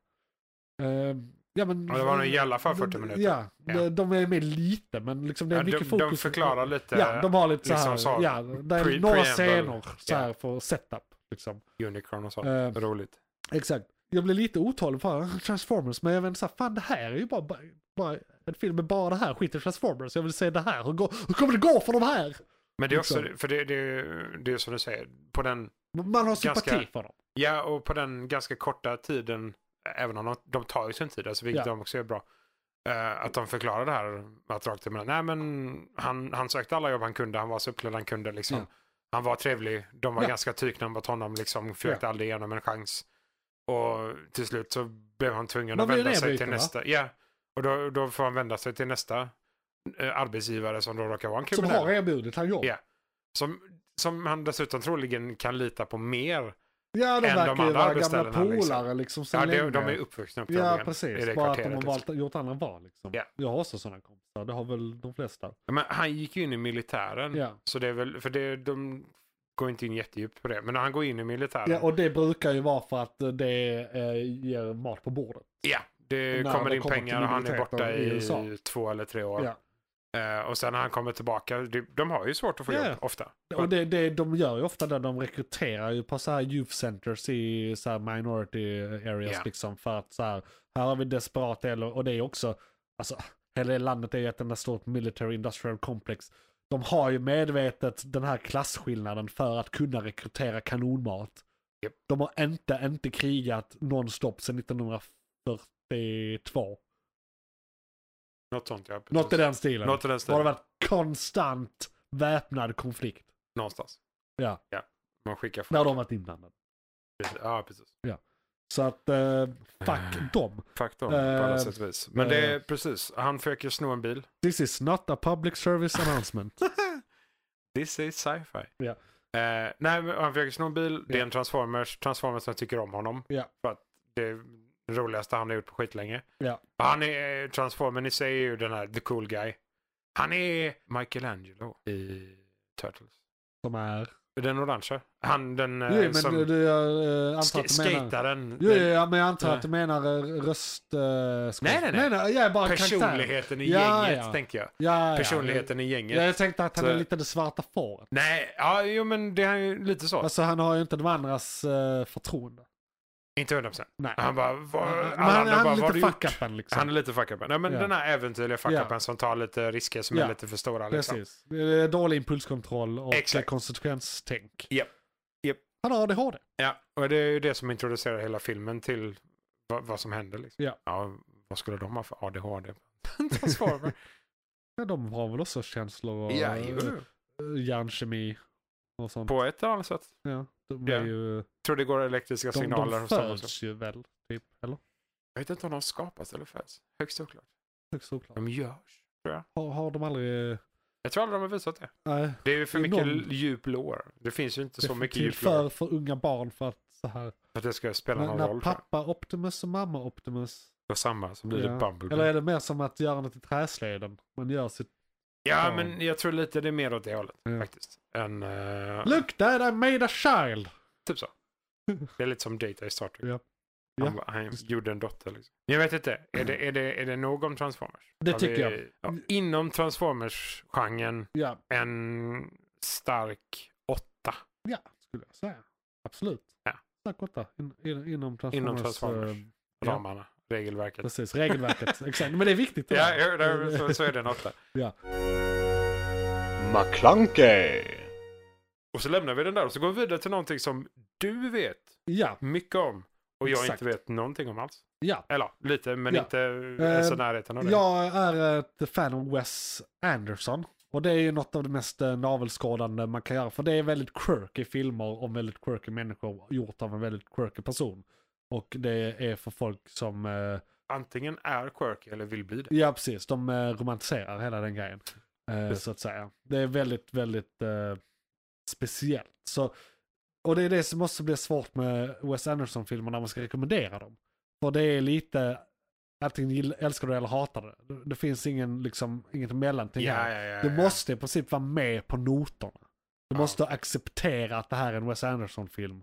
S2: Ehm, ja, men,
S3: Ja, det var nog i alla fall 40 minuter.
S2: Ja,
S3: Ja.
S2: De, de är med lite men liksom det är
S3: Ja,
S2: mycket
S3: de,
S2: fokus.
S3: de förklarar lite
S2: Ja, de har lite
S3: liksom
S2: så här,
S3: så,
S2: ja, det är
S3: pre-
S2: några
S3: preamble.
S2: scener så här
S3: Ja.
S2: för setup. Liksom.
S3: Unicron och så.
S2: Eh,
S3: Roligt.
S2: exakt. Jag blev lite otålig för Transformers, men jag vet inte så här, fan det här är ju bara, bara, bara en film med bara det här, skit i Transformers, jag vill se det här, hur, går, hur kommer det gå för de här?
S3: Men det är också,
S2: liksom.
S3: för det, det, det är som du säger, på den,
S2: Man har sympati
S3: Ganska-
S2: för dem.
S3: ja, och på den ganska korta tiden, även om de, de tar ju sin tid, alltså, vilket
S2: Ja.
S3: de också är bra, eh, att de förklarar det här att rakt emellan. Nej, men han, han sökte alla jobb han kunde, han var så uppklädd han kunde liksom.
S2: Ja.
S3: Han var trevlig, de var
S2: Ja.
S3: ganska tykna mot honom liksom, försökte aldrig ge honom en chans. Och till slut så blev han tvungen
S2: Man
S3: att
S2: blir
S3: vända sig till
S2: nedbruten, va?
S3: nästa. Ja, och då, då får han vända sig till nästa eh, arbetsgivare som då råkar vara en
S2: Som
S3: kriminell.
S2: har erbjudit han jobb.
S3: Ja. Som, som han dessutom troligen kan lita på mer.
S2: Ja, de
S3: Än de
S2: verkar ju
S3: andra
S2: vara gamla
S3: arbetsställena, liksom.
S2: polare liksom sen
S3: Ja, de,
S2: länge.
S3: de är uppvuxna upp
S2: Ja, precis. Bara att de har
S3: liksom.
S2: valt, gjort andra val. Liksom.
S3: Ja. Mm.
S2: Jag har också sådana kompisar, det har väl de flesta.
S3: Ja, Men han gick ju in i militären.
S2: Ja.
S3: Så det är väl, för det, de går inte in jättedjupt på det. Men han går in i militären.
S2: Ja, och det brukar ju vara för att eh, det eh, ger mat på bordet.
S3: Ja, det
S2: När
S3: kommer
S2: det
S3: in
S2: kommer
S3: pengar
S2: till
S3: och han är
S2: biblioteket
S3: borta
S2: i
S3: i,
S2: USA.
S3: två eller tre år.
S2: Ja.
S3: Eh, och sen när han kommer tillbaka, de, de har ju svårt att få
S2: Ja.
S3: jobb ofta.
S2: Och det, det, de gör ju ofta det, de rekryterar ju på så här youth centers i så här minority areas
S3: Ja.
S2: liksom. För att så här, här har vi desperat del och det är också, alltså hela det landet är ju ett enda stort military industrial complex. De har ju medvetet den här klasskillnaden för att kunna rekrytera kanonmat.
S3: Japp.
S2: De har inte, inte krigat nonstop sedan 1942.
S3: Något sånt ja. precis.
S2: Något i den stilen.
S3: Något i den
S2: Det har
S3: stilen.
S2: varit konstant väpnad konflikt.
S3: Någonstans.
S2: Ja.
S3: ja. Man skickar folk.
S2: När de har varit inblandade.
S3: Precis. Ja, precis.
S2: Så att, eh,
S3: Ah.
S2: fuck dem.
S3: Faktorn
S2: Eh,
S3: på alla sätt och vis. Men
S2: eh.
S3: det är precis, han försöker sno en bil.
S2: This is not a public service announcement.
S3: This is sci-fi.
S2: Ja.
S3: Eh, nej, men han försöker sno en bil. Det
S2: Ja.
S3: är en Transformers. Transformers tycker om honom.
S2: Ja.
S3: För att det är det roligaste han har gjort på skitlänge.
S2: Ja.
S3: Han är, eh, Transformern i sig är ju den här, the cool guy. Han är Michelangelo i Turtles.
S2: Som är...
S3: Den orangea. Han den eh,
S2: jo, men
S3: som...
S2: du, du, jag eh, antar
S3: ska,
S2: att du menar...
S3: skataren.
S2: Jo, jo,
S3: den-
S2: ja, men jag antar
S3: Nej.
S2: att du menar eh, röst... Eh, skådis-
S3: Nej, nej, nej.
S2: nej, nej. Jag är bara karaktär.
S3: Personligheten i
S2: Ja,
S3: gänget,
S2: ja.
S3: tänkte jag.
S2: Ja, ja.
S3: Personligheten i
S2: Ja,
S3: gänget.
S2: jag tänkte att han
S3: Så-
S2: är lite det svarta fåret.
S3: Nej, ja, jo men det är ju lite så.
S2: Alltså han har ju inte de andras eh, förtroende.
S3: Inte 100 procent.
S2: Nej.
S3: Han bara, vad,
S2: Men
S3: alla
S2: han,
S3: andra
S2: han
S3: bara,
S2: är
S3: vad har du
S2: lite
S3: gjort?
S2: fuck-upen liksom.
S3: Han är lite fuck upen. Nej, men
S2: Ja.
S3: den här äventyrliga fuck
S2: Ja.
S3: upen som tar lite risker som
S2: Ja.
S3: är lite för stora. Liksom.
S2: Precis. Det är Dålig impulskontroll och
S3: Exakt.
S2: eh, konsekvenstänk.
S3: Japp. Japp.
S2: Han har ADHD.
S3: Ja, och det är ju det som introducerar hela filmen till vad, vad som händer. Liksom.
S2: Ja.
S3: vad skulle de ha för
S2: [LAUGHS]
S3: ADHD? Transformer.
S2: Ja, de har väl också känslor
S3: [LAUGHS]
S2: och
S3: ja,
S2: eh,
S3: ju.
S2: hjärnkemi och sånt.
S3: På ett eller annat sätt.
S2: Ja, de
S3: Ja.
S2: är ju...
S3: Tror det går elektriska
S2: De,
S3: signaler.
S2: de
S3: och sånt också.
S2: föds ju väl, typ, eller?
S3: Jag vet inte om de skapas eller föds. Högst oklart.
S2: Högst oklart.
S3: De görs.
S2: Har, har de aldrig...
S3: Jag tror aldrig de har visat det.
S2: Nej.
S3: Det är ju för
S2: Det är
S3: mycket
S2: någon-
S3: djup lore. Det finns ju inte så mycket
S2: Definitivt
S3: djup lore
S2: för, för unga barn för att så här.
S3: för att det ska spela
S2: När,
S3: någon
S2: när
S3: roll. Pappa...
S2: pappa Optimus och mamma Optimus.
S3: samma så blir
S2: Ja.
S3: det Bumblebee.
S2: Eller är det mer som att göra något i träslöjden? Man gör sitt...
S3: Ja,
S2: Ja.
S3: men jag tror lite det är mer åt det hållet
S2: Ja.
S3: faktiskt. Än, eh,
S2: Look dad, I made a child!
S3: typ så. Det är lite som Data i Star Trek.
S2: Ja.
S3: Han,
S2: Ja.
S3: var- han gjorde en dotter liksom. Jag vet inte, är det, är det, är det någon Transformers?
S2: Det
S3: Har
S2: tycker
S3: vi- Ja, inom Transformers-genren
S2: Ja,
S3: en stark åtta.
S2: ja skulle jag säga. Absolut.
S3: Ja.
S2: Tack åtta. In, in, inom Transformers.
S3: Inom Transformers.
S2: eh, Ja.
S3: Ramarna, regelverket. [LAUGHS]
S2: precis, regelverket. Exakt. Men det är viktigt. det
S3: Ja,
S2: där.
S3: ja, där- så, så är det en
S2: [LAUGHS]
S3: åtta.
S4: McClunkey,
S3: Och så lämnar vi den där och så går vi vidare till någonting som du vet
S2: ja,
S3: mycket om och jag
S2: Exakt.
S3: inte vet någonting om alls.
S2: ja.
S3: Eller lite, men
S2: Ja.
S3: inte ens i
S2: Eh,
S3: närheten av det.
S2: Jag är ett fan av Wes Anderson. Och det är ju något av det mest eh, navelskådande man kan göra. För det är väldigt quirky filmer om väldigt quirky människor gjort av en väldigt quirky person. Och det är för folk som, eh,
S3: Antingen är quirky eller vill bli det.
S2: ja precis, de eh, romantiserar hela den grejen. Eh,
S3: Precis.
S2: så att säga. Det är väldigt, väldigt eh, speciellt. Så, och det är det som också blir svårt med Wes Anderson-filmer när man ska rekommendera dem. För det är lite, antingen gill- älskar du det eller hatar du det. Det- Det finns ingen, liksom, inget mellanting här.
S3: Ja, ja, ja,
S2: Du
S3: ja.
S2: måste i princip vara med på noterna. Du
S3: Ja.
S2: måste acceptera att det här är en Wes Anderson-film.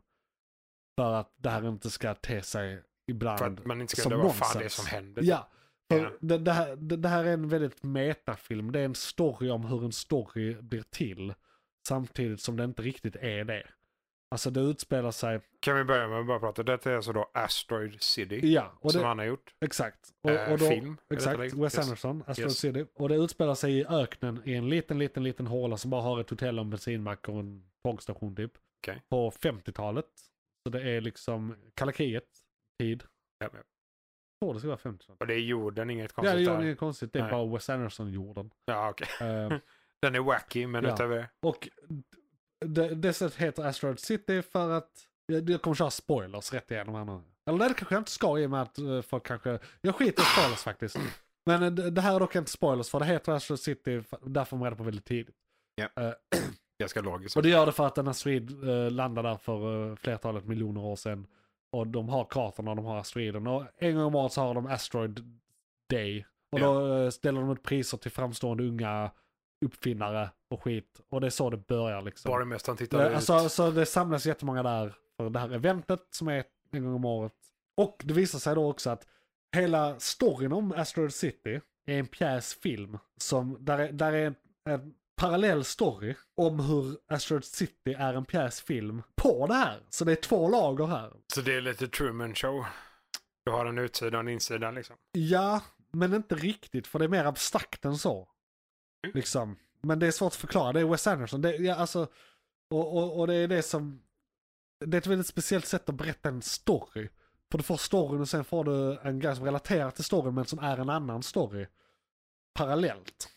S2: För att det här inte ska te sig ibland
S3: För att man inte ska
S2: som
S3: undra vad fan det är
S2: nonsens.
S3: som händer.
S2: Ja. För
S3: Ja.
S2: Det, det, här, det, det här är en väldigt metafilm. Det är en story om hur en story blir till. Samtidigt som det inte riktigt är det. Alltså det utspelar sig...
S3: Kan vi börja med att bara prata. Detta är alltså då Asteroid City.
S2: Ja, och
S3: som
S2: det,
S3: han har gjort.
S2: exakt.
S3: Eh,
S2: Och, och då,
S3: film.
S2: Exakt,
S3: rättare sagt.
S2: Wes
S3: Yes.
S2: Anderson, Astro
S3: Yes.
S2: City. Och det utspelar sig i öknen i en liten, liten, liten håla som bara har ett hotell, och en bensinmack och en tågstation typ.
S3: Okej.
S2: På 50-talet. Så det är liksom kalla kriget, tid.
S3: Ja, men-
S2: Jag tror det ska vara 50-talet.
S3: Och det är jorden, inget
S2: Ja, det
S3: konstigt
S2: gör
S3: där.
S2: inget konstigt. Det är
S3: Nej.
S2: bara Wes Anderson-jorden.
S3: Ja, okej.
S2: Eh,
S3: Den är wacky, men
S2: Ja.
S3: utöver det.
S2: och det, det stället heter Asteroid City för att jag jag kommer köra spoilers rätt igenom här nu. Eller nej, det kanske jag inte ska i och med att eh, folk kanske... Jag skiter i spoilers faktiskt. Men eh, det det här är dock inte spoilers för det heter Asteroid City för- där får man reda på väldigt tidigt.
S3: ganska logiskt.
S2: Och det gör det för att en asteroid eh, landade där för eh, flertalet miljoner år sedan. Och de har kartorna och de har asteroiden. Och en gång om året så har de Asteroid Day. Och då eh, ställer de ut priser till framstående unga uppfinnare och skit. Och det är så det börjar liksom.
S3: Bara mest han tittar
S2: Ja,
S3: ut.
S2: Alltså, så det samlas jättemånga där för det här eventet som är en gång om året. Och det visar sig då också att hela storyn om Asteroid City är en pjäsfilm. Som, där, är, där är en, en parallell story om hur Asteroid City är en pjäsfilm på det här. Så det är två lager här.
S3: Så det är lite Truman show. Du har en utsida och en insida liksom.
S2: Ja, men inte riktigt för det är mer abstrakt än så. Liksom. Men det är svårt att förklara, det är Wes Anderson. Det, ja, alltså, och, och, och det är det som... Det är ett väldigt speciellt sätt att berätta en story. För du får storyn och sen får du en grej som relaterar till storyn men som är en annan story. Parallellt.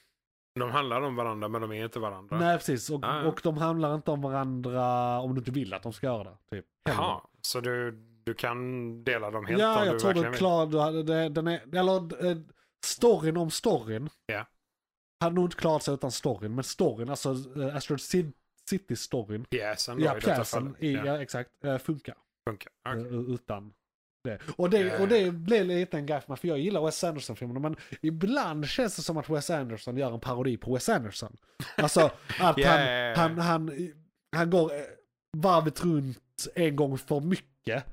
S3: De handlar om varandra men de är inte varandra.
S2: Nej precis, och,
S3: Ja, ja.
S2: och de handlar inte om varandra om du inte vill att de ska göra det. Typ.
S3: Jaha, så du, du kan dela dem helt
S2: ja,
S3: om
S2: jag
S3: du
S2: tror du
S3: verkligen vill.
S2: klarar du hade, det, den är, eller eh, storyn om storyn.
S3: Ja.
S2: Hade nog inte klarat sig utan storyn, men storyn, alltså eh, Asteroid Cid- City-storyn.
S3: Pjäsen då
S2: Ja,
S3: i detta
S2: pjäsen,
S3: fallet.
S2: i,
S3: Ja,
S2: ja. exakt, eh, funkar
S3: funkar. Okej.
S2: eh, utan det. Och det,
S3: Ja,
S2: och det blev lite en grej för mig, för jag gillar Wes Anderson-filmerna, men ibland känns det som att Wes Anderson gör en parodi på Wes Anderson. Alltså
S3: [LAUGHS]
S2: att
S3: Ja,
S2: han,
S3: ja, ja.
S2: Han, han, han går eh, varvet runt en gång för mycket,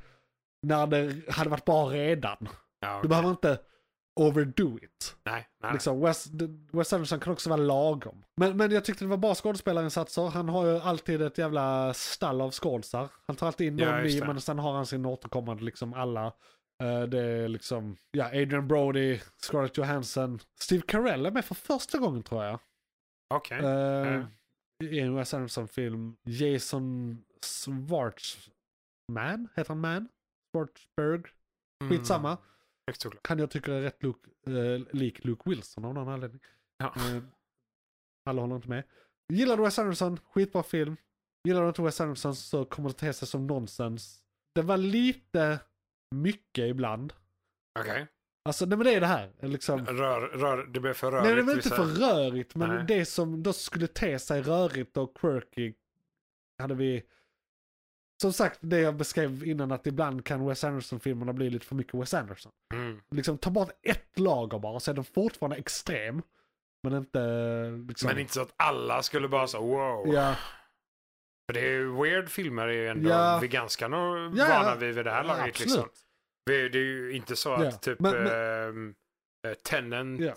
S2: när det hade varit bra redan.
S3: Ja,
S2: Du
S3: okej.
S2: behöver inte overdo it.
S3: Nej, nej.
S2: Liksom, Wes, Wes Anderson kan också vara lagom. Men, men jag tyckte det var bra skådespelarinsatser. Han har ju alltid ett jävla stall av skådisar. Han tar alltid in någon
S3: Ja, just
S2: ny,
S3: det.
S2: men sen har han sin återkommande liksom alla. Eh, det är liksom, ja, Adrian Brody, Scarlett Johansson. Steve Carell är med för första gången tror jag.
S3: Okej.
S2: Eh,
S3: Mm.
S2: I en Wes Anderson-film. Jason Schwartzman, heter han Man? Schwartzberg?
S3: Mm.
S2: Skitsamma.
S3: Högt såklart.
S2: Han jag tycker är rätt Luke, eh, lik Luke Wilson av någon anledning.
S3: Ja.
S2: Eh, alla håller inte med. Gillar du Wes Anderson, skitbra film. Gillar du inte Wes Anderson så kommer det te sig som nonsens. Det var lite mycket ibland.
S3: Okej.
S2: Alltså, nej men det är det här. Liksom.
S3: Rör, rör, det blir för rörigt.
S2: Nej, det var inte
S3: vissa-
S2: för rörigt, men
S3: Nej.
S2: det som då skulle te sig rörigt och quirky hade vi... Som sagt, det jag beskrev innan att ibland kan Wes Anderson-filmerna bli lite för mycket Wes Anderson.
S3: Mm.
S2: Liksom ta bort ett lager bara, så är den fortfarande extrem. Men inte liksom...
S3: Men inte så att alla skulle bara så wow.
S2: Ja,
S3: För det är ju weird filmer är ju ändå,
S2: Ja.
S3: vi är ganska nog
S2: Ja, ja.
S3: vana vid vid det här laget
S2: absolut.
S3: liksom. Vi- Det är ju inte så att
S2: Ja,
S3: typ
S2: men- men-
S3: ehm, eh, Tenant.
S2: Ja.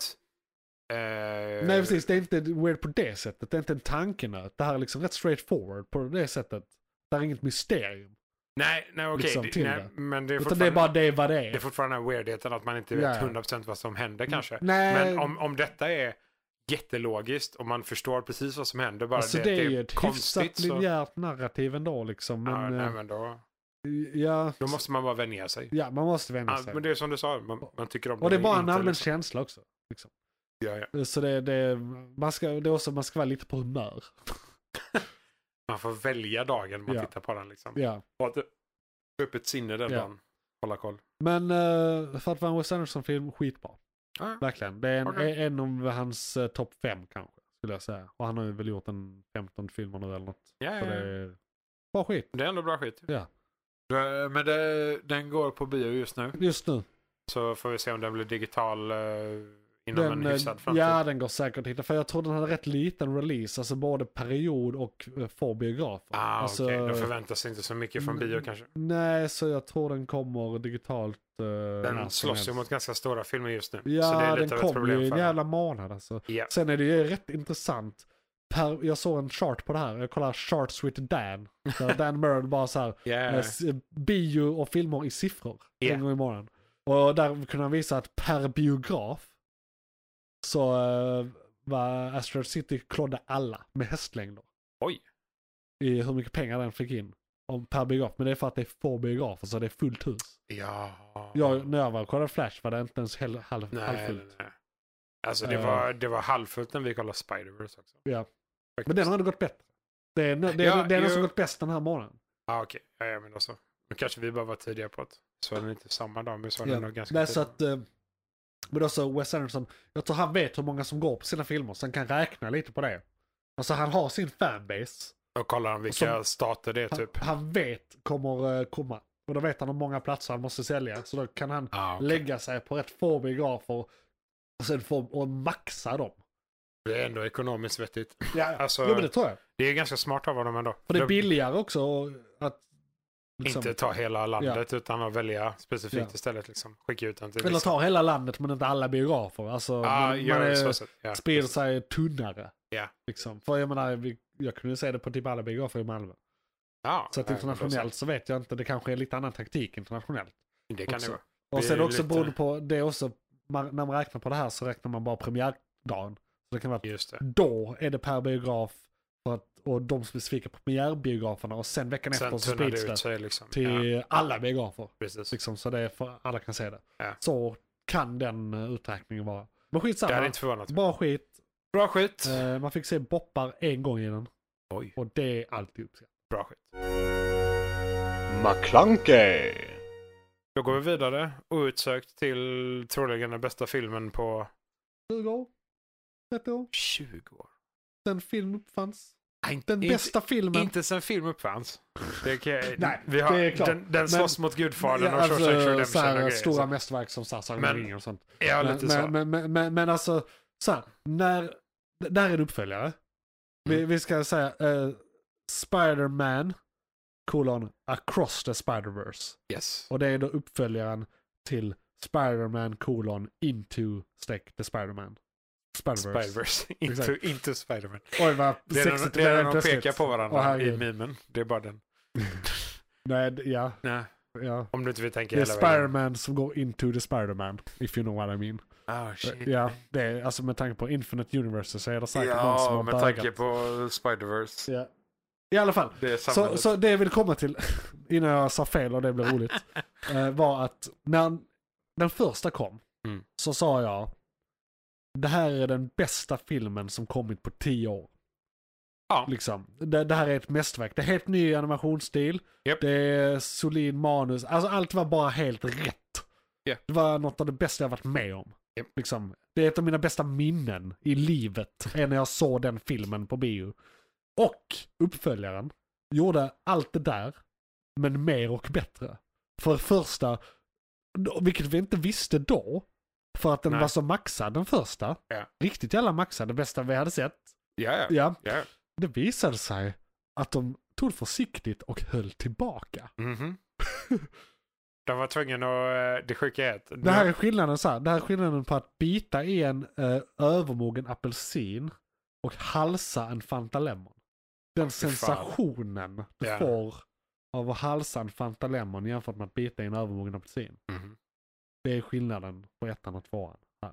S3: eh,
S2: Nej precis, det är inte weird på det sättet. Det är inte en tankenöt. Det här är liksom rätt straight forward på det sättet. Det är inget mysterium.
S3: Nej, nej okej.
S2: Liksom,
S3: det,
S2: till
S3: nej,
S2: det.
S3: men det är,
S2: Utan det är bara det vad det är.
S3: det är fortfarande den här weirdheten att man inte vet
S2: Ja, ja.
S3: 100% vad som händer kanske.
S2: Nej,
S3: Men om, om detta är jättelogiskt och man förstår precis vad som händer, bara
S2: alltså
S3: det,
S2: det,
S3: att
S2: är ju
S3: det är
S2: ett hyfsat
S3: konstigt. Så, ja,
S2: linjärt narrativ ändå liksom. Men,
S3: nej,
S2: eh,
S3: men då,
S2: ja,
S3: då måste man bara vänja sig.
S2: ja, man måste vänja
S3: Ja,
S2: sig.
S3: men det är som du sa, man, man tycker om
S2: Och det är
S3: men
S2: bara en
S3: inte
S2: allmän
S3: liksom-
S2: känsla också. Liksom.
S3: Ja, ja.
S2: Så det, det, man ska, det är också man ska vara lite på humör.
S3: Man får välja dagen man
S2: Ja.
S3: tittar på den. Liksom.
S2: Ja.
S3: Ha ett öppet sinne den
S2: Ja.
S3: dagen. Hålla koll.
S2: Men eh, för att vara en Wes Anderson-film, skitbra.
S3: Ja, ja.
S2: Verkligen. Det är en,
S3: Okej.
S2: en av hans uh, topp fem kanske, skulle jag säga. Och han har ju väl gjort en 15 filmer nu eller något.
S3: Ja,
S2: Så
S3: ja, ja.
S2: det är bra skit
S3: Det är ändå bra skit.
S2: Ja.
S3: Du, Men det, den går på bio just nu.
S2: just nu.
S3: Så får vi se om den blir digital eh, inom
S2: Den,
S3: en
S2: eh,
S3: hyfsad framtid.
S2: ja, den går säkert att hitta. För jag tror den hade rätt liten release, alltså både period och eh, för biografer.
S3: Ah,
S2: alltså, mm.
S3: okej. Då förväntas inte så mycket från bio kanske.
S2: Nej, så jag tror den kommer digitalt. eh, när som
S3: Den slåss ju
S2: helst.
S3: mot ganska stora filmer just nu. så det
S2: Ja,
S3: är
S2: den
S3: lite av ett
S2: kom
S3: problem
S2: ju i en
S3: för den.
S2: jävla månad alltså.
S3: Ja.
S2: Sen är det ju rätt intressant. Per, jag såg en chart på det här. Jag kollar charts with Dan.
S3: [LAUGHS]
S2: Där Dan Murren bara så här.
S3: Yeah.
S2: eh, s- bio och filmer i siffror
S3: Ja.
S2: en gång i månaden. Och där kunde han visa att per biograf så eh, var Astro City klodde alla med hästlängder.
S3: Oj.
S2: I hur mycket pengar den fick in om per biograf. Men det är för att det är få biografer så det är fullt hus.
S3: Ja.
S2: Jag, när jag var och kollade Flash var det inte ens hel, halv,
S3: nej,
S2: halvfullt.
S3: nej. Alltså det
S2: Eh.
S3: var, det var halvfullt när vi kollade Spider-Verse också.
S2: Ja.
S3: Faktiskt.
S2: Men den hade gått bättre. Det är, det är,
S3: Ja,
S2: det är den
S3: ju-
S2: som gått bäst den här månaden.
S3: Ah, okej. Ja, ja, men då så. Men kanske vi bara var tidiga på att så är den inte samma dag, men så är
S2: Ja.
S3: den nog ganska
S2: Nej, så
S3: tidig.
S2: att, eh, men också Wes Anderson, jag tror han vet hur många som går på sina filmer så han kan räkna lite på det. Alltså han har sin fanbase.
S3: Då kollar han vilka
S2: som-
S3: stater det är
S2: Han,
S3: typ.
S2: han vet kommer eh, komma. Och då vet han hur många platser han måste sälja. Så då kan han
S3: Ah, okej.
S2: lägga sig på rätt få biografer och sen få, och maxa dem.
S3: Det är ändå ekonomiskt vettigt.
S2: Ja, ja.
S3: Alltså-
S2: jo, men det tror jag.
S3: Det är ganska smart av dem ändå.
S2: För det är
S3: De-
S2: billigare också att... liksom-
S3: Inte ta hela landet utan att välja specifikt istället. Liksom. Skicka ut den till
S2: Eller
S3: vissa.
S2: ta hela landet men inte alla biografer. Alltså,
S3: ah,
S2: man,
S3: gör
S2: man
S3: det
S2: är,
S3: så sätt. Ja.
S2: sprider sig tunnare.
S3: Ja.
S2: Liksom. För jag menar, vi, jag kunde ju säga det på typ alla biografer i Malmö.
S3: Ja,
S2: Så att
S3: ja,
S2: internationellt så vet jag inte, det kanske är lite annan taktik internationellt.
S3: Det kan det
S2: också.
S3: vara.
S2: Och
S3: Det
S2: sen
S3: är
S2: också
S3: lite-
S2: beroende på, det är också, man, när man räknar på det här så räknar man bara premiärdagen. Så det kan vara att
S3: Just det.
S2: då är det per biograf för att, och de specifika premiärbiograferna och sen veckan efter
S3: Sen
S2: så
S3: tunnar
S2: sprids
S3: det ut
S2: det
S3: sig liksom.
S2: till
S3: Ja,
S2: alla biografer.
S3: precis.
S2: Liksom, så det är för alla kan se det.
S3: Ja.
S2: Så kan den eh, uträkningen vara. Men skitsamma.
S3: Det hade inte förvånat mig.
S2: Bra skit.
S3: Bra skit.
S2: Eh, man fick se boppar en gång i den.
S3: Oj,
S2: Och det är alltid uppskattat.
S3: bra skit.
S4: McClunkey,
S3: Då går vi vidare outsökt till troligen den bästa filmen på
S2: 20 år? 30 år?
S3: 20 år.
S2: Den film uppfanns.
S3: Nej, Ah, inte-
S2: Den
S3: inte-
S2: bästa filmen.
S3: Inte sen film uppfanns. Det kan,
S2: [LAUGHS] Nej,
S3: vi har,
S2: det är klart.
S3: Den, den slåss mot Gudfadern och
S2: Alltså,
S3: Shawshank
S2: så
S3: Redemption och
S2: här,
S3: grejer.
S2: stora
S3: så-
S2: mästerverk som så här, Sagan om
S3: liksom. Men-
S2: ringen och sånt.
S3: Ja,
S2: men,
S3: lite så.
S2: men, men, men, men, men alltså, så här, när, det här är en uppföljare. Vi,
S3: Mm.
S2: vi ska säga eh, Spider-Man, kolon, across the Spider-Verse.
S3: Yes.
S2: Och det är då uppföljaren till Spider-Man, kolon, into, streck, the Spider-Man. Spider-Verse.
S3: Spiderverse. [LAUGHS] inte,
S2: Exakt.
S3: inte Spiderman.
S2: Oj vad
S3: Det är när-
S2: sexigt
S3: det är när de
S2: plötsligt.
S3: pekar på
S2: Åh,
S3: varandra
S2: herregud.
S3: i mimen. Det är bara
S2: [LAUGHS]
S3: den.
S2: Nej, d- ja,
S3: Nej,
S2: ja.
S3: om du inte vill tänka
S2: Det är
S3: hela vägen.
S2: Spiderman som går into the Spiderman, if you know what I mean. Eh,
S3: Ah, shit.
S2: Ja, det är, alltså med tanke på Infinite Universes så är det säkert någon som
S3: Ja,
S2: har
S3: med
S2: bögat.
S3: tanke på Spiderverse.
S2: Ja. I alla fall,
S3: Det är
S2: så,
S3: samhället.
S2: så det jag vill komma till, [LAUGHS] innan jag sa fel och det blev
S3: [LAUGHS]
S2: roligt, eh, var att när den första kom
S3: Mm.
S2: så sa jag det här är den bästa filmen som kommit på tio år.
S3: Ja.
S2: Liksom. Det, det här är ett mästerverk. Det är helt ny animationsstil.
S3: Japp.
S2: Det är solid manus. Alltså allt var bara helt rätt.
S3: Ja.
S2: Det var något av det bästa jag varit med om.
S3: Ja.
S2: Liksom, det är ett av mina bästa minnen i livet, [LAUGHS] är när jag såg den filmen på bio. Och uppföljaren gjorde allt det där, men mer och bättre. För det första, vilket vi inte visste då, för att den
S3: Nej.
S2: var så maxad den första.
S3: Ja.
S2: Riktigt jävla maxad, det bästa vi hade sett.
S3: [LAUGHS] Ja, ja.
S2: Ja,
S3: ja.
S2: det visade sig att de tog det försiktigt och höll tillbaka. [LAUGHS]
S3: Mhm. De var tvungna att... eh, Det sjuka är att...
S2: Det här är skillnaden, så här, det här är skillnaden på att bita i en eh, övermogen apelsin och halsa en Fanta Lemon.
S3: fy fan.
S2: Den sensationen du
S3: Ja.
S2: får av att halsa en Fanta Lemon jämfört med att bita i en övermogen apelsin.
S3: Mhm.
S2: Det är skillnaden på ettan och tvåan. Här.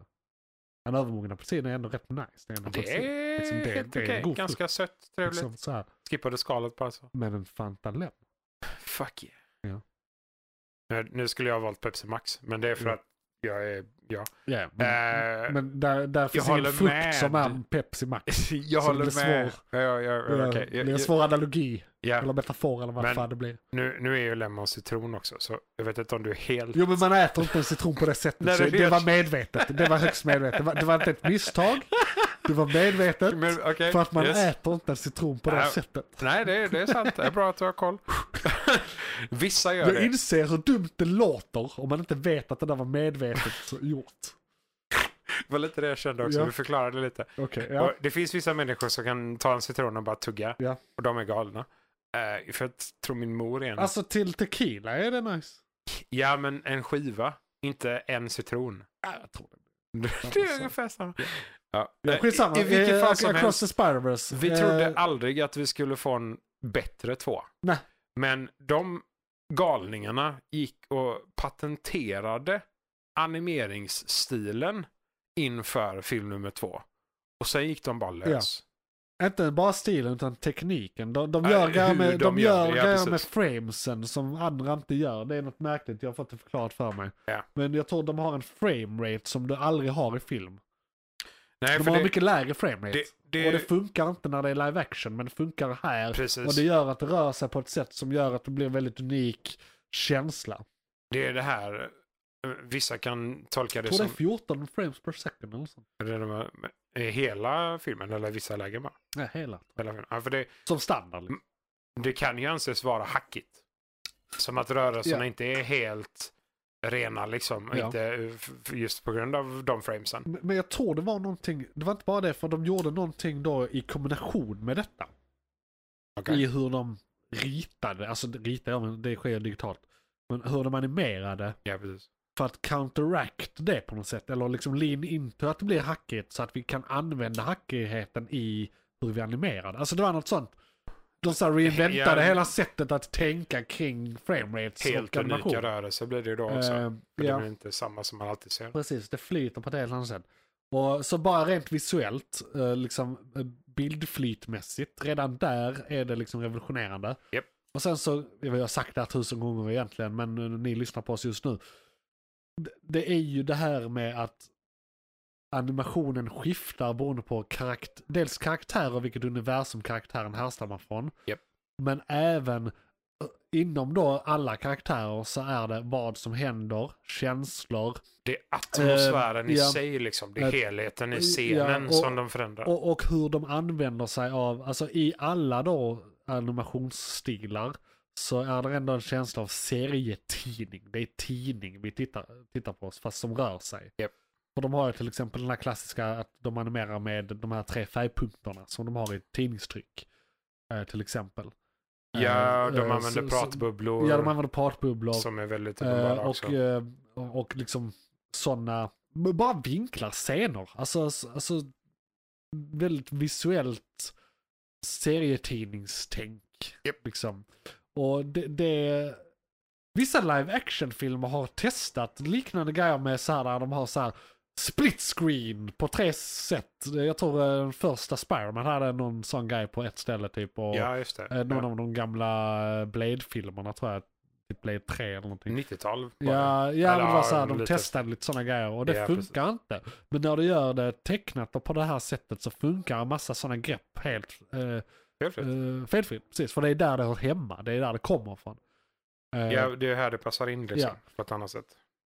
S2: En övermogen apelsin är ändå rätt nice. Det är, ändå
S3: Det
S2: apelsin,
S3: är
S2: Liksom, det-
S3: helt
S2: det är en
S3: okej.
S2: god
S3: Ganska sött, trevligt.
S2: liksom, så här.
S3: Skippade skalet bara så.
S2: Men en Fanta Lemon.
S3: Fuck yeah.
S2: Ja.
S3: Nu, nu skulle jag ha valt Pepsi Max, men det är för
S2: Ja.
S3: att jag är... Ja.
S2: Ja,
S3: Eh,
S2: men, men där, där finns
S3: håller
S2: ingen frukt
S3: med.
S2: som är en Pepsi
S3: [LAUGHS]
S2: Max.
S3: jag
S2: Så det
S3: håller
S2: blir
S3: med.
S2: svår-
S3: Ja, ja, ja, okej.
S2: Det är
S3: Ja,
S2: en svår analogi,
S3: ja.
S2: eller metafor eller vad
S3: Men-
S2: fan det blir.
S3: Nu, nu är ju lemon citron också, så jag vet inte om du är helt...
S2: Jo men man äter inte en citron på det sättet.
S3: Nej,
S2: så
S3: det
S2: det,
S3: vet
S2: var
S3: jag.
S2: medvetet, det var högst medvetet. Det var, det var inte ett misstag, det var medvetet.
S3: Men, okej,
S2: För att man
S3: yes.
S2: äter inte en citron på det
S3: Nej.
S2: sättet.
S3: Nej, det, är- det är sant. Det är bra att du har koll. [LAUGHS] Vissa gör
S2: Jag
S3: det.
S2: inser hur dumt det låter om man inte vet att det där var medvetet gjort.
S3: Det var lite det jag kände också.
S2: Ja.
S3: Du förklarade lite.
S2: Okej,
S3: Och
S2: ja.
S3: det finns vissa människor som kan ta en citron och bara tugga.
S2: Ja.
S3: Och de är galna. Eh, för jag tror min mor är en...
S2: Alltså till tequila är det nice.
S3: Ja, men en skiva. Inte en citron.
S2: Ja, jag tror det.
S3: [LAUGHS] Det är ungefär samma. Ja.
S2: Ja, skitsamma.
S3: I, I vilket
S2: Eh,
S3: fall som
S2: Across
S3: helst.
S2: the Spider-Verse.
S3: Vi
S2: Eh,
S3: trodde aldrig att vi skulle få en bättre två.
S2: Nej.
S3: Men de galningarna gick och patenterade animeringsstilen inför film nummer två. Och sen gick de bara lös.
S2: Inte bara stilen utan tekniken. De, de
S3: Nej, [LAUGHS]
S2: gör grejer
S3: hur
S2: med, de
S3: de
S2: gör
S3: gör det, ja,
S2: grejer med
S3: precis.
S2: framesen som andra inte gör. Det är något märkligt, jag har fått det förklarat för mig.
S3: Ja.
S2: Men jag tror de har en framerate som du aldrig har i film.
S3: Nej,
S2: De
S3: för
S2: har
S3: det,
S2: mycket lägre framerate.
S3: det, det,
S2: Och det funkar inte när det är live action, men det funkar här.
S3: Precis.
S2: Och det gör att det rör sig på ett sätt som gör att det blir en väldigt unik känsla.
S3: det är det här. eh, Vissa kan tolka det
S2: Jag tror
S3: som
S2: det är 14 frames per second eller sånt.
S3: det de har- eh, hela filmen eller vissa lägen bara.
S2: Nej, hela.
S3: Hela filmen. Ja, för det,
S2: Som standard.
S3: Mm.
S2: Liksom.
S3: det kan ju anses vara hackigt. Som att rörelserna
S2: Ja.
S3: inte är helt rena liksom.
S2: Ja.
S3: Inte eh, f- f- just på grund av de framesen.
S2: Men men jag tror det var någonting, det var inte bara det, för de gjorde någonting då i kombination med detta.
S3: Okej.
S2: I hur de ritade, alltså rita, ja, men det sker digitalt. Men hur de animerade
S3: Ja, precis.
S2: för att counteract det på något sätt. Eller liksom lean into att det blir hackigt så att vi kan använda hackigheten i hur vi animerade. Alltså det var något sånt. De så här reinventade
S3: Ja.
S2: hela sättet att tänka kring framerates
S3: Helt
S2: och animation.
S3: unika rörelser blir det ju då också.
S2: Eh,
S3: För
S2: ja.
S3: Det blir inte samma som man alltid ser.
S2: Precis, det flyter på ett helt annat sätt. Och så bara rent visuellt, eh, liksom eh, bildflytmässigt, redan där är det liksom revolutionerande.
S3: Japp.
S2: Och sen så, jag har sagt det här tusen gånger egentligen, men eh, ni lyssnar på oss just nu. D- Det är ju det här med att animationen skiftar beroende på karakt dels karaktär och vilket universum karaktären härstammar från.
S3: Japp.
S2: Men även eh, inom då alla karaktärer så är det vad som händer, känslor,
S3: Det är atmosfären i
S2: Eh, ja.
S3: sig liksom. Det är
S2: Eh,
S3: helheten
S2: ja,
S3: i scenen
S2: och-
S3: som de förändrar.
S2: Och, och hur de använder sig av, alltså i alla då animationsstilar så är det ändå en känsla av serietidning. Det är tidning vi tittar, tittar på, fast som rör sig.
S3: Japp.
S2: Och de har ju till exempel den här klassiska att de animerar med de här tre färgpunkterna som de har i ett tidningstryck. Eh, till exempel.
S3: ja,
S2: Eh,
S3: de
S2: eh,
S3: använder
S2: så- så-
S3: pratbubblor
S2: Ja, de använder pratbubblor.
S3: som är väldigt
S2: Eh,
S3: uppenbara också.
S2: och, eh, och, och liksom sådana, men bara vinklar, scener. Alltså, s- alltså väldigt visuellt serietidningstänk.
S3: Japp.
S2: Liksom. Och det, det, vissa live action-filmer har testat liknande grejer med så här där de har så här split screen på tre sätt. Jag tror eh, den första Spiderman hade någon sån grej på ett ställe typ. Och,
S3: ja, just det.
S2: eh, någon
S3: Ja.
S2: av de gamla eh, Blade-filmerna tror jag. Typ Blade 3 eller någonting.
S3: 90-tal. bara.
S2: Ja, ja men det var så här, de
S3: lite-
S2: testade lite sådana grejer och det
S3: Ja,
S2: funkar inte. Men när du gör det tecknat och på det här sättet så funkar en massa sådana grepp helt eh,
S3: Helt rätt.
S2: eh, felfritt. Precis, för det är där det hör hemma, det är där det kommer ifrån. Eh,
S3: Ja, det är här det passar in liksom.
S2: ja.
S3: På ett annat sätt.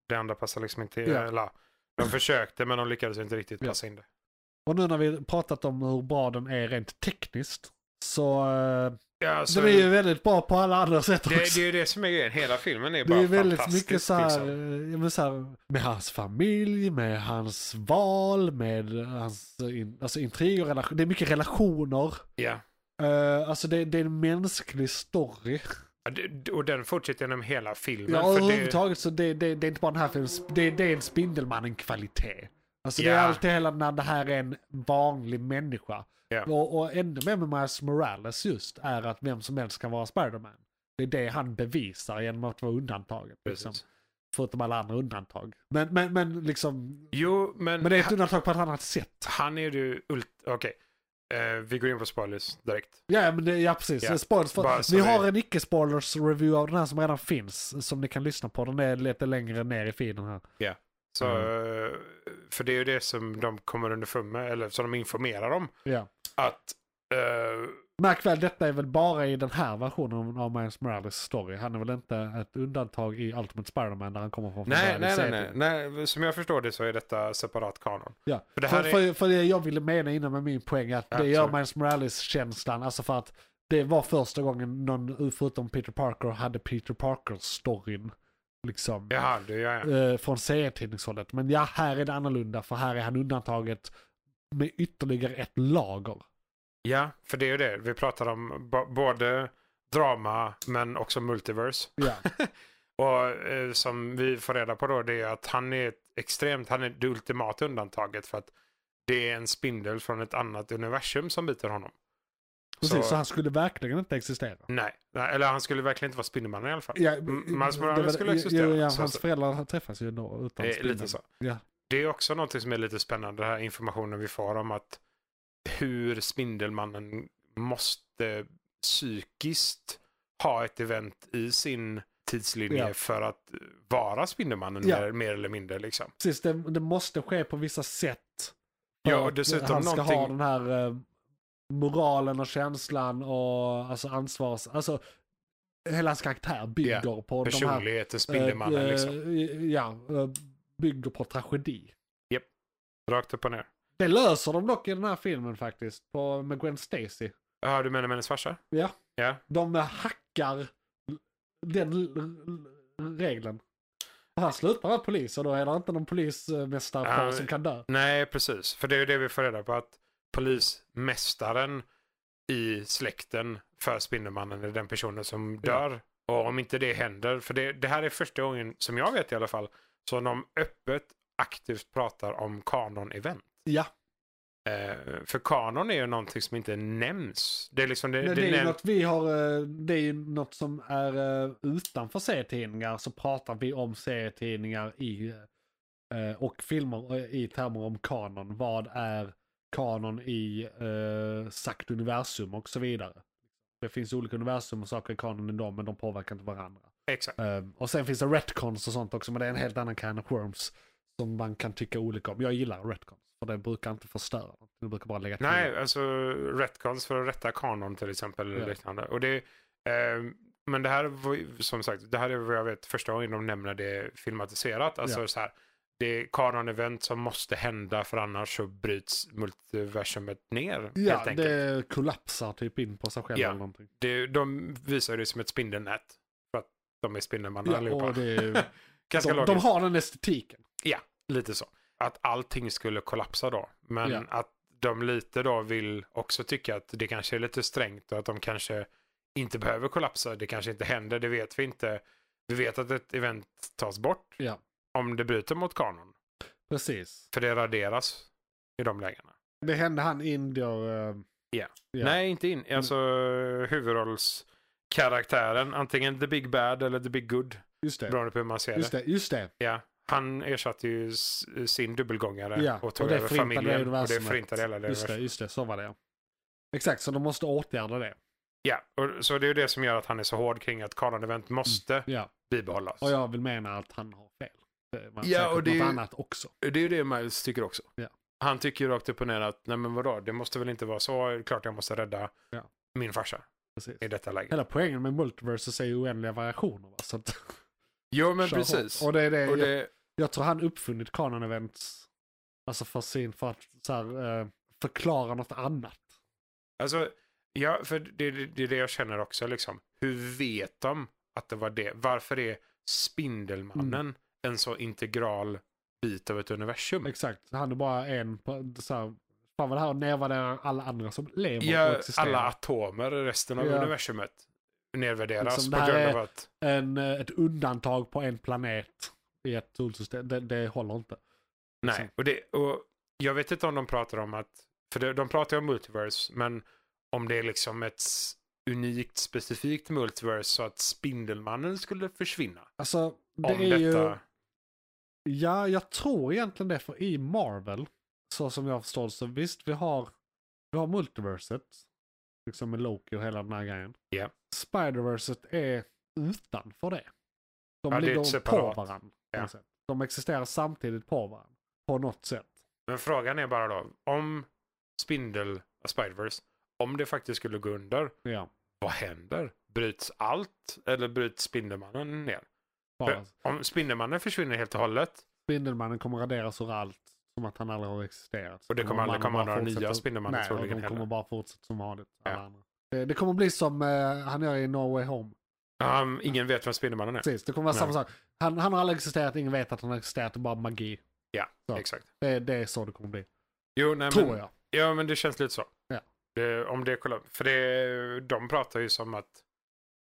S3: Det andra passar liksom inte.
S2: Ja.
S3: Eller, de försökte men de lyckades inte riktigt
S2: Ja.
S3: passa in det.
S2: Och nu när vi pratat om hur bra den är rent tekniskt så eh,
S3: Ja, så-
S2: den är ju väldigt bra på alla andra sätt också.
S3: Det, det är ju det som är grejen. Hela filmen är
S2: Det
S3: bara
S2: är väldigt
S3: fantastisk.
S2: mycket så här,
S3: liksom.
S2: eh, ja, men så här, med hans familj, med hans val, med hans in, alltså intriger, relation, det är mycket relationer.
S3: Ja.
S2: Eh, alltså det, det är en mänsklig story.
S3: Ja, det- Och den fortsätter genom hela filmen.
S2: ja,
S3: för det-
S2: överhuvudtaget så det, det, det är inte bara den här filmen, det, det är en Spindelmannen-kvalitet. Alltså det är
S3: Ja.
S2: alltid hela när det här är en vanlig människa.
S3: Ja.
S2: Och, och ännu mer med Miles Morales just är att vem som helst kan vara Spiderman. Det är det han bevisar genom att vara undantagen. Liksom.
S3: Precis.
S2: Förutom alla andra undantag. Men, men, men liksom,
S3: Jo, men,
S2: men det är ett undantag på ett annat sätt.
S3: han är ju... ult- Okej. Eh, vi går in på spoilers direkt.
S2: Ja, men det, ja precis.
S3: Ja.
S2: Spoilers för,
S3: Bara så
S2: vi
S3: vi-
S2: har en icke-spoilers review av den här som redan finns. Som ni kan lyssna på. Den är lite längre ner i feeden här.
S3: Så,
S2: Mm.
S3: eh, För det är ju det som de kommer underfund med, eller som de informerar om.
S2: Ja.
S3: Att eh,
S2: Märk väl, detta är väl bara i den här versionen av Miles Morales story. Han är väl inte ett undantag i Ultimate Spider-Man där han kommer från
S3: Nej, nej,
S2: förvärlds-
S3: nej, nej, nej. Som jag förstår det så är detta separat kanon.
S2: Ja. För,
S3: För det
S2: det
S3: här
S2: för, för det jag ville mena innan med min poäng är att det
S3: Ja,
S2: gör
S3: sorry.
S2: Miles Morales-känslan, alltså för att det var första gången någon, förutom Peter Parker, hade Peter Parker-storyn. Liksom.
S3: Jaha, det gör jag.
S2: eh, från serietidningshållet. Men ja, här är det annorlunda för här är han undantaget med ytterligare ett lager.
S3: Ja, för det är ju det. Vi pratar om b- både drama men också multiverse.
S2: Ja,
S3: Och eh, som vi får reda på då det är att han är ett extremt, han är det ultimata undantaget för att det är en spindel från ett annat universum som biter honom.
S2: precis. Så,
S3: Så-
S2: han skulle verkligen inte existera.
S3: Nej, nej, eller han skulle verkligen inte vara Spindelmannen i alla fall.
S2: Ja,
S3: M-
S2: eh,
S3: Miles
S2: det
S3: Morales
S2: var-
S3: skulle
S2: ja,
S3: existera,
S2: Ja,
S3: så
S2: hans
S3: att-
S2: föräldrar träffas ju då utan
S3: Eh, lite
S2: spindeln.
S3: så.
S2: Ja,
S3: Det är också något som är lite spännande, den här informationen vi får om att hur Spindelmannen måste psykiskt ha ett event i sin tidslinje
S2: Ja.
S3: för att vara Spindelmannen
S2: Ja.
S3: mer, mer eller mindre. Liksom.
S2: precis. Det, det måste ske på vissa sätt.
S3: Ja,
S2: för
S3: och
S2: att
S3: dessutom
S2: Han ska ha
S3: någonting-
S2: den här eh, moralen och känslan och alltså ansvars... Alltså, hela hans karaktär bygger på de här
S3: Personligheten, Spindelmannen,
S2: Eh,
S3: liksom.
S2: eh, Ja, eh, bygger på tragedi.
S3: Rakt upp och ner.
S2: Det löser de dock i den här filmen faktiskt, på, med Gwen Stacy.
S3: Ja, du menar med hennes farsa?
S2: Ja.
S3: Ja.
S2: De hackar den l- l- l- regeln. Och han slutar vara polis och då är det inte någon polismästare kvar
S3: Ja,
S2: som kan dö.
S3: Nej, precis. För det är ju det vi får reda på att polismästaren i släkten för Spindelmannen är den personen som dör. Och om inte det händer, för det, det här är första gången, som jag vet i alla fall, som de öppet aktivt pratar om kanon-event.
S2: Ja,
S3: Eh, för kanon är ju någonting som inte nämns. Det är liksom det,
S2: det,
S3: det,
S2: det är ju
S3: nämns.
S2: något vi har, eh, det är ju något som är eh, utanför serietidningar så pratar vi om serietidningar i eh, och filmer eh, i termer om kanon. Vad är kanon i eh, sagt universum och så vidare. Det finns olika universum och saker i kanon ändå men de påverkar inte varandra.
S3: Exakt.
S2: Eh, och sen finns det retcons och sånt också men det är en helt annan kind of worms som man kan tycka olika om. Jag gillar retcons för det brukar inte förstöra något. Det brukar bara lägga till.
S3: Nej, alltså retcons för att rätta kanon till exempel. Eller
S2: Ja.
S3: liknande. Och det, eh, men det här var ju- som sagt, det här är vad jag vet första gången de nämner det filmatiserat. Alltså
S2: Ja.
S3: så här, det är kanon-event som måste hända för annars så bryts multiversumet ner.
S2: Ja,
S3: helt enkelt.
S2: det kollapsar typ in på sig själv
S3: Ja.
S2: eller någonting.
S3: Det, de visar det som ett spindelnät. För att de är spindelmannen
S2: Ja,
S3: allihopa.
S2: och
S3: [LAUGHS]
S2: det är,
S3: Ganska
S2: de, de
S3: logiskt.
S2: har den estetiken.
S3: Lite så. Att allting skulle kollapsa då. Men
S2: Ja.
S3: att de lite då vill också tycka att det kanske är lite strängt och att de kanske inte behöver kollapsa. Det kanske inte händer, det vet vi inte. Vi vet att ett event tas bort
S2: Ja,
S3: om det bryter mot kanon.
S2: precis.
S3: För det raderas i de lägena.
S2: Det hände han indier... eh,
S3: Ja.
S2: ja.
S3: Nej, inte in. Alltså huvudrollskaraktären. Antingen the big bad eller the big good.
S2: Just det.
S3: Beroende på hur man ser
S2: Just
S3: det.
S2: det, just det.
S3: Ja. Han ersatte ju s- sin dubbelgångare
S2: Ja,
S3: och tog
S2: och det
S3: över
S2: förintade
S3: familjen. Och det
S2: universumet.
S3: förintade hela det
S2: Just det,
S3: universumet.
S2: just det. Så var det ja. Exakt, så de måste åtgärda det.
S3: Ja, och, så det är ju det som gör att han är så hård kring att Karan Event måste
S2: Mm. Ja,
S3: bibehållas.
S2: och jag vill mena att han har fel. Det var
S3: Ja,
S2: säkert
S3: och det är
S2: något
S3: ju-
S2: annat också.
S3: Det är ju det Miles tycker också.
S2: Ja.
S3: Han tycker ju rakt upp och ner att nej men vadå, det måste väl inte vara så. Klart jag måste rädda
S2: Ja.
S3: min farsa
S2: Precis.
S3: i detta läge.
S2: Hela poängen med multiverses är ju oändliga variationer. Va? Så att,
S3: Jo men
S2: [LAUGHS] kör hårt.
S3: precis.
S2: Och det är det,
S3: Och det,
S2: Jag tror han uppfunnit Canon Events. Alltså för sin, för att så här, eh, förklara något annat.
S3: Alltså, ja, för det, det, det är det jag känner också. Liksom. Hur vet de att det var det? Varför är Spindelmannen en så integral bit av ett universum?
S2: Mm. Exakt, han är bara en, på- så här, fan vad det här nedvärderar alla andra som lever och
S3: Ja,
S2: existerar.
S3: alla atomer i resten av
S2: Ja.
S3: universumet nedvärderas
S2: Liksom, det
S3: på
S2: här
S3: grund
S2: är-
S3: av att...
S2: En, eh, ett undantag på en planet i ett solsystem, det, det håller inte. Liksom.
S3: Nej, och, det, och jag vet inte om de pratar om att... För de, de pratar ju om multiverse, men om det är liksom ett s- unikt specifikt multiverse så att Spindelmannen skulle försvinna.
S2: Alltså, det
S3: Om
S2: är
S3: detta...
S2: ju... Ja, jag tror egentligen det, för i Marvel, så som jag förstår det, så visst, vi har, vi har multiverset, liksom med Loki och hela den här grejen.
S3: Ja.
S2: Spiderverset är utanför det. De
S3: Ja, det är
S2: ligger
S3: separat.
S2: på varandra.
S3: Ja.
S2: på något sätt. De existerar samtidigt på varandra, på något sätt.
S3: Men frågan är bara då, om Spindel, Spiderverse, om det faktiskt skulle gå under,
S2: Ja,
S3: vad händer? Bryts allt eller bryts Spindelmannen ner?
S2: bara.
S3: För om Spindelmannen försvinner helt och hållet
S2: Spindelmannen kommer raderas ur allt, som att han aldrig har existerat.
S3: Och det kommer aldrig
S2: mannen
S3: komma
S2: bara
S3: några nya
S2: fortsätter-
S3: Spindelmannen
S2: Nej, och
S3: troligen
S2: de kommer
S3: heller.
S2: bara fortsätta som vanligt. alla
S3: Ja.
S2: andra. Det, det kommer bli som eh, han gör i No Way Home.
S3: um, ingen vet vem Spindelmannen är.
S2: Precis, det kommer vara samma
S3: Nej.
S2: sak. Han, han har aldrig existerat, ingen vet att han har existerat, det är bara magi.
S3: Ja,
S2: Ja.
S3: exakt.
S2: Det, det är så det kommer bli.
S3: Jo, nej,
S2: Tror
S3: men,
S2: jag.
S3: ja, men det känns lite så.
S2: Ja.
S3: Det, om det kollar, för det, de pratar ju som att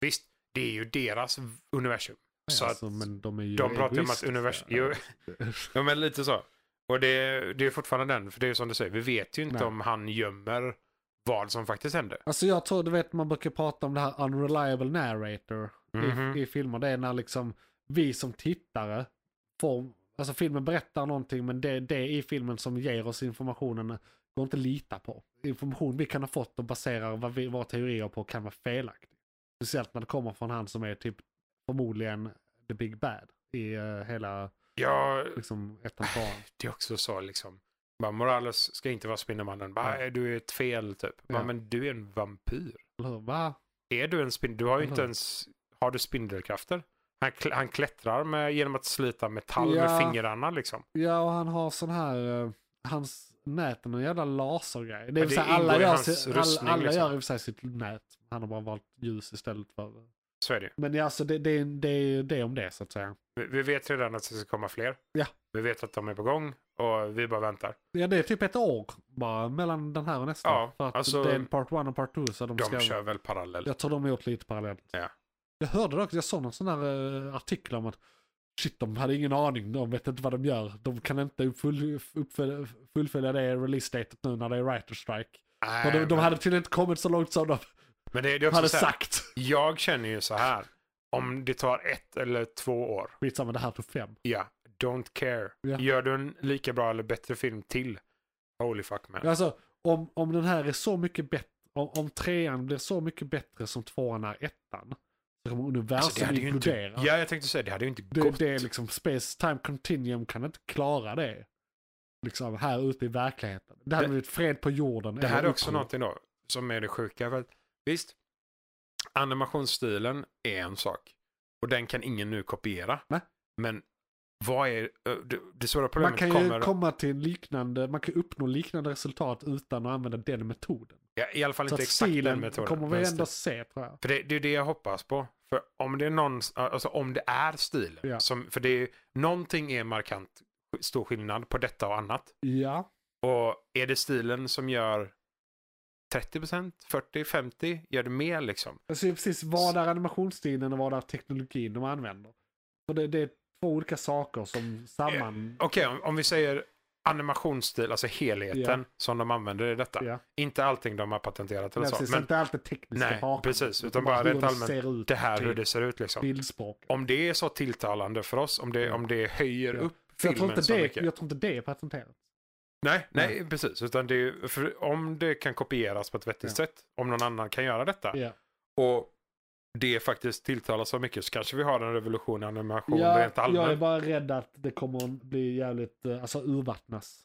S3: visst, det är ju deras v- universum. så
S2: Alltså,
S3: att
S2: men de är ju
S3: de pratar ju om att
S2: egoistiska.
S3: univers- jo.
S2: [LAUGHS]
S3: Ja, men lite så. Och det, det är fortfarande den, för det är ju som du säger, vi vet ju inte
S2: Nej.
S3: om han gömmer vad som faktiskt hände.
S2: Alltså jag tror, du vet man brukar prata om det här unreliable narrator
S3: Mhm.
S2: i, i filmer. Det är när liksom vi som tittare får, alltså filmen berättar någonting men det, det i filmen som ger oss informationen går inte att lita på. Information vi kan ha fått och baserar vad vi, våra teorier på kan vara felaktig. Speciellt när det kommer från han som är typ förmodligen the big bad i eh, hela
S3: Ja,
S2: liksom ettan tvåan.
S3: det är också så liksom. Bara, Morales ska inte vara Spindelmannen. Bara,
S2: Ja.
S3: "Nej, du är ett fel typ. Bara,
S2: Ja.
S3: Men du är en vampyr.
S2: Eller hur? Va?
S3: Är du en spindel? Du har ju
S2: Eller
S3: inte
S2: hur?
S3: ens... Har du spindelkrafter? Han, kl- han klättrar med, genom att slita metall
S2: Ja.
S3: med fingrarna liksom.
S2: Ja, och han har sån här, eh, hans nät är någon jävla lasergrej. Det är
S3: Ja,
S2: det
S3: det
S2: alla
S3: ingår i
S2: gör,
S3: hans
S2: sin,
S3: rustning,
S2: alla, alla
S3: liksom.
S2: gör i och för sig sitt nät. Han har bara valt ljus istället för...
S3: Så är det ju.
S2: Men ja, alltså det, det, det, det är om det så att säga.
S3: Vi, vi vet redan att det ska komma fler.
S2: Ja.
S3: Vi vet att de är på gång och vi bara väntar.
S2: Ja, det är typ ett år bara mellan den här och nästa.
S3: Ja,
S2: för att
S3: alltså-
S2: det är en part one och part two så de,
S3: De
S2: ska...
S3: kör väl parallellt.
S2: Jag tror de har gjort lite parallellt.
S3: Ja.
S2: Jag hörde dock, jag såg någon sån här eh, artikel om att shit, de hade ingen aning, de vet inte vad de gör. De kan inte full, uppfölja, fullfölja det release-datet nu när det är writer strike.
S3: Nej,
S2: Och de, de
S3: men-
S2: hade tydligen inte kommit så långt som de
S3: Men det, det är också
S2: hade
S3: så här,
S2: sagt.
S3: Jag känner ju så här. Om det tar ett eller två år.
S2: Skitsamma, det här tog fem.
S3: Ja, don't care.
S2: Ja.
S3: Gör du en lika bra eller bättre film till? Holy fuck man.
S2: Alltså, om, om den här är så mycket bättre, om, om trean blir så mycket bättre som tvåan är ettan, så kommer universum
S3: Alltså, det hade ju inte,
S2: inkludera.
S3: ja, jag tänkte säga det hade ju inte
S2: det,
S3: gått.
S2: det är liksom, space time continuum kan inte klara det. Liksom här ute i verkligheten. Det hade
S3: Det-
S2: blivit fred på jorden.
S3: Det här
S2: eller
S3: är också
S2: uppror.
S3: någonting då som är det sjuka. För att, visst, animationsstilen är en sak och den kan ingen nu kopiera.
S2: Nej.
S3: Men vad är ö, det, det stora
S2: Man
S3: problemet
S2: kan ju
S3: kommer
S2: komma till liknande, man kan uppnå liknande resultat utan att använda den metoden.
S3: ja, i alla fall
S2: Så
S3: inte
S2: att
S3: exakt den
S2: stilen
S3: metoden.
S2: kommer vi
S3: men
S2: ändå
S3: stil-
S2: se tror jag.
S3: För det, det är det jag hoppas på. För om det är någon, alltså om det är stilen,
S2: Ja.
S3: som, för det är, någonting är markant stor skillnad på detta och annat.
S2: Ja,
S3: Och är det stilen som gör 30%, 40%, 50%? Gör det mer liksom?
S2: Alltså det är precis, vad är animationsstilen och vad är teknologin de använder? För det, det är två olika saker
S3: Eh,
S2: som samman...
S3: Okej, om, om vi säger animationsstil, alltså helheten
S2: Ja.
S3: som de använder i detta.
S2: Ja,
S3: Inte allting de har patenterat eller
S2: nej,
S3: så,
S2: precis,
S3: men
S2: inte allt det tekniska
S3: Nej,
S2: bakom,
S3: precis, utan bara
S2: hur
S3: rent
S2: det
S3: allmänt,
S2: ser ut,
S3: det här hur
S2: typ,
S3: det ser ut liksom.
S2: Bildspråk.
S3: Om det är så tilltalande för oss, om det,
S2: Ja.
S3: om det höjer
S2: Ja.
S3: upp
S2: Så Jag
S3: filmen
S2: tror, inte
S3: så
S2: det,
S3: mycket.
S2: jag tror inte det är patenterat.
S3: Nej, nej, precis. Utan det, är- för om det kan kopieras på ett vettigt
S2: Ja.
S3: sätt, om någon annan kan göra detta,
S2: Ja.
S3: och det faktiskt tilltalar så mycket så kanske vi har en revolution i animation
S2: Ja,
S3: rent allmänt.
S2: jag är bara rädd att det kommer att bli jävligt, eh, alltså urvattnas.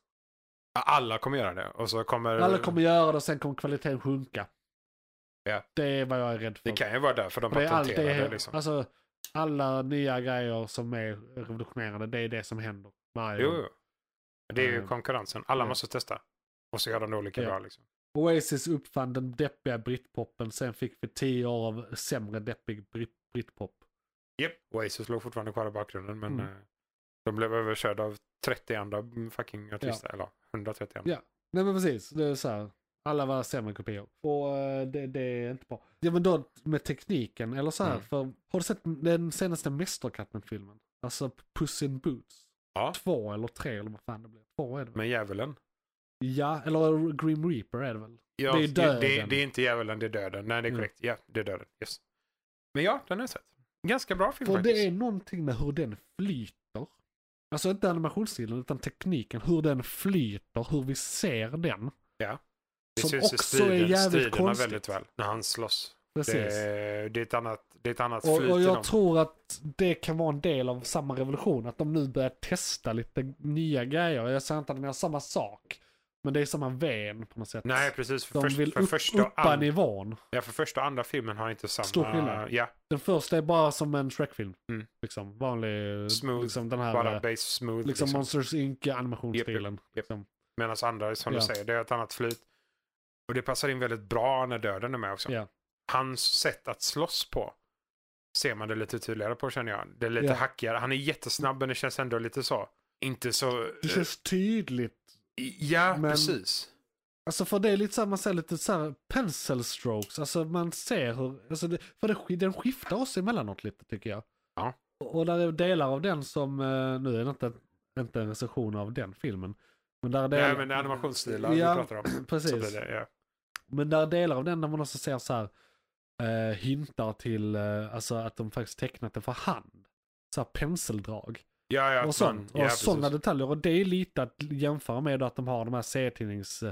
S3: Alla kommer göra det och så kommer...
S2: Alla kommer göra det och sen kommer kvaliteten sjunka.
S3: Ja.
S2: Det är vad jag är rädd för.
S3: Det kan ju vara därför de
S2: För det är allt,
S3: patenterade
S2: det
S3: det,
S2: är,
S3: liksom.
S2: alltså, alla nya grejer som är revolutionerande, det är det som händer varje
S3: Jo,
S2: gång.
S3: jo. Det är ju
S2: Eh,
S3: konkurrensen. Alla
S2: ja.
S3: måste testa. Och så gör de det olika
S2: Ja.
S3: bra. Liksom.
S2: Oasis uppfann den deppiga britpopen, sen fick vi tio år av sämre deppig brit britpop.
S3: Yep. Oasis låg fortfarande kvar i bakgrunden men
S2: Mm.
S3: eh, de blev överkörda av 30 andra mm, fucking artister. Eller 130 andra.
S2: Ja. Nej men precis, det är så här. Alla var sämre kopior. Och eh, det, det är inte bra. Ja men då med tekniken, eller så här,
S3: Mm.
S2: för har du sett den senaste Mästerkatten-filmen? Alltså Puss in Boots.
S3: Ja.
S2: Två eller tre eller vad fan det blev. Två är det väl?
S3: Men djävulen.
S2: Ja, eller Grim Reaper är det väl?
S3: Ja,
S2: Det är
S3: Det,
S2: döden. Mm.
S3: det är inte djävulen, det är döden. Nej, det är
S2: Ja.
S3: korrekt. Ja, det är döden. Yes. Men ja, den har jag sett. Ganska bra film
S2: För
S3: faktiskt.
S2: det är någonting med hur den flyter. Alltså inte animationsstilen utan tekniken, hur den flyter, hur vi ser den.
S3: Det
S2: som
S3: syns i
S2: också är
S3: striden-
S2: jävligt
S3: striderna
S2: konstigt.
S3: väldigt väl. När han slåss.
S2: Precis.
S3: Det, det är ett annat, det är ett annat flyt
S2: Och, och
S3: i
S2: jag
S3: dem.
S2: tror att det kan vara en del av samma revolution. Att de nu börjar testa lite nya grejer. Jag säger inte att de gör samma sak. Men det är samma ven på något sätt.
S3: Nej, precis. För,
S2: de
S3: först,
S2: vill
S3: för,
S2: upp,
S3: första och
S2: uppa
S3: an...
S2: nivån.
S3: ja, för första och andra filmen har inte samma...
S2: Stor skillnad.
S3: Ja,
S2: Den första är bara som en Shrek-film.
S3: Mm.
S2: Liksom, vanlig,
S3: Smooth,
S2: liksom den här
S3: bara
S2: eh,
S3: base smooth.
S2: liksom
S3: Liksom.
S2: Monsters Inc
S3: Japp,
S2: animationsstilen.
S3: japp.
S2: Liksom.
S3: Medan andra, som
S2: Ja.
S3: du säger, det är ett annat flyt. Och det passar in väldigt bra när döden är med också.
S2: Ja.
S3: Hans sätt att slåss på ser man det lite tydligare på känner jag. Det är lite
S2: Ja.
S3: hackigare. Han är jättesnabb men det känns ändå lite så. Inte så...
S2: Det känns tydligt.
S3: Ja,
S2: men-
S3: precis.
S2: Alltså för det är lite så här, man ser lite så här pencil strokes. Alltså man ser hur, alltså det, för det, sk- den skiftar oss emellanåt lite tycker jag.
S3: Ja.
S2: Och, och där är delar av den som, eh, nu är det inte, inte en recension av den filmen. Men där är
S3: Nej,
S2: delar,
S3: men det är animationsstilar
S2: Ja,
S3: vi pratar om. Så
S2: precis.
S3: blir det, ja.
S2: Men där är delar av den där man också ser så här eh, hintar till eh, alltså att de faktiskt tecknat det för hand. Så här penseldrag.
S3: Ja, ja, att
S2: och sånt.
S3: man- ja,
S2: och
S3: precis.
S2: sådana detaljer. Och det är lite att jämföra med att de har de här serietidnings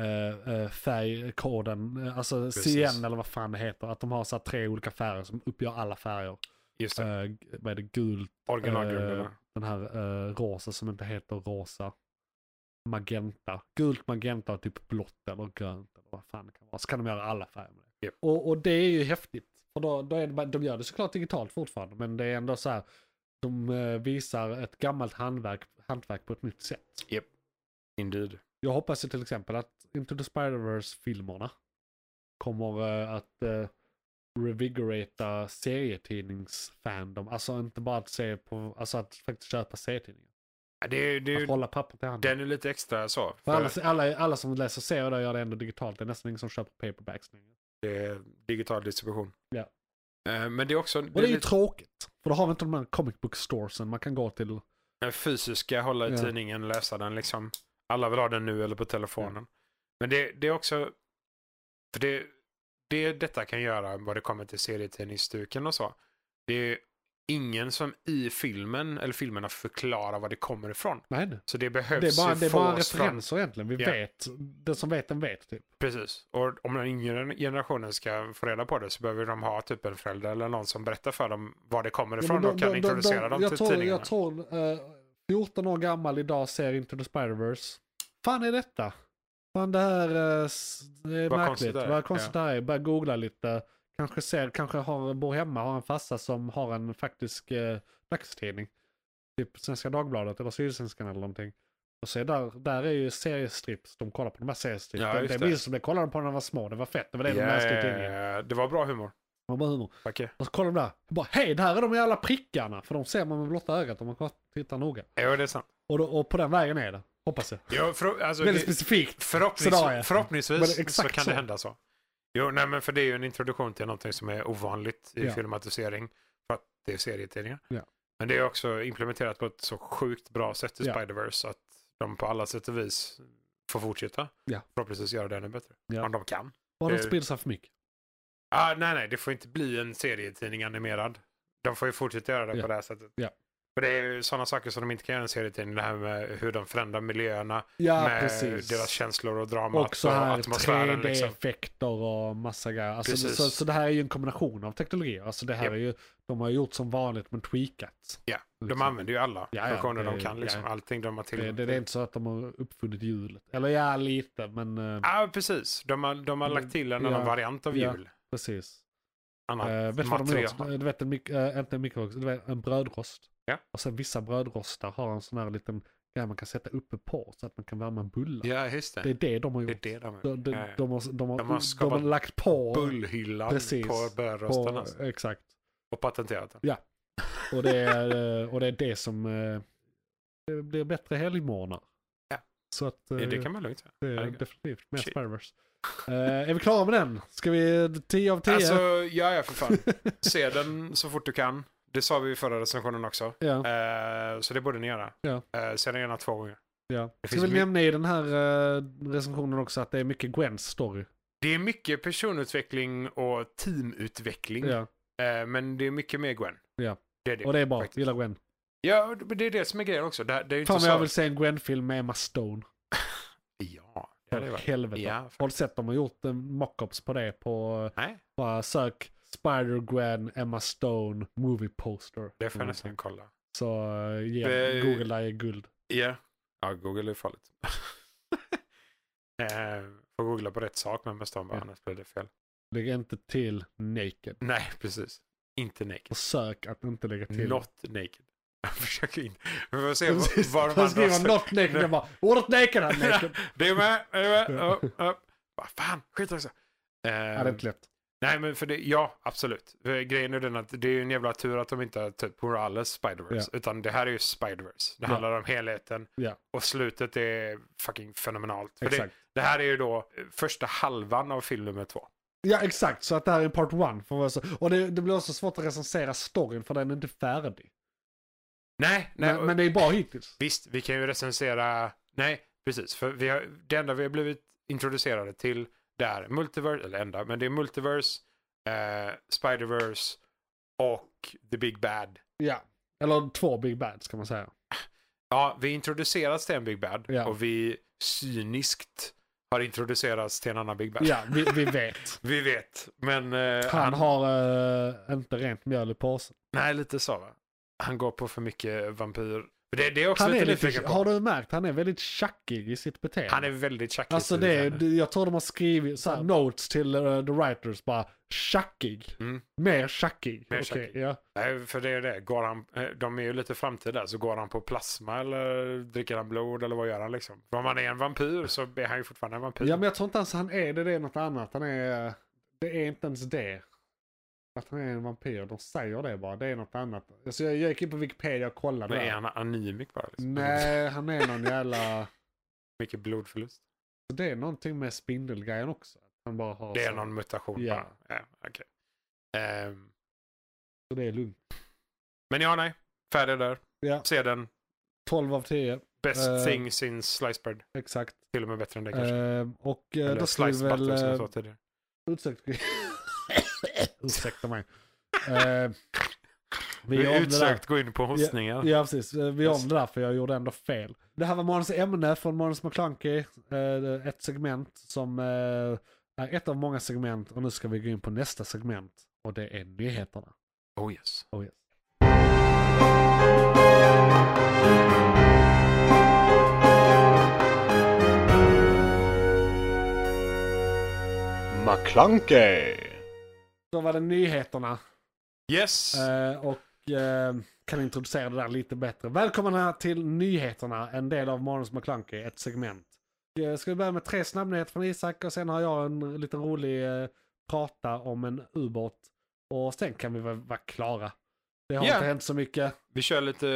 S2: eh, eh, färgkoden, eh, alltså
S3: Precis.
S2: CN eller vad fan det heter. Att de har så här tre olika färger som uppgör alla färger.
S3: Just det.
S2: Uh, vad är det? Gult,
S3: Originalgrunderna.
S2: den här eh, rosa som inte heter rosa. Magenta. Gult, magenta och typ blått eller grönt. Eller vad fan det kan vara. Så kan de göra alla färger med det.
S3: Japp.
S2: Och, och det är ju häftigt. För då, då är det, bara- de gör det såklart digitalt fortfarande. Men det är ändå så här. De eh, visar ett gammalt handverk, hantverk på ett nytt sätt.
S3: Indeed.
S2: Jag hoppas ju till exempel att Into the Spider-Verse filmerna kommer eh, att eh, revigorata serietidningsfandom. Alltså inte bara att se på, alltså att faktiskt köpa serietidningar.
S3: Ja, Det är, det är,
S2: Att hålla pappret i handen.
S3: Den är lite extra så.
S2: För alla,
S3: För
S2: alla, alla som läser serier där gör det ändå digitalt. Det är nästan ingen som köper paperbacks längre.
S3: det är eh, digital distribution.
S2: Ja.
S3: Eh, Men det är också det
S2: Och
S3: är
S2: det är ju
S3: lite
S2: tråkigt. För då har vi inte de här comic book storesen man kan gå till.
S3: den fysiska, hålla i
S2: Ja.
S3: tidningen, läsa den liksom. Alla vill ha den nu eller på telefonen. Men det, det är också, för det, det detta kan göra vad det kommer till serietidningsstuken och så. Det är ingen som i filmen eller filmerna förklarar var det kommer ifrån.
S2: Nej, nej.
S3: Så det
S2: det
S3: behövs
S2: är bara,
S3: ju
S2: det är bara
S3: fås fram.
S2: referenser egentligen. Vi
S3: Ja.
S2: vet. Den som vet, den vet typ.
S3: Precis. Och om den yngre generationen ska få reda på det så behöver de ha typ en förälder eller någon som berättar för dem var det kommer
S2: Ja, men
S3: ifrån och kan
S2: de- de-
S3: introducera
S2: de-
S3: dem
S2: jag
S3: till
S2: tror,
S3: tidningarna.
S2: Jag tror eh, 14 år gammal idag ser Into the Spider-Verse. Fan är detta? Fan det här eh, s- det är
S3: Vad
S2: märkligt.
S3: konstigt det är,
S2: Vad konstigt det här är. Börja googla lite. Kanske, ser, kanske har, bor hemma, har en farsa som har en faktisk eh, dagstidning. Typ Svenska Dagbladet eller Sydsvenskan eller någonting. Och så är där, där är ju seriestrips. De kollar på de här seriestrips.
S3: Ja,
S2: det,
S3: just
S2: det
S3: det.
S2: minns de, det kollade de på när de var små. Det var fett. Det var det de
S3: Ja,
S2: läste
S3: ja,
S2: i tidningen.
S3: ja, ja. det var bra humor.
S2: Man bara humor.
S3: Okej.
S2: Och så kollar de där. Jag bara, hej, där är de jävla prickarna. För de ser man med blotta ögat om man tittar noga.
S3: Ja, det är sant.
S2: Och, då, och på den vägen är det, hoppas jag.
S3: Ja, för, alltså,
S2: Väldigt
S3: det,
S2: specifikt.
S3: förhoppningsvis
S2: Sådär, ja. Men
S3: förhoppningsvis så
S2: exakt
S3: kan
S2: så.
S3: det hända så. Jo, nej, men för det är ju en introduktion till någonting som är ovanligt i
S2: Ja.
S3: filmatisering. För att det är serietidningar.
S2: Ja.
S3: Men det är också implementerat på ett så sjukt bra sätt i
S2: Ja.
S3: Spider-Verse att de på alla sätt och vis får fortsätta.
S2: Ja.
S3: Förhoppningsvis göra det ännu bättre.
S2: Ja.
S3: Om de kan.
S2: Bara de
S3: det-
S2: inte sprider sig för mycket.
S3: Ah, nej, nej, det får inte bli en serietidning animerad. De får ju fortsätta göra det
S2: Ja.
S3: på det här sättet.
S2: Ja.
S3: För det är ju sådana saker som de inte kan göra i en serietidning. Det här med hur de förändrar miljöerna
S2: Ja,
S3: med
S2: precis.
S3: deras känslor och dramat
S2: och så här
S3: atmosfären. Liksom.
S2: 3D-effekter och massa grejer. Alltså,
S3: Precis.
S2: så, så det här är ju en kombination av teknologier. Alltså det här
S3: Japp.
S2: är ju, de har gjort som vanligt men tweakat.
S3: Ja, de
S2: Liksom.
S3: använder ju alla
S2: Ja, ja,
S3: funktioner
S2: det-
S3: de kan. Liksom.
S2: ja.
S3: Allting de har
S2: Det,
S3: tillgång
S2: det,
S3: till.
S2: det är inte så att de har uppfunnit hjulet. Eller ja, lite men eh,
S3: Ja, precis. De har, de har lagt till en annan
S2: Ja,
S3: variant av
S2: ja.
S3: jul.
S2: precis.
S3: annat
S2: Eh, vet du vad de
S3: material.
S2: gjort? Du vet en, mik- eh, inte en mikrofox, du vet en brödrost.
S3: Ja.
S2: Och sen vissa brödrostar har en sån här liten grej man kan sätta uppe på så att man kan värma en bulla.
S3: Ja, just det.
S2: Det är det de har
S3: Det är
S2: gjort.
S3: det de har
S2: De,
S3: gjort.
S2: de,
S3: Ja, ja.
S2: de, har, de,
S3: De
S2: har, de,
S3: har
S2: har,
S3: skapat
S2: lagt på...
S3: Bullhyllan
S2: Precis.
S3: på
S2: på
S3: brödrostarna.
S2: exakt.
S3: Och patenterat den.
S2: Och det, är, eh, och det är det som eh, det blir bättre helgmorgnar.
S3: Ja.
S2: Så att eh,
S3: Ja, det kan man lugnt säga.
S2: det är
S3: herregud.
S2: definitivt mer
S3: Shit.
S2: Spiderverse. Eh, är vi klara med den? Ska vi 10 av 10?
S3: Alltså,
S2: [LAUGHS]
S3: ja, ja för fan. Se den så fort du kan. Det sa vi i förra recensionen också.
S2: ja.
S3: Eh, så det borde ni göra.
S2: Ja.
S3: Eh, se den gärna två gånger.
S2: Ja.
S3: Det
S2: Jag
S3: finns
S2: vill
S3: my-
S2: nämna i den här eh, recensionen också att det är mycket Gwens story.
S3: Det är mycket personutveckling och teamutveckling.
S2: Ja.
S3: Eh, men det är mycket mer Gwen.
S2: Ja.
S3: Det är det.
S2: Och det är bra,
S3: faktiskt.
S2: gillar Gwen.
S3: Ja, och det det är det som är grejen också. Det, det är ju inte
S2: Fan
S3: så...
S2: vad jag vill se en Gwen-film med Emma Stone.
S3: Ja, det
S2: För
S3: hade varit...
S2: helvete.
S3: Ja,
S2: Har du sett de har gjort eh, mockups på det på eh,
S3: Nej,
S2: bara sök Spider-Gwen, Emma Stone, movie poster.
S3: det får jag
S2: Mm.
S3: nästan kolla.
S2: Så eh, ge-
S3: Eh,
S2: Google är guld.
S3: Ja. Ja, Google är farligt. [LAUGHS] eh, får googla på rätt sak men bestämma bara,
S2: Ja.
S3: annars blir det fel.
S2: Lägg inte till naked.
S3: Nej, precis. Inte naked.
S2: Försök att inte lägga till.
S3: Not naked. [LAUGHS] Jag försöker inte. Vi får se
S2: [LAUGHS] Precis.
S3: vad de
S2: Han skriver
S3: andra...
S2: not naked. Jag bara,
S3: [LAUGHS]
S2: ordet naked är naked.
S3: Det är med, det är med.
S2: Ja.
S3: Upp, upp. Vad fan, skit också. Eh,
S2: Ja, det är inte lätt.
S3: Nej, men för det, ja, absolut. För Grejen är den att det är ju en jävla tur att de inte har typ Morales Spider-Verse. Utan det här är ju Spider-Verse. Det
S2: Ja.
S3: handlar om helheten.
S2: Ja.
S3: Och slutet är fucking fenomenalt. För det,
S2: Exakt.
S3: det här är ju då eh, första halvan av film nummer två.
S2: Ja, exakt. Så att det här är part one. För vad jag sa. och det, det blir också svårt att recensera storyn för den är inte färdig.
S3: Nej, nej.
S2: men,
S3: och-
S2: men det är bra hittills.
S3: Visst, vi kan ju recensera... Nej, precis. För vi har, det enda vi har blivit introducerade till det är Multiverse, eller enda, men det är Multiverse, eh, Spider-Verse och The Big Bad.
S2: Ja. Eller två Big Bads kan man säga.
S3: Ja, vi introduceras till en Big Bad
S2: Ja.
S3: och vi cyniskt har introducerats till en annan Big Bad.
S2: Ja, vi,
S3: [LAUGHS]
S2: vi vet.
S3: Vi vet, men... Eh,
S2: Han har eh, inte rent mjöl i påsen.
S3: Nej, lite så va? Han går på för mycket vampyr. Det, det är också
S2: Han
S3: lite
S2: är
S3: nyfiken
S2: lite,
S3: på.
S2: har du märkt? Han är väldigt tjackig i sitt beteende.
S3: Han är väldigt tjackig.
S2: Alltså det, är- det- jag tror de har skrivit så här, notes till eh, the writers bara tjackig.
S3: Mm.
S2: Mer tjackig.
S3: Mer
S2: Okej,
S3: tjackig.
S2: Ja.
S3: Nej, för det är det. Går han, eh, de är ju lite framtid där, så går han på plasma eller dricker han blod eller vad gör han liksom? För om han är en vampyr så är han ju fortfarande en vampyr.
S2: ja men jag tror inte ens han är det, det är något annat. Han är, det är inte ens det. Att han är en vampyr, de säger det bara. Det är något annat. Alltså jag, jag gick in på Wikipedia och kollade.
S3: men
S2: där.
S3: är han anemic bara? Liksom?
S2: Nej, han är någon jävla...
S3: Mycket blodförlust.
S2: Det är någonting med spindelgrejen också. Han bara har
S3: Det är
S2: så-
S3: någon mutation
S2: Alltså, Ja.
S3: bara. Ja, okej. Ehm,
S2: Så det är lugnt.
S3: men ja, nej. Färdig där.
S2: Ja,
S3: Se den.
S2: 12 av 10.
S3: Best
S2: Eh.
S3: thing since sliced bread.
S2: Exakt.
S3: Till och med bättre än det kanske.
S2: Eh, och eh,
S3: eller
S2: då ska vi
S3: sliced butter
S2: väl...
S3: som
S2: eh,
S3: jag sa tidigare.
S2: Ursäkta, [LAUGHS] Ursäkta mig. Eh, vi
S3: Vi är
S2: är om det där.
S3: utsökt gå in på hostningar.
S2: Ja precis, Eh, vi är om det där för jag gjorde ändå fel. Det här var morgonens ämne från Månens McClunky. Eh, ett segment som eh, är ett av många segment och nu ska vi gå in på nästa segment. Och det är nyheterna.
S3: Oh yes.
S2: Oh, yes.
S4: McClunkey.
S2: Då var det nyheterna.
S3: Yes!
S2: Eh, och eh, kan introducera det där lite bättre. Välkomna till nyheterna, en del av Månens McClunky, ett segment. Eh, Ska vi börja med tre snabbnyheter från Isak och sen har jag en liten rolig eh, prata om en ubåt. Och sen kan vi väl vara klara. Det har
S3: Ja.
S2: inte hänt så mycket.
S3: Vi kör lite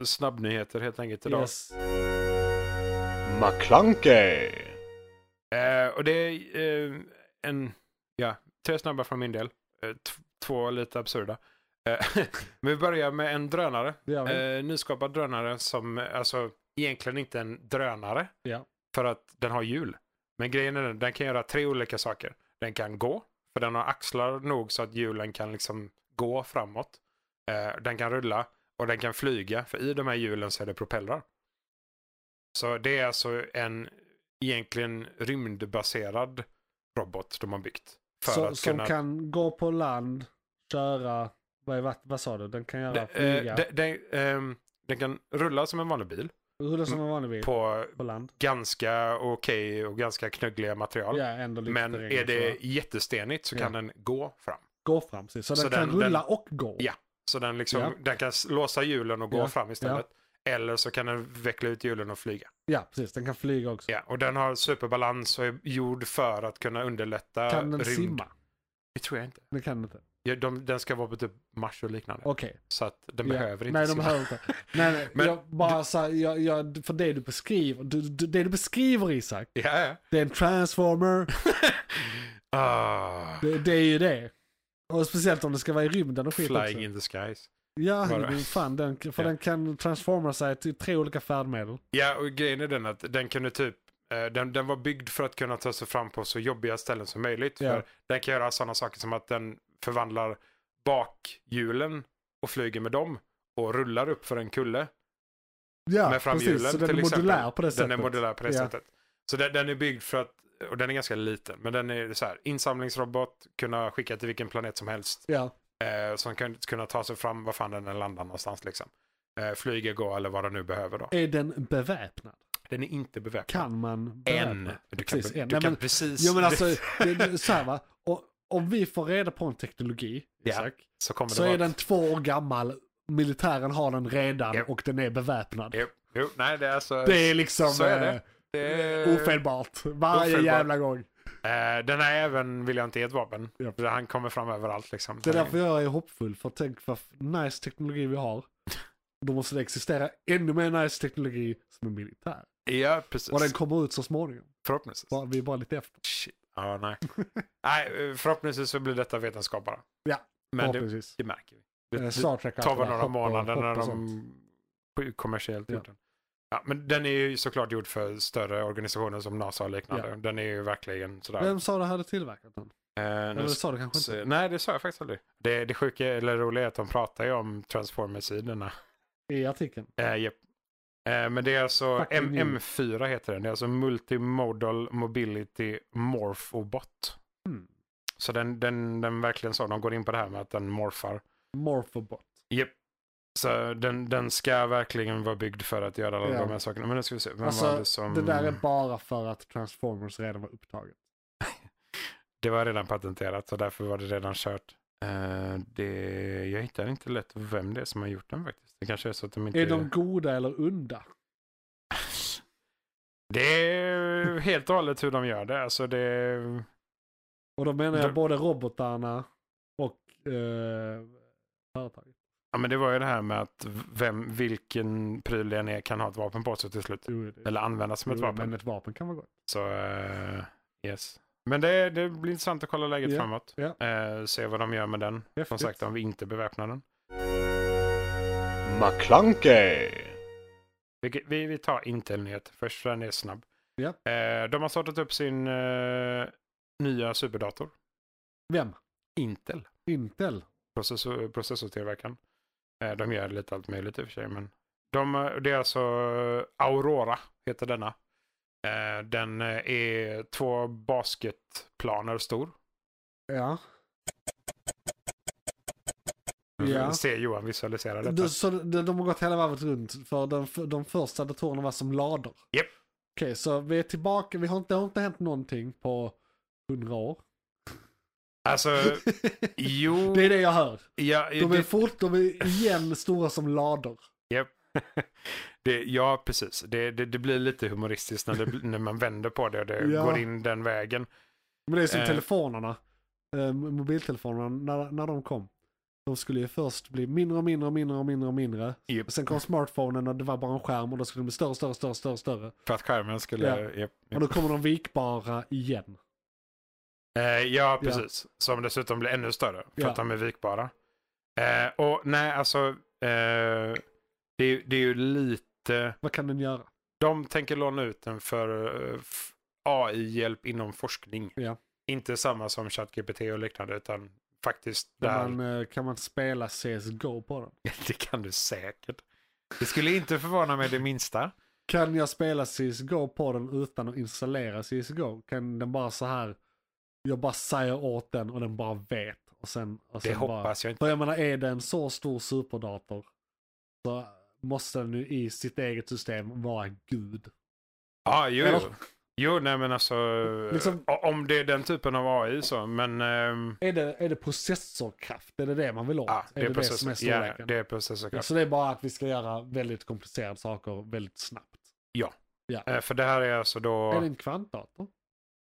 S3: eh, snabbnyheter helt enkelt idag.
S2: Yes.
S4: McClunkey.
S3: Eh, och det är eh, en, ja, tre snabba från min del. Eh, t- två lite absurda. Eh, [LAUGHS] men vi börjar med en drönare.
S2: Det gör vi.
S3: Eh, nyskapad drönare som, eh, alltså egentligen inte en drönare.
S2: Ja.
S3: För att den har hjul. Men grejen är den, den kan göra tre olika saker. Den kan gå, för den har axlar nog så att hjulen kan liksom gå framåt. Eh, den kan rulla och den kan flyga, för i de här hjulen så är det propellrar. Så det är alltså en egentligen rymdbaserad robot de har byggt. För
S2: Så,
S3: att
S2: som
S3: kunna...
S2: kan gå på land, köra, vad, är, vad, vad sa du? Den kan göra,
S3: De-
S2: flyga,
S3: eh, de- de- ehm, den kan rulla som en vanlig bil
S2: rulla som en vanlig bil på,
S3: på
S2: land.
S3: ganska okej och ganska knuggliga material.
S2: Ja, ändå lite
S3: Men
S2: terräng och
S3: är det
S2: sådär.
S3: jättestenigt så kan den gå fram.
S2: gå fram. Precis. Så,
S3: Så
S2: den kan
S3: den-
S2: rulla
S3: den-
S2: och gå.
S3: Ja. Så den, liksom,
S2: Ja.
S3: den kan s- låsa hjulen och gå
S2: Ja.
S3: fram istället. Eller så kan den veckla ut hjulen och flyga.
S2: ja, precis. Den kan flyga också.
S3: Ja, och den har superbalans och är gjord för att kunna underlätta
S2: Kan den
S3: rymd.
S2: simma?
S3: Det tror jag inte.
S2: Den kan inte.
S3: Ja, de, den ska vara på typ Mars och liknande.
S2: Okej.
S3: Så att den
S2: Ja.
S3: behöver inte
S2: Nej, de
S3: simma.
S2: behöver inte. Nej, nej.
S3: [LAUGHS] Men
S2: jag bara så här, jag, jag, för det du beskriver, du, du, det du beskriver Isak,
S3: Ja, ja.
S2: det är en transformer,
S3: Ah,
S2: det, det är ju det. Och speciellt om det ska vara i rymden och skit också.
S3: flying in the skies.
S2: Ja,
S3: Bara.
S2: men fan, den, för
S3: Ja.
S2: den kan transforma sig till tre olika färdmedel.
S3: Ja, och grejen är den att den kunde typ eh, den, den var byggd för att kunna ta sig fram på så jobbiga ställen som möjligt.
S2: Ja.
S3: För den kan göra sådana saker som att den förvandlar bakhjulen och flyger med dem och rullar upp för en kulle
S2: Ja,
S3: med framhjulen.
S2: precis. Så den
S3: till
S2: är
S3: exempel.
S2: modulär på det sättet.
S3: Den är modulär på det
S2: Ja.
S3: sättet. Så den, den är byggd för att, och den är ganska liten, men den är så här, insamlingsrobot, kunna skicka till vilken planet som helst.
S2: Ja,
S3: Eh, som kan kunna ta sig fram var fan den än landar någonstans liksom. Eh, flyga, gå eller vad den nu behöver då.
S2: är den beväpnad?
S3: Den är inte beväpnad.
S2: Kan man beväpna?
S3: En. Du kan,
S2: Precis, en.
S3: Du
S2: Nej,
S3: kan
S2: men-
S3: precis.
S2: Jo
S3: [LAUGHS]
S2: men alltså, det, det, så här va. Och, om vi får reda på en teknologi,
S3: Ja,
S2: Isak,
S3: så kommer
S2: så
S3: det
S2: är
S3: vara-
S2: den två år gammal, militären har den redan
S3: Ja.
S2: och den är beväpnad.
S3: Jo, jo, nej det är alltså...
S2: Det är liksom
S3: Så är det.
S2: eh,
S3: det är-
S2: ofelbart. Varje
S3: ofelbart.
S2: jävla gång.
S3: Eh, den här även vill jag inte ge ett vapen.
S2: Ja.
S3: För Han kommer fram överallt liksom.
S2: Det är därför jag är hoppfull, för tänk vad f- nice teknologi vi har. Då måste det existera ännu mer nice teknologi som är militär.
S3: Ja, precis.
S2: Och den kommer ut så småningom.
S3: Förhoppningsvis.
S2: Bara, vi är bara lite efter.
S3: Shit. Ja, nej. [LAUGHS] nej, eh, förhoppningsvis så blir detta vetenskap bara.
S2: Ja,
S3: Men det,
S2: förhoppningsvis.
S3: det märker vi. Det,
S2: Eh,
S3: det
S2: Star Trek har
S3: tar väl
S2: alltid
S3: några
S2: hopp och-
S3: månader
S2: hopp
S3: när
S2: och sånt.
S3: de på- kommersiellt
S2: Ja.
S3: gjort den. Ja, men den är ju såklart gjord för större organisationer som NASA och liknande.
S2: Ja.
S3: Den är ju verkligen sådär.
S2: Vem sa det hade tillverkat den?
S3: Eh, nu
S2: Eller sa det kanske inte?
S3: Så, nej, det sa jag faktiskt aldrig. Det, det sjuka eller roliga är att de pratar ju om Transformers-sidorna.
S2: I artikeln.
S3: Eh, japp. eh, men det är alltså
S2: Fucking
S3: M-
S2: new.
S3: M4 heter den. Det är alltså Multimodal Mobility Morphobot.
S2: Mm.
S3: Så den, den, den verkligen så. De går in på det här med att den morfar.
S2: Morphobot.
S3: Japp. Så den, den ska verkligen vara byggd för att göra alla
S2: Ja.
S3: de här sakerna. Men nu ska vi se. Vem var
S2: Alltså,
S3: det som...
S2: det där är bara för att Transformers redan var upptaget.
S3: Det var redan patenterat så därför var det redan kört. Eh, det, jag hittar inte lätt vem det är som har gjort den faktiskt. Det kanske är så att de inte...
S2: Är de goda eller onda?
S3: Det är helt och hållet hur de gör det. Alltså det...
S2: Och då menar jag
S3: De-
S2: både robotarna och eh, företaget.
S3: Ja, men det var ju det här med att vem, vilken pryl det än är kan ha ett vapen på sig till slut.
S2: Jo, det-
S3: Eller användas som ett
S2: jo,
S3: vapen.
S2: Mm, Men ett vapen kan vara gott.
S3: Så eh, yes. Men det, det blir intressant att kolla läget
S2: Ja,
S3: framåt.
S2: ja.
S3: Eh, se vad de gör med den. Som
S2: Häftigt.
S3: sagt, om vi inte beväpnar den.
S4: McClunkey.
S3: Vi, vi, vi tar Intel-nyhet först, för den är snabb.
S2: Ja.
S3: Eh, de har startat upp sin eh, nya superdator.
S2: Vem?
S3: Intel.
S2: Intel.
S3: Processor, processortillverkaren. Eh, de gör lite allt möjligt i och för sig. Men de, eh, det är alltså Aurora, heter denna. Eh, den eh, är två basketplaner stor.
S2: Ja. Ja.
S3: Ser Johan visualisera detta.
S2: Du, så de, de har gått hela varvet runt för de, för de första datorerna var som lador.
S3: Japp.
S2: Okej, så vi är tillbaka. Vi har inte, det har inte hänt någonting på hundra år.
S3: Alltså,
S2: [LAUGHS]
S3: jo.
S2: det är det jag hör.
S3: ja,
S2: [LAUGHS] De är
S3: det-
S2: fort, de är igen stora som lador.
S3: Japp. Det, ja, precis. Det, det, det blir lite humoristiskt när, det, bl- när man vänder på det och det
S2: Ja.
S3: går in den vägen.
S2: Men det är som
S3: Eh.
S2: telefonerna, eh, mobiltelefonerna, när, när de kom. De skulle ju först bli mindre och mindre och mindre och mindre och mindre.
S3: Japp.
S2: Och sen kom smartphonen och det var bara en skärm och då skulle de bli större, större, större, större, större.
S3: För att skärmen skulle...
S2: Ja.
S3: japp, japp.
S2: Och då kommer de vikbara igen.
S3: Eh, ja, precis. Som dessutom blir ännu större för
S2: Ja.
S3: att de är vikbara. Eh, och nej, alltså. Eh, det, är- det är ju lite...
S2: Vad kan den göra?
S3: De tänker låna ut den för eh, f- AI-hjälp inom forskning.
S2: Ja.
S3: Inte samma som ChatGPT och liknande, utan faktiskt där.
S2: Kan man, eh, kan man spela CSGO på den?
S3: [LAUGHS] Det kan du säkert. Det skulle inte förvåna mig det
S2: [LAUGHS]
S3: minsta.
S2: Kan jag spela CSGO på den utan att installera CSGO? Kan den bara så här, jag bara säger åt den och den bara vet. Och sen, och sen
S3: Det
S2: bara,
S3: hoppas jag inte.
S2: För jag menar, är det en så stor superdator så måste den ju i sitt eget system vara gud.
S3: Ja, jo,
S2: Eller?
S3: jo. Jo, nej men alltså.
S2: Liksom-
S3: o- Om det är den typen av AI så. Men ehm,
S2: Är det, är det processorkraft? Är det det man vill åt?
S3: ja, det,
S2: är
S3: är
S2: det det
S3: process-
S2: som är
S3: ja,
S2: storleken?
S3: det är processorkraft.
S2: Så det är bara att vi ska göra väldigt komplicerade saker väldigt snabbt.
S3: Eh, För det här är alltså då.
S2: Är det en kvantdator?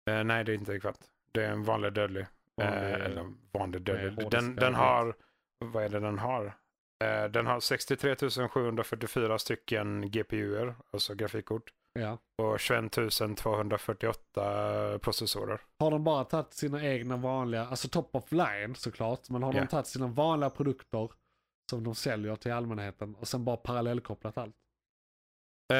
S3: Eh, nej, det är inte kvant. Det är en vanlig dödlig.
S2: Vanlig-
S3: eh, eller vanlig
S2: hårdisk
S3: dödlig. Den, den
S2: dödlig.
S3: har, vad är det den har? Eh, den har 63 744 stycken GPUer, alltså grafikkort.
S2: Ja.
S3: Och 21 248 processorer.
S2: Har de bara tagit sina egna vanliga, alltså top of line såklart, men har
S3: Ja.
S2: de tagit sina vanliga produkter som de säljer till allmänheten och sen bara parallellkopplat allt?
S3: Eh,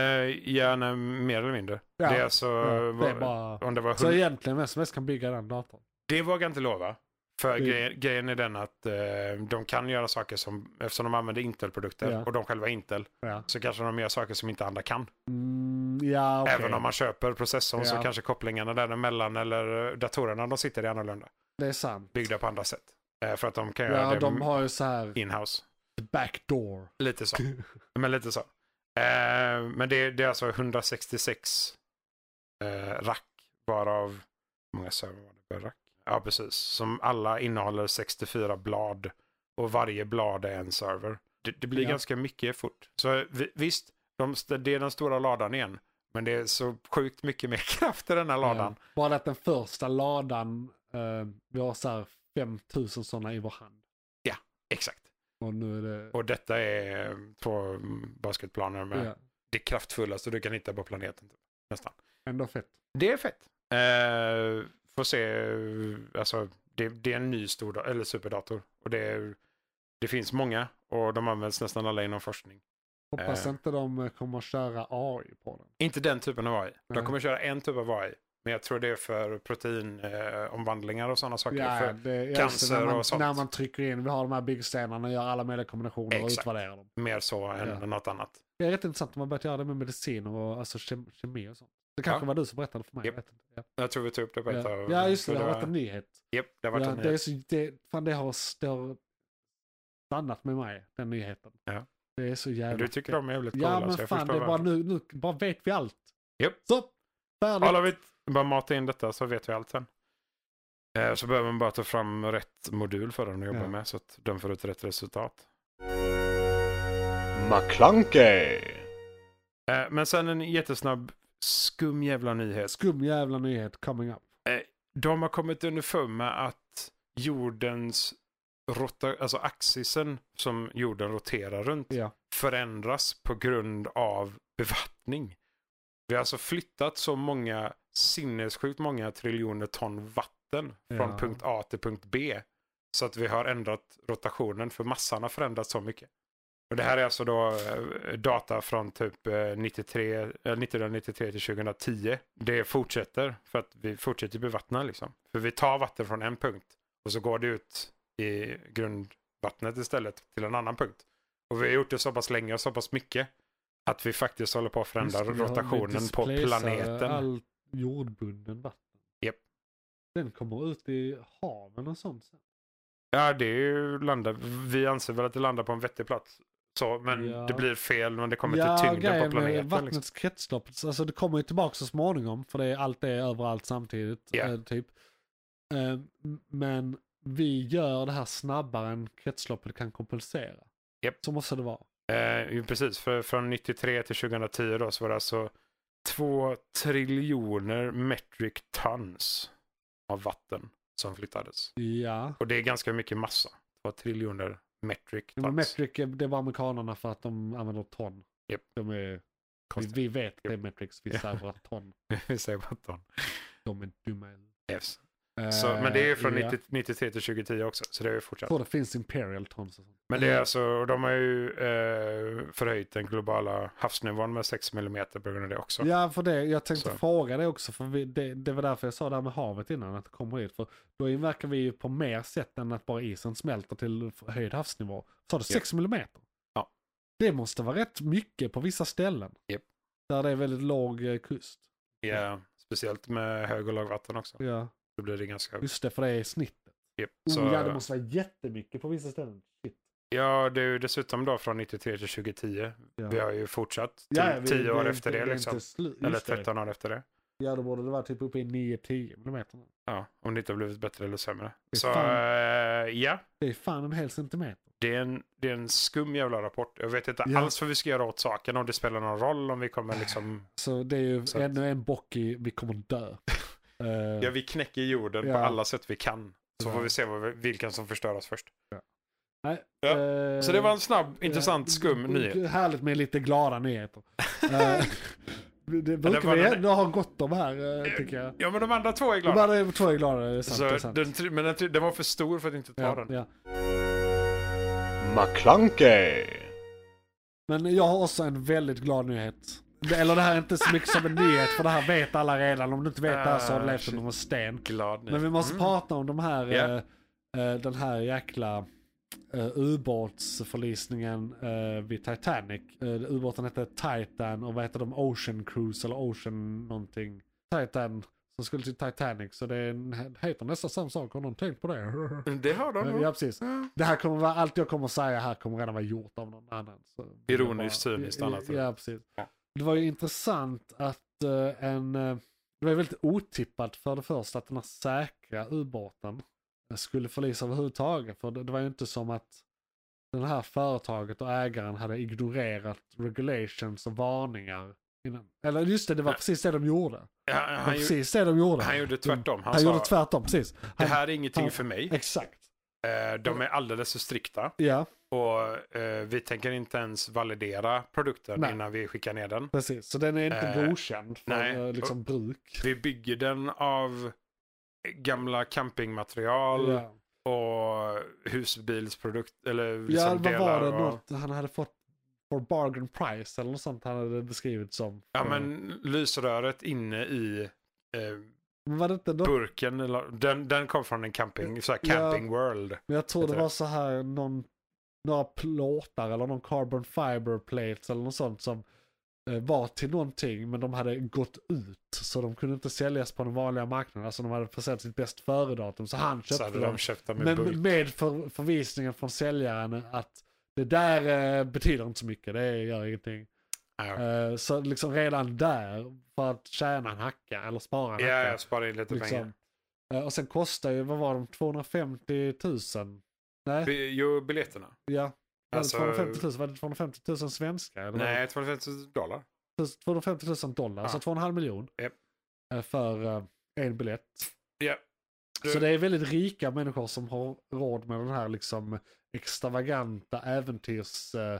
S3: ja, nej, mer eller mindre.
S2: Ja,
S3: Det är alltså,
S2: Ja, det är
S3: vad-
S2: bara...
S3: om det var
S2: Så
S3: hund-
S2: egentligen vem som helst kan bygga den datorn.
S3: Det vågar jag inte lova. För
S2: Det-
S3: grejen, grejen är den att eh, de kan göra saker som, eftersom de använder Intel-produkter
S2: Ja.
S3: och de själva är Intel,
S2: Ja,
S3: så kanske de gör saker som inte andra kan.
S2: mm, ja okej.
S3: Även om man köper processorn så
S2: Ja.
S3: kanske kopplingarna däremellan eller eh, datorerna de sitter i är annorlunda.
S2: Det är sant.
S3: Byggda på andra sätt. Eh, för att de kan göra
S2: Ja,
S3: det
S2: de har ju så här
S3: in-house.
S2: the backdoor.
S3: Lite
S2: [LAUGHS]
S3: så. men lite så. Eh, men det, det är alltså 166 eh, rack varav hur många server var det per rack? Ja, precis. Som alla innehåller 64 blad och varje blad är en server. Det, det blir
S2: Ja.
S3: ganska mycket fort. Så vi- visst, de, st- det är den stora ladan igen. Men det är så sjukt mycket mer [LAUGHS] kraft i den här ladan.
S2: Eh, Bara det att den första ladan, eh, vi har så här 5000 sådana i vår hand.
S3: Exakt.
S2: Och nu är det...
S3: Och detta är eh, två mm, basketplaner med
S2: ja,
S3: det kraftfullaste du kan hitta på planeten. Typ. Nästan.
S2: ändå fett.
S3: Det är fett. Eh, får se, eh, alltså det, det är en ny stor da- eller superdator. Och det, är, det finns många och de används nästan alla inom forskning.
S2: Hoppas
S3: Eh.
S2: inte de eh, kommer att köra AI på den.
S3: Inte den typen av AI.
S2: Nej.
S3: De kommer köra en typ av AI. Men jag tror det är för proteinomvandlingar eh, omvandlingar och sådana saker.
S2: ja,
S3: För,
S2: det, ja, just det,
S3: cancer
S2: när man,
S3: och sånt.
S2: När man trycker in, vi har de här byggstenarna, gör alla möjliga kombinationer och
S3: Exakt.
S2: utvärderar dem.
S3: mer så än
S2: Ja.
S3: något annat.
S2: Det är rätt intressant att man börjat göra det med medicin och alltså, kem, kemi och sånt. Det kanske
S3: Ja.
S2: var du som berättade för mig.
S3: Japp.
S2: jag vet inte. Ja.
S3: Jag tror vi tog upp det på ett
S2: Ja.
S3: av...
S2: ja, just det, det
S3: för
S2: har
S3: var-
S2: varit en nyhet.
S3: Japp, det har varit
S2: Ja,
S3: en
S2: det, är
S3: nyhet.
S2: så, det, fan det, har, det har stannat med mig, den nyheten.
S3: Ja.
S2: Det är så jävla...
S3: Du tycker
S2: fett.
S3: de är jävligt coola.
S2: Ja
S3: så
S2: men
S3: jag
S2: fan, det
S3: förstår
S2: är bara
S3: varför.
S2: nu, nu bara vet vi allt.
S3: Japp.
S2: Så, färdigt.
S3: Alla vet, bara mata in detta så vet vi allt sen. Eh, Så behöver man bara ta fram rätt modul för den att jobba
S2: Ja.
S3: med så att den får ut rätt resultat.
S4: McClunkey.
S3: Eh, Men sen en jättesnabb skum jävla nyhet.
S2: Skum jävla nyhet coming up.
S3: De har kommit underfund med att jordens rota, alltså axisen som jorden roterar runt
S2: Ja.
S3: förändras på grund av bevattning. Vi har alltså flyttat så många, sinnessjukt många triljoner ton vatten från
S2: Ja.
S3: punkt A till punkt B. Så att vi har ändrat rotationen för massan har förändrats så mycket. Och det här är alltså då eh, data från typ eh, 93, eh, 1993 till 2010. Det fortsätter för att vi fortsätter bevattna liksom. För vi tar vatten från en punkt och så går det ut i grundvattnet istället till en annan punkt. Och vi har gjort det så pass länge och så pass mycket att vi faktiskt håller på att förändra
S2: Just det, vi har- vi
S3: rotationen på
S2: displacerar
S3: planeten.
S2: All jordbunden vatten.
S3: Japp.
S2: Den kommer ut i haven och sånt. sen.
S3: Ja, det är ju landar, vi anser väl att det landar på en vettig plats. Så, men
S2: Ja.
S3: det blir fel men det kommer
S2: ja,
S3: till tyngden på
S2: grejen är
S3: planeten.
S2: Vattnets
S3: Liksom.
S2: kretslopp, alltså det kommer ju tillbaka så småningom för det är, allt är överallt samtidigt.
S3: Ja.
S2: eh, typ. Eh, m- Men vi gör det här snabbare än kretsloppet kan kompensera.
S3: Japp.
S2: Så måste det vara.
S3: Eh, ju precis, för, från 93 till 2010 då så var det alltså två triljoner metric tons av vatten som flyttades.
S2: Ja.
S3: Och det är ganska mycket massa. Två triljoner metric
S2: Men
S3: tons.
S2: metric, är- det var amerikanerna för att de använder ton.
S3: Japp.
S2: De är, vi,
S3: Konstigt.
S2: vi vet att det är metrics, vi
S3: Ja.
S2: säger bara ton.
S3: [LAUGHS] Vi säger bara ton.
S2: De är dumma.
S3: Yes. Så, men det är ju från
S2: Eh, ja.
S3: 90, 93 till 2010 också, så det är ju
S2: Jag
S3: fortsatt.
S2: tror det finns imperial tons och sånt.
S3: Men det är alltså, och de har ju eh, förhöjt den globala havsnivån med 6 millimeter på grund av det också.
S2: Ja, för det, jag tänkte
S3: Så.
S2: fråga det också. För vi, det, det var därför jag sa det här med havet innan, att det kommer dit. För då inverkar vi ju på mer sätt än att bara isen smälter till höjd havsnivå. Sa du 6 millimeter?
S3: Ja.
S2: Det måste vara rätt mycket på vissa ställen.
S3: Japp.
S2: Där det är väldigt låg eh, kust.
S3: Ja, speciellt med hög och lågvatten också.
S2: Ja,
S3: Då blir det ganska...
S2: just det, för det är snittet.
S3: Japp.
S2: Så...
S3: Så,
S2: Oh, ja, det måste vara jättemycket på vissa ställen. Shit.
S3: ja, det är ju dessutom då från 93 till 2010.
S2: Ja.
S3: Vi har ju fortsatt
S2: Ja, ja, vi-
S3: 10 år
S2: är
S3: efter
S2: inte-
S3: det
S2: är
S3: liksom.
S2: inte slut-
S3: Eller
S2: just det.
S3: 13 år efter det.
S2: Ja, då borde det vara typ uppe i 9-10 millimeter.
S3: Ja, om det inte har blivit bättre eller sämre.
S2: Fy
S3: Så
S2: fan.
S3: eh, ja,
S2: Det är fan en hel centimeter.
S3: det är, en, det är en skum jävla rapport. Jag vet inte
S2: Ja.
S3: alls vad vi ska göra åt saken, om det spelar någon roll, om vi kommer liksom...
S2: Så det är ju
S3: Så att-
S2: ännu en bock i vi kommer
S3: [LAUGHS]
S2: dö. Eh,
S3: Ja, vi knäcker jorden
S2: Ja.
S3: på alla sätt vi kan. Så
S2: Ja.
S3: får vi se vad vi, vilken som förstöras först.
S2: nej,
S3: Ja,
S2: eh,
S3: Så det var en snabb, intressant,
S2: eh,
S3: skum nyhet.
S2: Härligt med lite
S3: [LAUGHS]
S2: glada nyheter. Eh, det
S3: det
S2: brukar
S3: var
S2: vi
S3: den-
S2: ändå ha gott om här, eh, tycker jag.
S3: Ja, men de andra två är glada.
S2: Glada. Bara två är glada, det är sant. det är
S3: Så
S2: sant.
S3: den, tri- men den, tri- den var för stor för att inte ta
S2: ja,
S3: den.
S2: ja.
S4: McClunkey.
S2: Men jag har också en väldigt glad nyhet. Eller det här är inte så mycket som en nyhet, för det här vet alla redan. Om du inte vet det här så har du
S3: Ah,
S2: levt
S3: shit.
S2: under en sten.
S3: Glad nyhet.
S2: Men vi måste
S3: Mm.
S2: prata om de här,
S3: Ja.
S2: eh, eh, den här jäkla eh, ubåtsförlisningen eh, vid Titanic. Eh, ubåten hette Titan och vad heter de? Ocean Cruise eller Ocean någonting. Titan som skulle till Titanic. Så det är en, heter nästan samma sak. Har någon tänkt på det?
S3: Mm, Det har de.
S2: ja, precis.
S3: Ja.
S2: Det här kommer vara, allt jag kommer säga här kommer redan vara gjort av någon annan. Så
S3: Ironiskt,
S2: Det var-
S3: cyniskt, annat.
S2: Ja, precis.
S3: Ja.
S2: Det var ju intressant att eh, en, eh, det var ju väldigt otippat för det första att den här säkra ubåten skulle förlisa överhuvudtaget. För det, det var ju inte som att det här företaget och ägaren hade ignorerat regulations och varningar. Innan. Eller just det, det var
S3: Nej.
S2: precis det de gjorde. Det
S3: Ja, han,
S2: var
S3: han, gjorde-
S2: precis det de gjorde.
S3: han gjorde tvärtom. Han,
S2: Mm. Han
S3: sa,
S2: gjorde tvärtom, precis.
S3: det
S2: Han-
S3: här är ingenting
S2: han-
S3: för mig.
S2: Exakt.
S3: Eh, De är alldeles för strikta.
S2: Ja,
S3: Och eh, vi tänker inte ens validera produkten
S2: Nej.
S3: innan vi skickar ner den.
S2: precis. Så den är inte
S3: Eh,
S2: godkänd för
S3: nej.
S2: eh, liksom, bruk.
S3: Vi bygger den av gamla campingmaterial
S2: Ja.
S3: och husbilsprodukt eller liksom
S2: Ja, vad var
S3: delar
S2: det?
S3: och-
S2: Något han hade fått for bargain price eller något sånt han hade beskrivit som. Eh,
S3: Ja, men lysröret inne i eh,
S2: Men var det inte något?
S3: burken, eller- den, den kom från en camping, så här
S2: Ja.
S3: camping world.
S2: Men jag tror det
S3: heter
S2: var så här någon, några plåtar eller någon carbon fiber plates eller något sånt som eh, var till någonting men de hade gått ut så de kunde inte säljas på den vanliga marknaden. Alltså de hade försett sitt bäst före-datum så han
S3: Så
S2: köpte
S3: hade
S2: dem.
S3: de köpt dem i
S2: Men
S3: bulk.
S2: med för, förvisningen från säljaren att det där eh, betyder inte så mycket, det gör ingenting.
S3: Ja.
S2: Eh, Så liksom redan där, för att tjäna en hacka eller spara en
S3: Ja,
S2: hacka.
S3: jag sparar in lite pengar.
S2: liksom. Eh, Och sen kostar ju, vad var de, 250 000? Nej,
S3: Bi- Jo, biljetterna.
S2: ja. Var det
S3: alltså-
S2: 250 000? Var det 250 000 svenska? Eller var det
S3: Nej, 250 dollar.
S2: 250 000 dollar, alltså
S3: Ja.
S2: så 2,5 miljon.
S3: Japp.
S2: eh, För eh, en biljett.
S3: Ja. Du-
S2: Så det är väldigt rika människor som har råd med den här liksom extravaganta äventyrs... eh,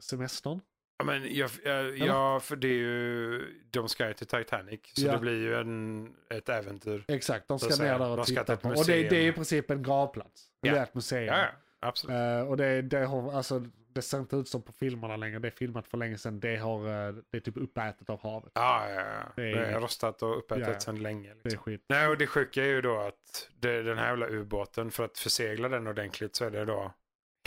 S2: semestern.
S3: Ja, men jag, jag, ja, för det är ju, de ska ju till Titanic, så
S2: Ja.
S3: det blir ju en, ett äventyr.
S2: Exakt, de
S3: Så
S2: ska
S3: att säga,
S2: ner där och
S3: de ska till
S2: titta
S3: ett
S2: på. Och det, det är i
S3: museum.
S2: princip en gravplats.
S3: Ja.
S2: Det är ett museum.
S3: Ja, ja absolut.
S2: Eh, och det, det, har, alltså, det ser inte ut som på filmerna längre. Det är filmat för länge sedan. Det, har, eh, det är typ uppätet av havet.
S3: Ja, ja, ja.
S2: Det
S3: Det
S2: är
S3: är
S2: inget-
S3: rostat och uppätet
S2: Ja, ja.
S3: sedan länge.
S2: Det är
S3: Liksom.
S2: skit.
S3: Nej, och det sjuka är ju då att det, den här jävla ubåten, för att försegla den ordentligt så är det då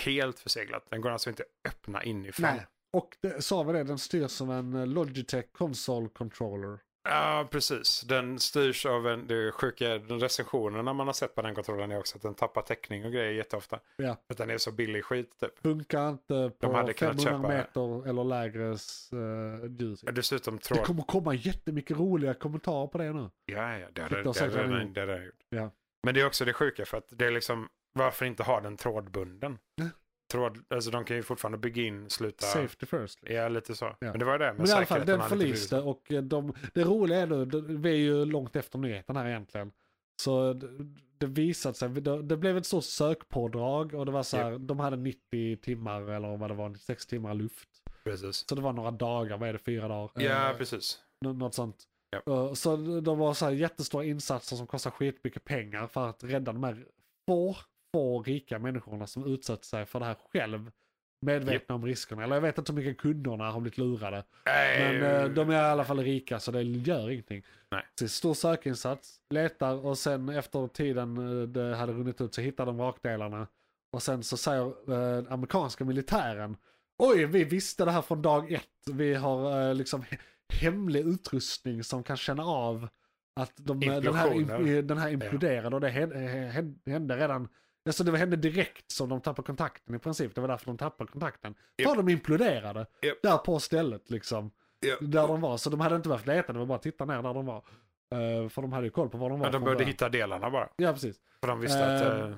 S3: helt förseglat. Den går alltså inte att öppna inifrån.
S2: Nej. Och det, sa vi det, den styrs som en eh, Logitech console controller.
S3: Ja, precis. Den styrs av en, det sjuka, är, de recensionerna man har sett på den kontrollen är också att den tappar täckning och grejer jätteofta.
S2: Ja.
S3: Att den är så billig skit typ.
S2: Funkar inte på
S3: hade kunnat
S2: 500
S3: köpa det.
S2: meter eller lägre uh, ljus.
S3: Ja, Dessutom
S2: Det
S3: tråd...
S2: kommer komma jättemycket roliga kommentarer på det nu.
S3: Ja, ja, det
S2: Fick
S3: hade
S2: de
S3: det
S2: säkert
S3: hade
S2: redan
S3: redan
S2: gjort.
S3: det hade jag gjort.
S2: Ja.
S3: Men det är också det sjuka för att det är liksom, varför inte ha den trådbunden?
S2: Ja.
S3: Tråd, alltså de kan ju fortfarande bygga in, sluta.
S2: Safety first. liksom.
S3: Ja, lite så.
S2: Ja.
S3: Men det var ju det med
S2: Men i alla fall,
S3: säkerheten
S2: den
S3: hade inte blivit
S2: förliste och eh, de, det roliga är nu, det- vi är ju långt efter nyheten här egentligen. Så det, det visade sig, det, det blev ett stort sökpådrag och det var så här, de hade 90 timmar eller vad det var, 96 timmar luft.
S3: Precis.
S2: Så det var några dagar, vad är det, fyra dagar?
S3: Ja,
S2: Eh,
S3: precis.
S2: Nå- Något sånt.
S3: Ja.
S2: Eh, Så de var så här jättestora insatser som kostar skitmycket pengar för att rädda de här få, få rika människorna som utsatt sig för det här själv. Medvetna om riskerna. Eller jag vet inte hur mycket kunderna har blivit lurade. Men eh, de är i alla fall rika så det gör ingenting.
S3: Nej.
S2: Så stor sökinsats, letar och sen efter tiden eh, det hade runnit ut så hittar de vrakdelarna. Och sen så säger eh, amerikanska militären Oj, vi visste det här från dag ett. Vi har eh, liksom he- hemlig utrustning som kan känna av att de, eh, den, här,
S3: Implosioner.
S2: im- den här imploderade. Och det hände, he- hände redan, alltså det hände direkt som de tappade kontakten i princip. Det var därför de tappade kontakten. För
S3: Japp.
S2: de imploderade
S3: Japp.
S2: där på stället liksom.
S3: Ja.
S2: där de var. Så de hade inte behövt leta, det var bara att titta ner där de var. Eh, för de hade ju koll på var de var.
S3: Men de
S2: från
S3: började
S2: början.
S3: hitta delarna bara.
S2: Ja, precis.
S3: För de visste att...
S2: Ehm.
S3: eh,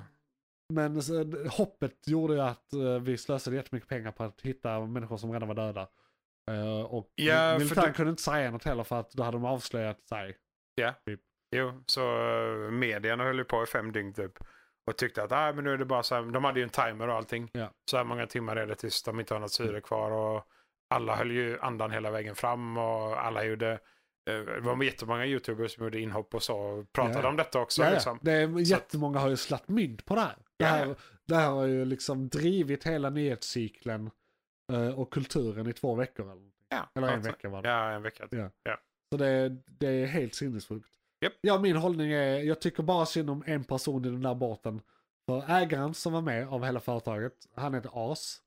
S2: Men så, d- hoppet gjorde ju att eh, vi slösade jättemycket pengar på att hitta människor som redan var döda. Eh, och
S3: Ja,
S2: mil-
S3: för
S2: militären
S3: det-
S2: kunde inte säga något heller för att då hade de avslöjat sig.
S3: Jo, så eh, medierna höll ju på i fem dygn typ. Och tyckte att ah, men nu är det bara så här. De hade ju en timer och allting.
S2: Ja. Mm.
S3: Så här många timmar är det tills de inte har något syre kvar. Och alla höll ju andan hela vägen fram och alla gjorde... eh, Det var jättemånga youtubers som gjorde inhopp och så. Och pratade
S2: Ja, ja.
S3: om detta också.
S2: Ja, ja.
S3: liksom.
S2: det är, jättemånga har ju slatt mynt på det här. Det
S3: Ja,
S2: här,
S3: ja.
S2: det här har ju liksom drivit hela nyhetscykeln eh, och kulturen i två veckor. Eller, någonting.
S3: Ja,
S2: eller en
S3: alltså.
S2: vecka var det.
S3: Ja, en vecka.
S2: Ja. Så det, det är helt sinnessjukt.
S3: Japp.
S2: Ja, min hållning är, jag tycker bara synd om en person i den där båten. För ägaren som var med av hela företaget, han är ett as.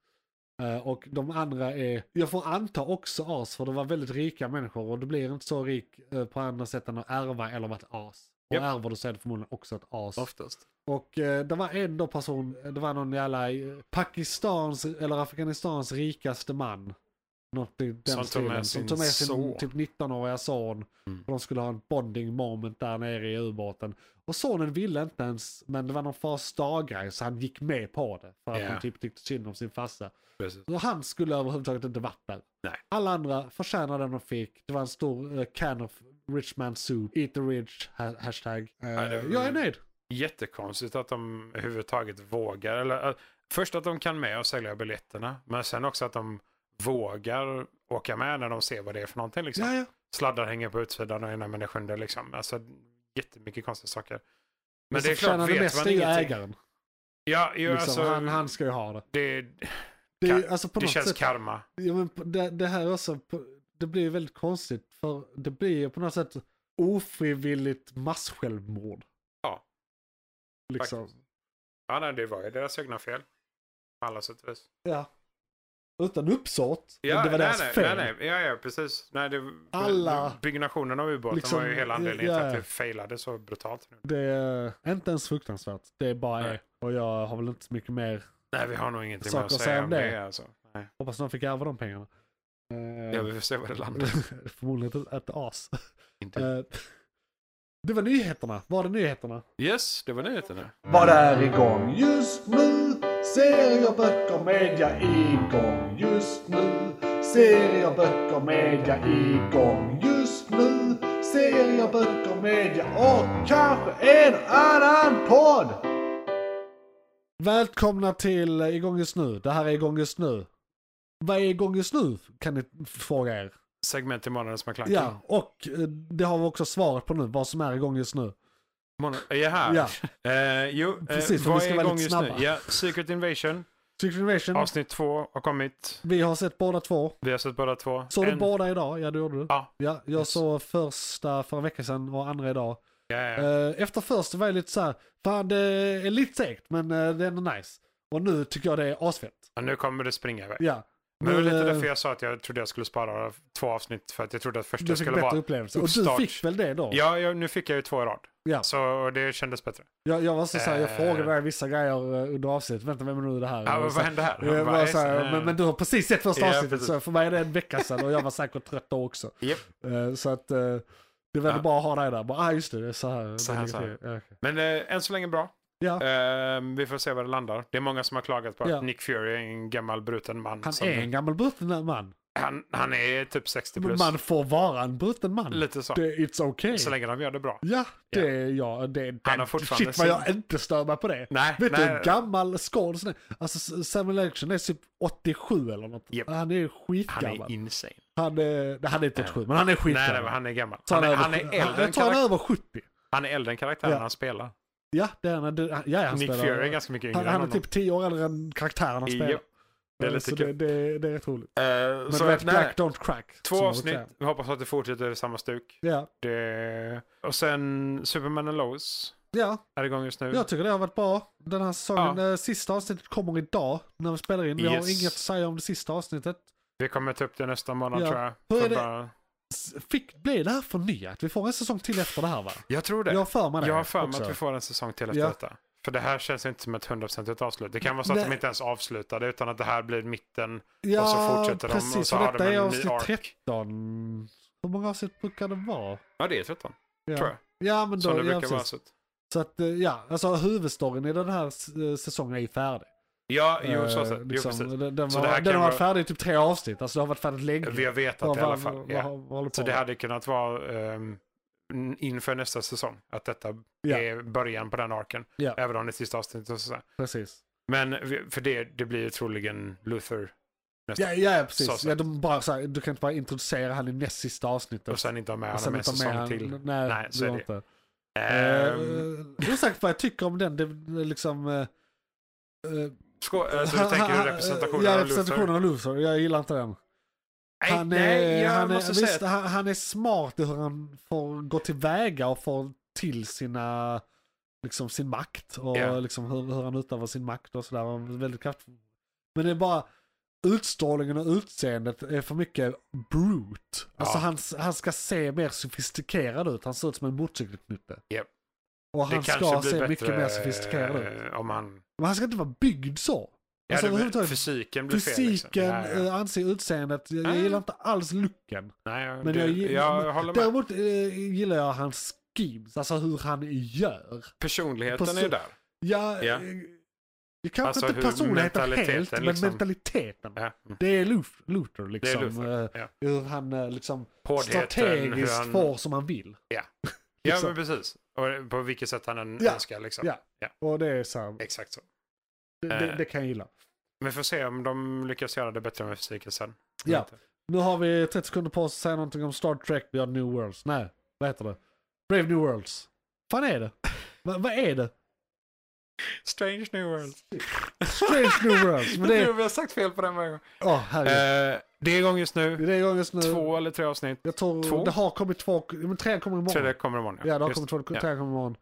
S2: Eh, Och de andra är, jag får anta också as, för det var väldigt rika människor och du blir inte så rik eh, på andra sätt än att ärva eller vara ett as. Och
S3: Japp.
S2: ärver du så är det förmodligen också ett as.
S3: Oftast.
S2: Och eh, det var en då person, det var någon jävla eh, Pakistans eller Afghanistans rikaste man. Något i den
S3: Som tog
S2: stilen.
S3: med
S2: som
S3: sin
S2: tog med sin
S3: son.
S2: typ 19-åriga son.
S3: Mm.
S2: Och de skulle ha en bonding moment där nere i ubåten. Och sonen ville inte ens, men det var någon fars daggrej så han gick med på det. För att
S3: Ja.
S2: han typ tyckte synd om sin farsa.
S3: Precis.
S2: Så han skulle överhuvudtaget inte varit där.
S3: Nej.
S2: Alla andra förtjänade den de fick. Det var en stor eh, can of rich man soup. Eat the rich, ha- hashtag. Eh,
S3: det var-
S2: jag är nöjd.
S3: Jättekonstigt att de överhuvudtaget vågar. Eller, eh, först att de kan med och sälja biljetterna. Men sen också att de vågar åka med när de ser vad det är för någonting. Liksom.
S2: Ja, ja.
S3: sladdar hänger på utsidan och ena med den sjunde liksom. Alltså jättemycket konstiga saker. Men
S2: Men
S3: det är klart,
S2: det
S3: vet
S2: mesta
S3: man
S2: är ju
S3: ingenting.
S2: ägaren.
S3: Ja, ju,
S2: Liksom.
S3: alltså,
S2: han, han ska ju ha det.
S3: det,
S2: Det, är ju,
S3: Ka-
S2: alltså på
S3: det
S2: något
S3: känns
S2: sätt,
S3: karma.
S2: ja, men på- det, det här också, på- det blir ju väldigt konstigt. För det blir ju på något sätt ofrivilligt massjälvmord.
S3: Ja.
S2: Liksom.
S3: Faktiskt. Ja, nej, det var ju deras egna fel. På alla sätt och vis.
S2: Ja. Utan uppsåt. men
S3: Ja,
S2: det var
S3: nej,
S2: deras
S3: nej,
S2: fel.
S3: Nej, nej, ja, ja, precis. Nej, det,
S2: Alla-
S3: Byggnationen av ubåten
S2: Liksom,
S3: var ju hela anledningen
S2: ja,
S3: till att
S2: ja.
S3: det failade så brutalt. Nu.
S2: Det är inte ens fruktansvärt. Det är bara
S3: Nej.
S2: Och jag har väl inte så mycket mer.
S3: Nej, vi har nog ingenting mer
S2: Saker
S3: att
S2: att
S3: säga om det.
S2: säga
S3: alltså. nej.
S2: Hoppas någon fick ärva de pengarna. Eh,
S3: Ja, vi får se var det landar.
S2: [LAUGHS] Förmodligen ett, ett as.
S3: Inte.
S2: [LAUGHS] Eh, Det var nyheterna. Var det nyheterna?
S3: Yes, det var nyheterna.
S2: Vad är igång just nu? Serier, böcker, media igång just nu. Serier, böcker, media igång just nu. Serier, böcker, media och kanske en annan podd! Välkomna till Igång just nu. Det här är Igång just nu. Vad är igång just nu? Kan ni fråga er.
S3: Segment i månadens McClunky.
S2: Ja, och eh, det har vi också svaret på nu. Vad som är igång just nu.
S3: Månad... Jaha.
S2: Ja.
S3: Eh, jo,
S2: Precis,
S3: eh,
S2: för
S3: vad
S2: vi ska
S3: är
S2: vara
S3: igång
S2: lite
S3: just nu?
S2: snabba.
S3: Ja, Secret Invasion,
S2: Secret Invasion.
S3: avsnitt två har kommit.
S2: Vi har sett båda två.
S3: Vi har sett båda två.
S2: Såg du
S3: En-
S2: båda idag? Ja, det gjorde du.
S3: Ja.
S2: Ja, jag
S3: Yes.
S2: såg första för en vecka sedan och andra idag.
S3: Ja, ja.
S2: Eh, Efter första var jag lite så här, fan det är lite segt men eh, det är ändå nice. Och nu tycker jag det är asfett.
S3: Ja, nu kommer det springa iväg.
S2: Ja.
S3: Men det var lite
S2: eh,
S3: därför jag sa att jag trodde jag skulle spara två avsnitt för att jag trodde att
S2: du
S3: första
S2: fick
S3: skulle
S2: bättre
S3: vara...
S2: upplevelse. Och du
S3: uppstart.
S2: fick väl det då?
S3: Ja, ja, nu fick jag ju två i rad.
S2: Ja.
S3: Så det kändes bättre.
S2: Jag, jag var så, här, jag
S3: Eh.
S2: frågade dig vissa grejer eh, under avsnittet. Vänta, vem är nu det här?
S3: Ja,
S2: Och
S3: vad
S2: så-
S3: hände här?
S2: jag
S3: Bara,
S2: var så
S3: eh,
S2: här, men, men du har precis sett första
S3: Ja,
S2: avsnittet
S3: precis.
S2: så för mig är det en vecka sedan och jag var säkert trött då också.
S3: Japp.
S2: Eh, Så att eh, det var
S3: Ja.
S2: bara att ha dig där. Bara, ah, just det, det är så här.
S3: Så här,
S2: det
S3: så
S2: ligger
S3: här.
S2: till. Ja, okej.
S3: Men eh, än så länge bra.
S2: Ja.
S3: Eh, vi får se var det landar. Det är många som har klagat på att
S2: Ja.
S3: Nick Fury är en gammal bruten man.
S2: Han
S3: som-
S2: är en gammal brutten man.
S3: han, han är typ 60 plus.
S2: Man får vara en brutten man.
S3: Lite så.
S2: Det, it's okay.
S3: Så länge de gör det bra.
S2: Ja, det är jag. Det, är-
S3: Han har fortfarande
S2: shit vad jag
S3: sin-
S2: inte stör mig på det.
S3: Nej,
S2: Vet du
S3: nej.
S2: hur gammal skådis han är? Alltså Samuel L. Jackson är typ 87 eller något.
S3: Japp.
S2: Han är
S3: Han är
S2: skitgammal.
S3: insane.
S2: Han är, nej, han är inte 87, men han är
S3: Nej, nej,
S2: skitgammal.
S3: men han är gammal.
S2: Så
S3: Han är,
S2: över-
S3: han är äldre än
S2: Jag tror han är
S3: karak-
S2: över 70.
S3: han är äldre än karaktären
S2: Ja.
S3: han spelar.
S2: Ja, det är han. Det- Ja, han
S3: Nick
S2: spelar-
S3: Fury är ganska mycket yngre
S2: Han, han är
S3: än honom.
S2: typ 10 år äldre än karaktären han spelar.
S3: Japp. Det är lite
S2: så det,
S3: kul.
S2: det, det är rätt roligt.
S3: Eh,
S2: Men
S3: så
S2: du vet,
S3: att, nej,
S2: Black Don't Crack. som
S3: två
S2: man
S3: avsnitt.
S2: brukar säga.
S3: Vi hoppas att det fortsätter i samma stuk.
S2: Ja.
S3: Det... Och sen Superman and Lois
S2: ja,
S3: är igång just nu.
S2: jag tycker det har varit bra. Den här säsongen, eh, sista avsnittet kommer idag när vi spelar in. Vi har
S3: Yes.
S2: inget att säga om det sista avsnittet.
S3: Vi kommer ta upp det nästa månad
S2: Ja.
S3: tror jag.
S2: Hur är
S3: För
S2: det?
S3: bara-
S2: S- Fick, blir det här förnyat? Vi får en säsong till efter det här va?
S3: Jag tror det.
S2: Jag har för mig det.
S3: Jag har för mig
S2: också.
S3: att vi får en säsong till efter
S2: Ja.
S3: detta. För det här känns inte som ett hundraprocentigt avslut. Det kan vara så att
S2: Nej.
S3: de inte ens avslutade utan att det här blir mitten.
S2: Ja,
S3: Och så fortsätter de,
S2: precis.
S3: och så
S2: för
S3: har
S2: detta
S3: de
S2: är
S3: en ny
S2: avsnitt
S3: arc.
S2: 13. Hur många avsnitt brukar det vara?
S3: Ja, det är 13.
S2: Ja.
S3: Tror jag.
S2: Ja, men då,
S3: Som det
S2: ja,
S3: brukar vara.
S2: precis.
S3: Så. att-
S2: Så att, eh, ja, alltså huvudstoryn i den här eh, säsongen är ju färdig.
S3: Ja, jo, så,
S2: Eh,
S3: så.
S2: liksom,
S3: jo, precis.
S2: Den, den,
S3: Så
S2: var,
S3: det här
S2: den
S3: kan
S2: har varit
S3: vara-
S2: färdig i typ tre avsnitt. Alltså det har varit färdigt länge.
S3: Vi har vetat
S2: Vad-
S3: i alla
S2: vad-
S3: fall.
S2: vad-
S3: ja.
S2: vad- vad håller på
S3: Så det
S2: med?
S3: hade kunnat vara ehm, n- inför nästa säsong. Att detta
S2: Ja.
S3: är början på den arken.
S2: Ja.
S3: Även om det är sista avsnittet. Och sådär.
S2: Precis.
S3: Men vi- för det, det blir troligen Luther
S2: Ja, ja, ja
S3: Så
S2: precis.
S3: sett.
S2: Ja, de bara, så här, du kan inte bara introducera han i näst sista avsnittet.
S3: och sen inte ha med
S2: Och sen
S3: honom en
S2: inte ta
S3: säsong
S2: han-
S3: till.
S2: Nej,
S3: Nej,
S2: det
S3: så är
S2: går
S3: det.
S2: inte.
S3: Ehm,
S2: Uh, osagt vad jag tycker om den. Det är liksom... eh, eh,
S3: Sko- alltså, du
S2: [LAUGHS] han-
S3: tänker
S2: han-
S3: representationen
S2: ja,
S3: av
S2: representationen
S3: Luther?
S2: av Luther. Jag gillar inte den.
S3: Nej,
S2: Han är,
S3: nej, jag
S2: han, är,
S3: måste
S2: visst,
S3: säga att
S2: han, han är smart i hur han får gå tillväga och får till sina, liksom, sin makt. Och
S3: Ja.
S2: liksom hur, hur han utövar sin makt och sådär. Han är Väldigt kraftfull. Men det är bara utstrålningen och utseendet är för mycket brute. Alltså
S3: Ja.
S2: han, han ska se mer sofistikerad ut. Han ser ut som en motorcykelknutte.
S3: Japp.
S2: Och
S3: det
S2: han
S3: kanske
S2: ska
S3: blir
S2: se
S3: bättre
S2: mycket mer sofistikerad ut.
S3: eh, om han...
S2: Men han ska inte vara byggd så.
S3: Ja,
S2: Alltså,
S3: det-
S2: överhuvudtaget-
S3: fysiken blir fel. liksom.
S2: Fysiken,
S3: Ja, ja.
S2: eh, anse utseendet. Jag, jag
S3: Nej.
S2: gillar inte alls looken.
S3: Nej,
S2: Men
S3: det,
S2: jag,
S3: jag,
S2: gi-
S3: håller med.
S2: Däremot eh, gillar jag hans schemes, alltså hur han gör.
S3: Personligheten
S2: perso-
S3: är ju där.
S2: Ja,
S3: Ja.
S2: eh, det kanske
S3: Alltså
S2: inte
S3: hur
S2: personligheten
S3: mentaliteten
S2: helt, men
S3: liksom-
S2: mentaliteten.
S3: Ja. mm.
S2: Det är Luther,
S3: Det
S2: Luther
S3: är
S2: liksom.
S3: Luther.
S2: eh,
S3: Ja.
S2: Hur han eh, liksom
S3: Hårdheten,
S2: strategiskt
S3: hur han...
S2: får som han vill.
S3: Ja,
S2: liksom.
S3: men precis. Och eh, på vilket sätt han än
S2: Ja.
S3: önskar. Liksom.
S2: Ja. Och det är så här,
S3: Exakt så.
S2: det,
S3: Eh.
S2: det, det kan jag gilla.
S3: Vi får se om de lyckas göra det bättre med fysiken sen.
S2: Ja. Nu har vi 30 sekunder på oss att säga någonting om Star Trek Beyond New Worlds. Nej, vad heter det? Brave New Worlds. Vad fan är det? Va- Vad är det?
S3: Strange New World.
S2: Strange New Worlds. Men det
S3: Jag
S2: är...
S3: tror [LAUGHS] vi har sagt fel på den varje gång.
S2: Åh, herregud.
S3: Eh, det är igång just
S2: Det
S3: nu.
S2: är det igång just nu.
S3: Två eller tre avsnitt.
S2: Eh, Jag tror
S3: Två?
S2: det har kommit två. Men trean kommer imorgon.
S3: Tredje kommer imorgon.
S2: ja, det har
S3: Just.
S2: kommit två.
S3: ja.
S2: Trean kommer imorgon.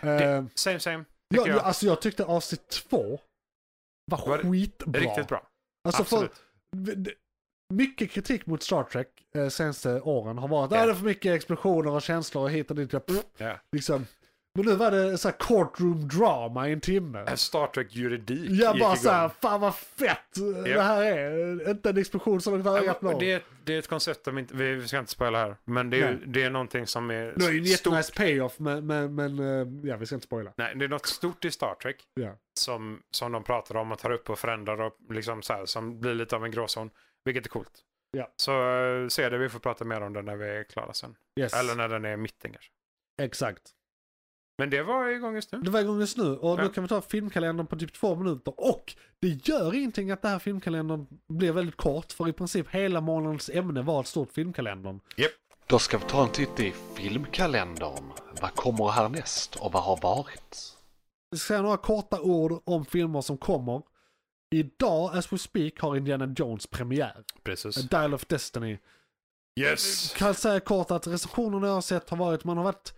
S2: Eh,
S3: Same same.
S2: jag,
S3: jag.
S2: jag, alltså jag tyckte avsnitt två var,
S3: Var
S2: skitbra.
S3: Riktigt bra.
S2: Alltså för,
S3: Absolut.
S2: det- mycket kritik mot Star Trek eh, senaste åren har varit
S3: Ja.
S2: yeah. det är för mycket explosioner och känslor och hit och dit. ja, pff,
S3: Ja.
S2: Liksom. Men nu var det så här courtroom drama i en timme.
S3: En Eh, Star Trek-juridik
S2: Jag
S3: gick
S2: bara
S3: igång.
S2: såhär, fan vad fett det här är. Inte en explosion som de har
S3: Ja,
S2: haft
S3: men
S2: någon.
S3: det, är ett, det är ett koncept som inte, vi vi ska inte spoila här, men det är, ju-
S2: Nej.
S3: det är någonting som är
S2: Det är ju en
S3: stort.
S2: jättenice payoff men, men, men eh, ja, vi ska inte spoila.
S3: Nej, det är något stort i Star Trek
S2: Ja.
S3: som, som de pratar om och tar upp och förändrar och liksom så här, som blir lite av en gråzon, vilket är coolt.
S2: Ja.
S3: Så eh, se det, vi får prata mer om det när vi är klara sen.
S2: Yes,
S3: Eller när den är i mitten kanske.
S2: exakt.
S3: Men det var igång just nu.
S2: Det var igång just nu och nu
S3: Ja.
S2: kan vi ta filmkalendern på typ två minuter och det gör ingenting att det här filmkalendern blir väldigt kort för i princip hela månadens ämne var ett stort filmkalendern.
S4: Då ska vi ta en titt i filmkalendern. Vad kommer härnäst och vad har varit?
S2: Jag ska säga några korta ord om filmer som kommer. Idag, as we speak, har Indiana Jones premiär. A
S3: Precis.
S2: Dial of Destiny.
S3: Yes!
S2: Kan säga kort att recensionerna jag har sett har varit, man har varit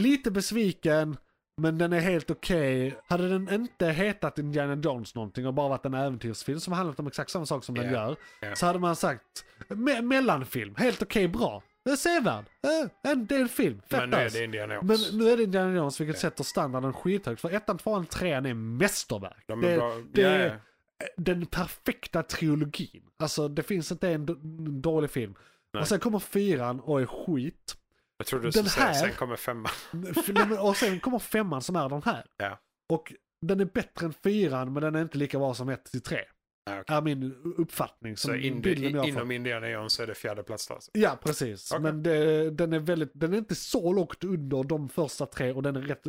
S2: lite besviken, men den är helt okej. Hade den inte hetat Indiana Jones någonting och bara varit en äventyrsfilm som handlat om exakt samma sak som den
S3: Ja,
S2: gör,
S3: ja.
S2: så hade man sagt me- mellanfilm, helt okej, bra. Det är sevärd, Eh, en, det är en film, fett
S3: Men nu är
S2: nice.
S3: det Indiana
S2: Men
S3: Jones.
S2: nu är det Indiana Jones vilket sätter standarden skithögt. För ettan, tvåan, trean är mästerverk.
S3: De är
S2: det,
S3: bra.
S2: det
S3: Ja,
S2: är
S3: ja.
S2: den perfekta trilogin. Alltså det finns inte en d- dålig film.
S3: Nej.
S2: Och sen kommer fyran och är skit.
S3: Jag trodde du
S2: den
S3: skulle säga
S2: här-
S3: sen kommer femman.
S2: F- nej, men- och sen kommer femman som är den här.
S3: Ja.
S2: Och den är bättre än fyran men den är inte lika bra som ett till tre.
S3: Ja, Ah, okej.
S2: Är min uppfattning. Som
S3: Så in,
S2: bilden jag
S3: i,
S2: har fått.
S3: inom Indiana Jones är det fjärde plats då, alltså.
S2: Ja, precis.
S3: Okej.
S2: Men det, den, är väldigt, den är inte så lågt under de första tre och den är rätt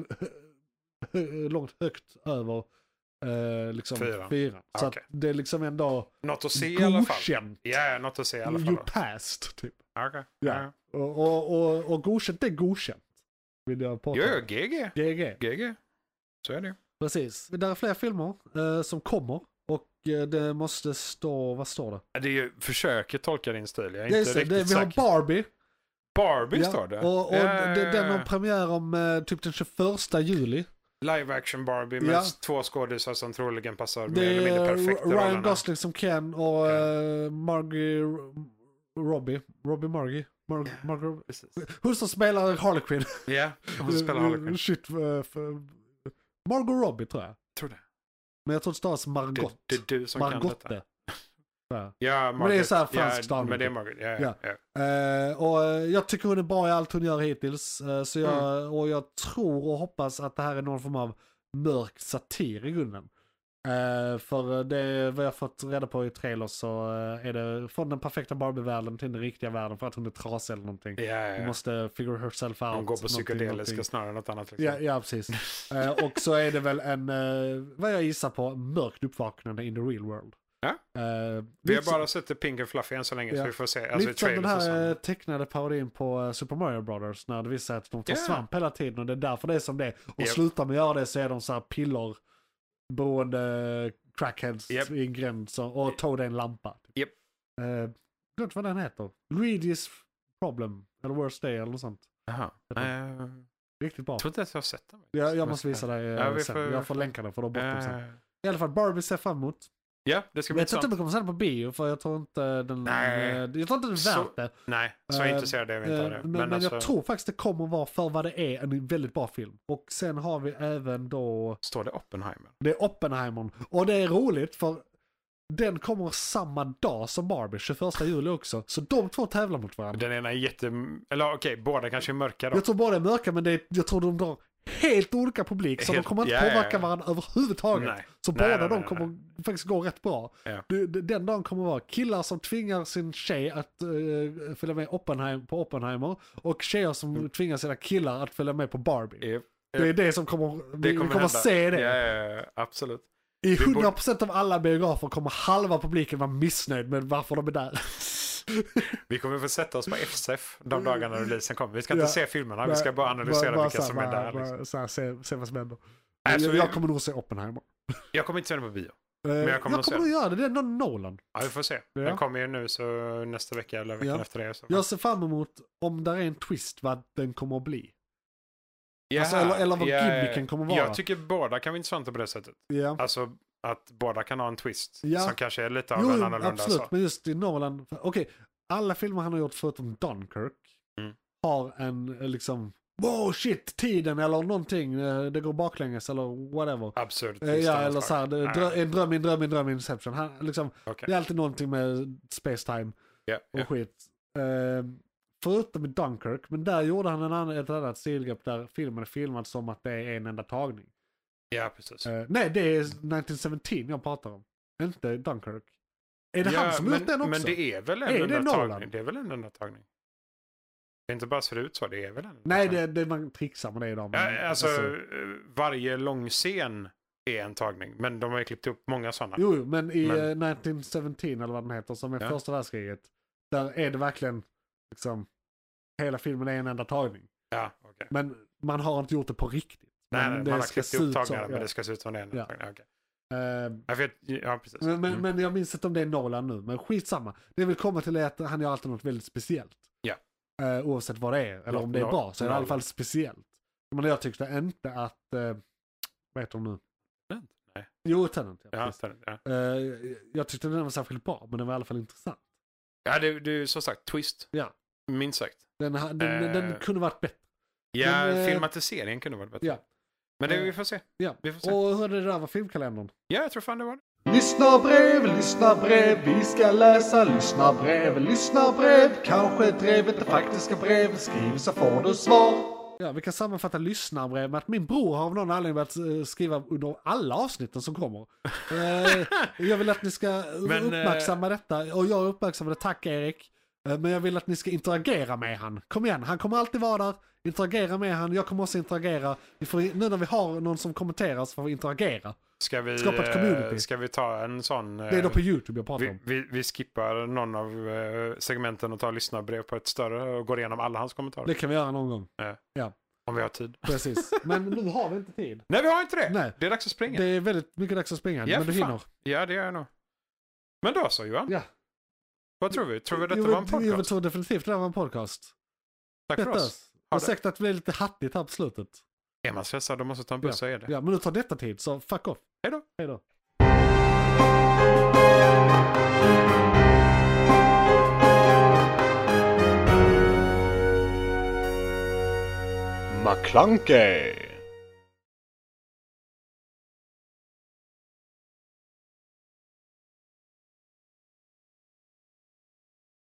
S2: långt högt över eh, liksom fyran.
S3: Fyran.
S2: Så
S3: Okej.
S2: att det är liksom ändå
S3: Något att se i alla fall.
S2: godkänt.
S3: Ja, ja, något att se i alla fall.
S2: You
S3: då.
S2: passed, typ.
S3: Ja, Okej.
S2: Ja.
S3: Ja.
S2: Och, och, och, och godkänt är godkänt. Vill jag
S3: Jo,
S2: påpeka.
S3: jo, GG.
S2: GG.
S3: GG. Så är det.
S2: Precis. Där är fler filmer eh, som kommer. Och eh, det måste stå, vad står det?
S3: Det är ju, försöker tolka din stil. Jag är
S2: Ja,
S3: inte
S2: just det,
S3: riktigt
S2: det, vi har
S3: säker.
S2: Barbie.
S3: Barbie
S2: ja,
S3: står det.
S2: Och, och
S3: Ja, ja,
S2: det- den
S3: ja.
S2: har premiär om eh, typ den 21 juli.
S3: Live action Barbie med
S2: Ja.
S3: två skådisar som troligen passar mer eller
S2: Det
S3: mindre
S2: är eh,
S3: perfekt i
S2: Ryan
S3: rollerna.
S2: Gosling som Ken och
S3: Ja.
S2: eh, Margie Robbie. Robbie Margie. Mar- Margot-
S3: Precis.
S2: Hon som spelar Harley Quinn.
S3: Ja, hon spelar Harley Quinn.
S2: Shit. eh, för- Margot Robbie tror jag.
S3: Tror det.
S2: Men jag tror det stavas
S3: Det,
S2: Margot.
S3: det är du som kan detta.
S2: Margotte. Sådär.
S3: Ja, Margaret.
S2: så här franskt
S3: ja,
S2: namn,
S3: Men det är
S2: typ.
S3: Margaret. Ja, ja.
S2: Ja.
S3: ja.
S2: Eh, och eh, jag tycker hon är bra i allt hon gör hittills. Eh, så jag,
S3: Mm.
S2: Och jag tror och hoppas att det här är någon form av mörk satir i grunden. Eh, för det vad jag fått reda på i trailers så eh, är det från den perfekta Barbie-världen till den riktiga världen för att hon är trasig eller någonting.
S3: ja, ja,
S2: Hon
S3: ja.
S2: måste figure herself out.
S3: De går på
S2: någonting,
S3: psykedeliska
S2: någonting.
S3: snarare än något annat. Liksom.
S2: Ja, ja precis. Eh, och så är det väl en, eh, vad jag gissar på, mörkt uppvaknande in the real world.
S3: Ja.
S2: Eh,
S3: Vi har
S2: lite så-
S3: bara sett The Pink and Fluffy än så länge,
S2: Ja.
S3: så vi får se. Alltså,
S2: Lite som
S3: trailers
S2: den
S3: och
S2: här eh,
S3: sånt.
S2: tecknade parodin på eh, Super Mario Brothers när det visar sig att de tar
S3: Ja.
S2: svamp hela tiden och det är därför det är som det är. Och
S3: Japp.
S2: slutar med att göra det så är de så här piller beroende eh, crackheads
S3: Japp.
S2: i en gränd som- och Toad är en lampa. Typ.
S3: Japp.
S2: Eh, Glömt vad den heter. Luigi's problem eller worst day eller något sånt.
S3: Jaha. Nej, Jag
S2: Riktigt bra.
S3: tror inte ens jag har sett den.
S2: Jag, jag måste visa dig eh,
S3: Ja, vi
S2: sen.
S3: får-
S2: jag får länka den för då bort den sen.
S3: Eh,
S2: I alla fall Barbie ser jag fram emot.
S3: Ja, det ska
S2: Men
S3: bli
S2: jag tror inte
S3: intressant.
S2: vi kommer se den på bio för jag tror inte den,
S3: Nej.
S2: eh, jag tror inte den är värt
S3: Så-
S2: det.
S3: Nej, så
S2: Eh,
S3: intresserad är vi inte
S2: Eh,
S3: av det.
S2: Men, men,
S3: alltså,
S2: jag tror faktiskt det kommer vara för vad det är en väldigt bra film. Och sen har vi även då,
S3: Står det Oppenheimer?
S2: det är Oppenheimern. Och det är roligt för den kommer samma dag som Barbie, 21 juli också. Så de två tävlar mot varandra.
S3: Den ena är jätte... Eller okej, båda kanske är mörka då.
S2: Jag tror båda är mörka men det är, jag tror de drar helt olika publik. Så
S3: Helt-
S2: de kommer inte
S3: ja, ja,
S2: påverka
S3: ja.
S2: varandra överhuvudtaget.
S3: Nej.
S2: Så
S3: Nej,
S2: båda
S3: nej,
S2: de
S3: nej,
S2: kommer faktiskt gå rätt bra.
S3: Ja.
S2: Du- d- Den dagen kommer vara killar som tvingar sin tjej att eh, följa med Oppenheim, på Oppenheimer och tjejer som
S3: Mm.
S2: tvingar sina killar att följa med på Barbie.
S3: Eh,
S2: Det är det som kommer, vi kommer,
S3: hända.
S2: se det.
S3: Ja, ja, ja, absolut.
S2: I
S3: Vi borde-
S2: 100% av alla biografer kommer halva publiken vara missnöjd med varför de är där.
S3: Vi kommer få sätta oss på FSF de dagarna releasen kommer. Vi ska inte
S2: Mm.
S3: se
S2: Ja.
S3: filmerna, vi ska bara analysera vilka som är där. Liksom.
S2: Så här, se, se vad som händer.
S3: Nej, så
S2: jag,
S3: vi-
S2: jag kommer nog se Oppenheimer.
S3: Jag kommer inte se den på bio.
S2: Eh,
S3: jag kommer
S2: jag kommer,
S3: nog se
S2: nog göra det, det är någon Nolan.
S3: Ja, vi får se.
S2: Ja.
S3: Den kommer ju nu så nästa vecka eller veckan
S2: Ja.
S3: efter det. Så.
S2: Jag ser fram emot om där är en twist vad den kommer att bli.
S3: Jaha.
S2: alltså, eller- eller vad
S3: Ja,
S2: gimmicken kommer vara.
S3: Jag tycker båda kan vara intressanta på det sättet.
S2: Ja.
S3: Alltså att båda kan ha en twist
S2: Ja.
S3: som kanske är lite av
S2: Jo,
S3: en
S2: jo,
S3: annorlunda.
S2: absolut,
S3: Så.
S2: men just i Nolan, för- okej, alla filmer han har gjort förutom Dunkirk
S3: Mm.
S2: har en eh, liksom, wow shit, tiden eller någonting, eh, det går baklänges eller whatever.
S3: Absurd twist
S2: Eh,
S3: av
S2: Ja,
S3: något
S2: eller
S3: slag.
S2: så här, det-
S3: Nej.
S2: drö- en dröm, en dröm, en dröm, Inception. Han, liksom,
S3: Okej.
S2: det är alltid någonting med space-time
S3: Ja,
S2: och
S3: ja.
S2: skit. Eh, förutom i Dunkirk, men där gjorde han en annan, ett annat stilgrepp där filmen är filmad som att det är en enda tagning.
S3: Ja, precis.
S2: Eh, nej, det är 1917 jag pratar om. Inte Dunkirk. Är det
S3: ja,
S2: han som har
S3: men,
S2: gjort den också?
S3: Men det är väl en
S2: Är det
S3: enda
S2: Nolan?
S3: tagning? Det är väl en enda tagning? Det är inte bara ser ut så, det är väl en enda
S2: Nej,
S3: tagning?
S2: det, Mm, det, man trixar med det idag. men-
S3: Ja, alltså, eh, varje långscen är en tagning, men de har ju klippt upp många sådana.
S2: jo, jo, men i
S3: men-
S2: eh, 1917 eller vad den heter, som är
S3: Ja.
S2: första världskriget, där är det verkligen liksom, hela filmen är en enda tagning.
S3: Ja, okej.
S2: Men man har inte gjort det på riktigt.
S3: Nej,
S2: Men
S3: nej,
S2: det
S3: man har
S2: ska
S3: klippt
S2: se
S3: upp
S2: ut som-
S3: tagningarna, men
S2: ja.
S3: det ska se ut som det är en
S2: Ja.
S3: tagning. Okej.
S2: Eh,
S3: Ja, för jag- Ja, precis.
S2: men, men,
S3: Mm.
S2: men jag minns inte om det är Nolan nu, men skitsamma. Det vill komma till är att han gör alltid något väldigt speciellt.
S3: Ja.
S2: Eh, oavsett vad det är,
S3: Ja,
S2: eller om det är
S3: no-
S2: bra, så är det i alla
S3: Nolan.
S2: fall speciellt. Men jag tyckte inte att, eh, vad heter hon nu?
S3: Tenant? Nej.
S2: Jo, Tenant. Ja,
S3: Ja,
S2: precis.
S3: stämmer, ja.
S2: Eh, jag tyckte den var särskilt bra, men den var i alla fall intressant.
S3: ja det, det är ju som sagt twist.
S2: Ja.
S3: Minst sagt.
S2: Den, ha- den,
S3: Eh.
S2: den kunde varit bättre.
S3: Ja,
S2: Men, eh,
S3: filmatiseringen kunde varit bättre.
S2: ja.
S3: Men det,
S2: Eh,
S3: vi får se.
S2: Ja.
S3: Vi får se.
S2: Och hur är det där med filmkalendern?
S3: Ja, jag tror fan det var det.
S5: Lyssna brev, lyssna brev, vi ska läsa lyssna brev, lyssna brev. Kanske drevet det faktiska brev, skriv så får du svar.
S2: Ja, vi kan sammanfatta lyssnarbrev med att min bror har av någon anledning börjat eh, skriva under alla avsnitten som kommer. Eh, jag vill att
S5: [LAUGHS]
S2: ni ska
S3: Men,
S5: eh,
S2: uppmärksamma detta, och jag uppmärksammade, tack Erik. Eh, Men jag vill att ni ska interagera med han. Kom igen, han kommer alltid vara där. Interagera med han, jag kommer också interagera. Vi får, nu när vi har någon som kommenterar så får vi interagera.
S3: Ska vi,
S2: Skapa ett community.
S3: eh, ska vi ta en sån... eh,
S2: Det är då på YouTube jag pratar
S3: vi,
S2: om.
S3: vi, vi skippar någon av eh, segmenten och tar lyssnarbrev på ett större och går igenom alla hans kommentarer.
S2: Det kan vi göra någon gång,
S3: Om vi har tid. [LAUGHS]
S2: precis. Men nu har vi inte tid.
S3: Nej, vi har inte det!
S2: Nej.
S3: Det är dags att springa.
S2: Det är väldigt mycket dags att springa,
S3: Ja,
S2: men du
S3: för fan.
S2: hinner.
S3: Ja, det gör jag nog. Men då så Johan.
S2: Ja.
S3: Vad tror vi? Tror vi detta
S2: Jo,
S3: var en
S2: jo, Jag
S3: podcast?
S2: tror definitivt det här var en podcast.
S3: Tack för
S2: Detta.
S3: oss. Ha det.
S2: Ursäkta att det blev lite hattigt här på slutet.
S3: Är man stressad då måste ta en buss, så är det.
S2: Ja, men nu tar detta tid, så fuck off.
S3: Hej då!
S2: Hej då.
S4: McClunkey!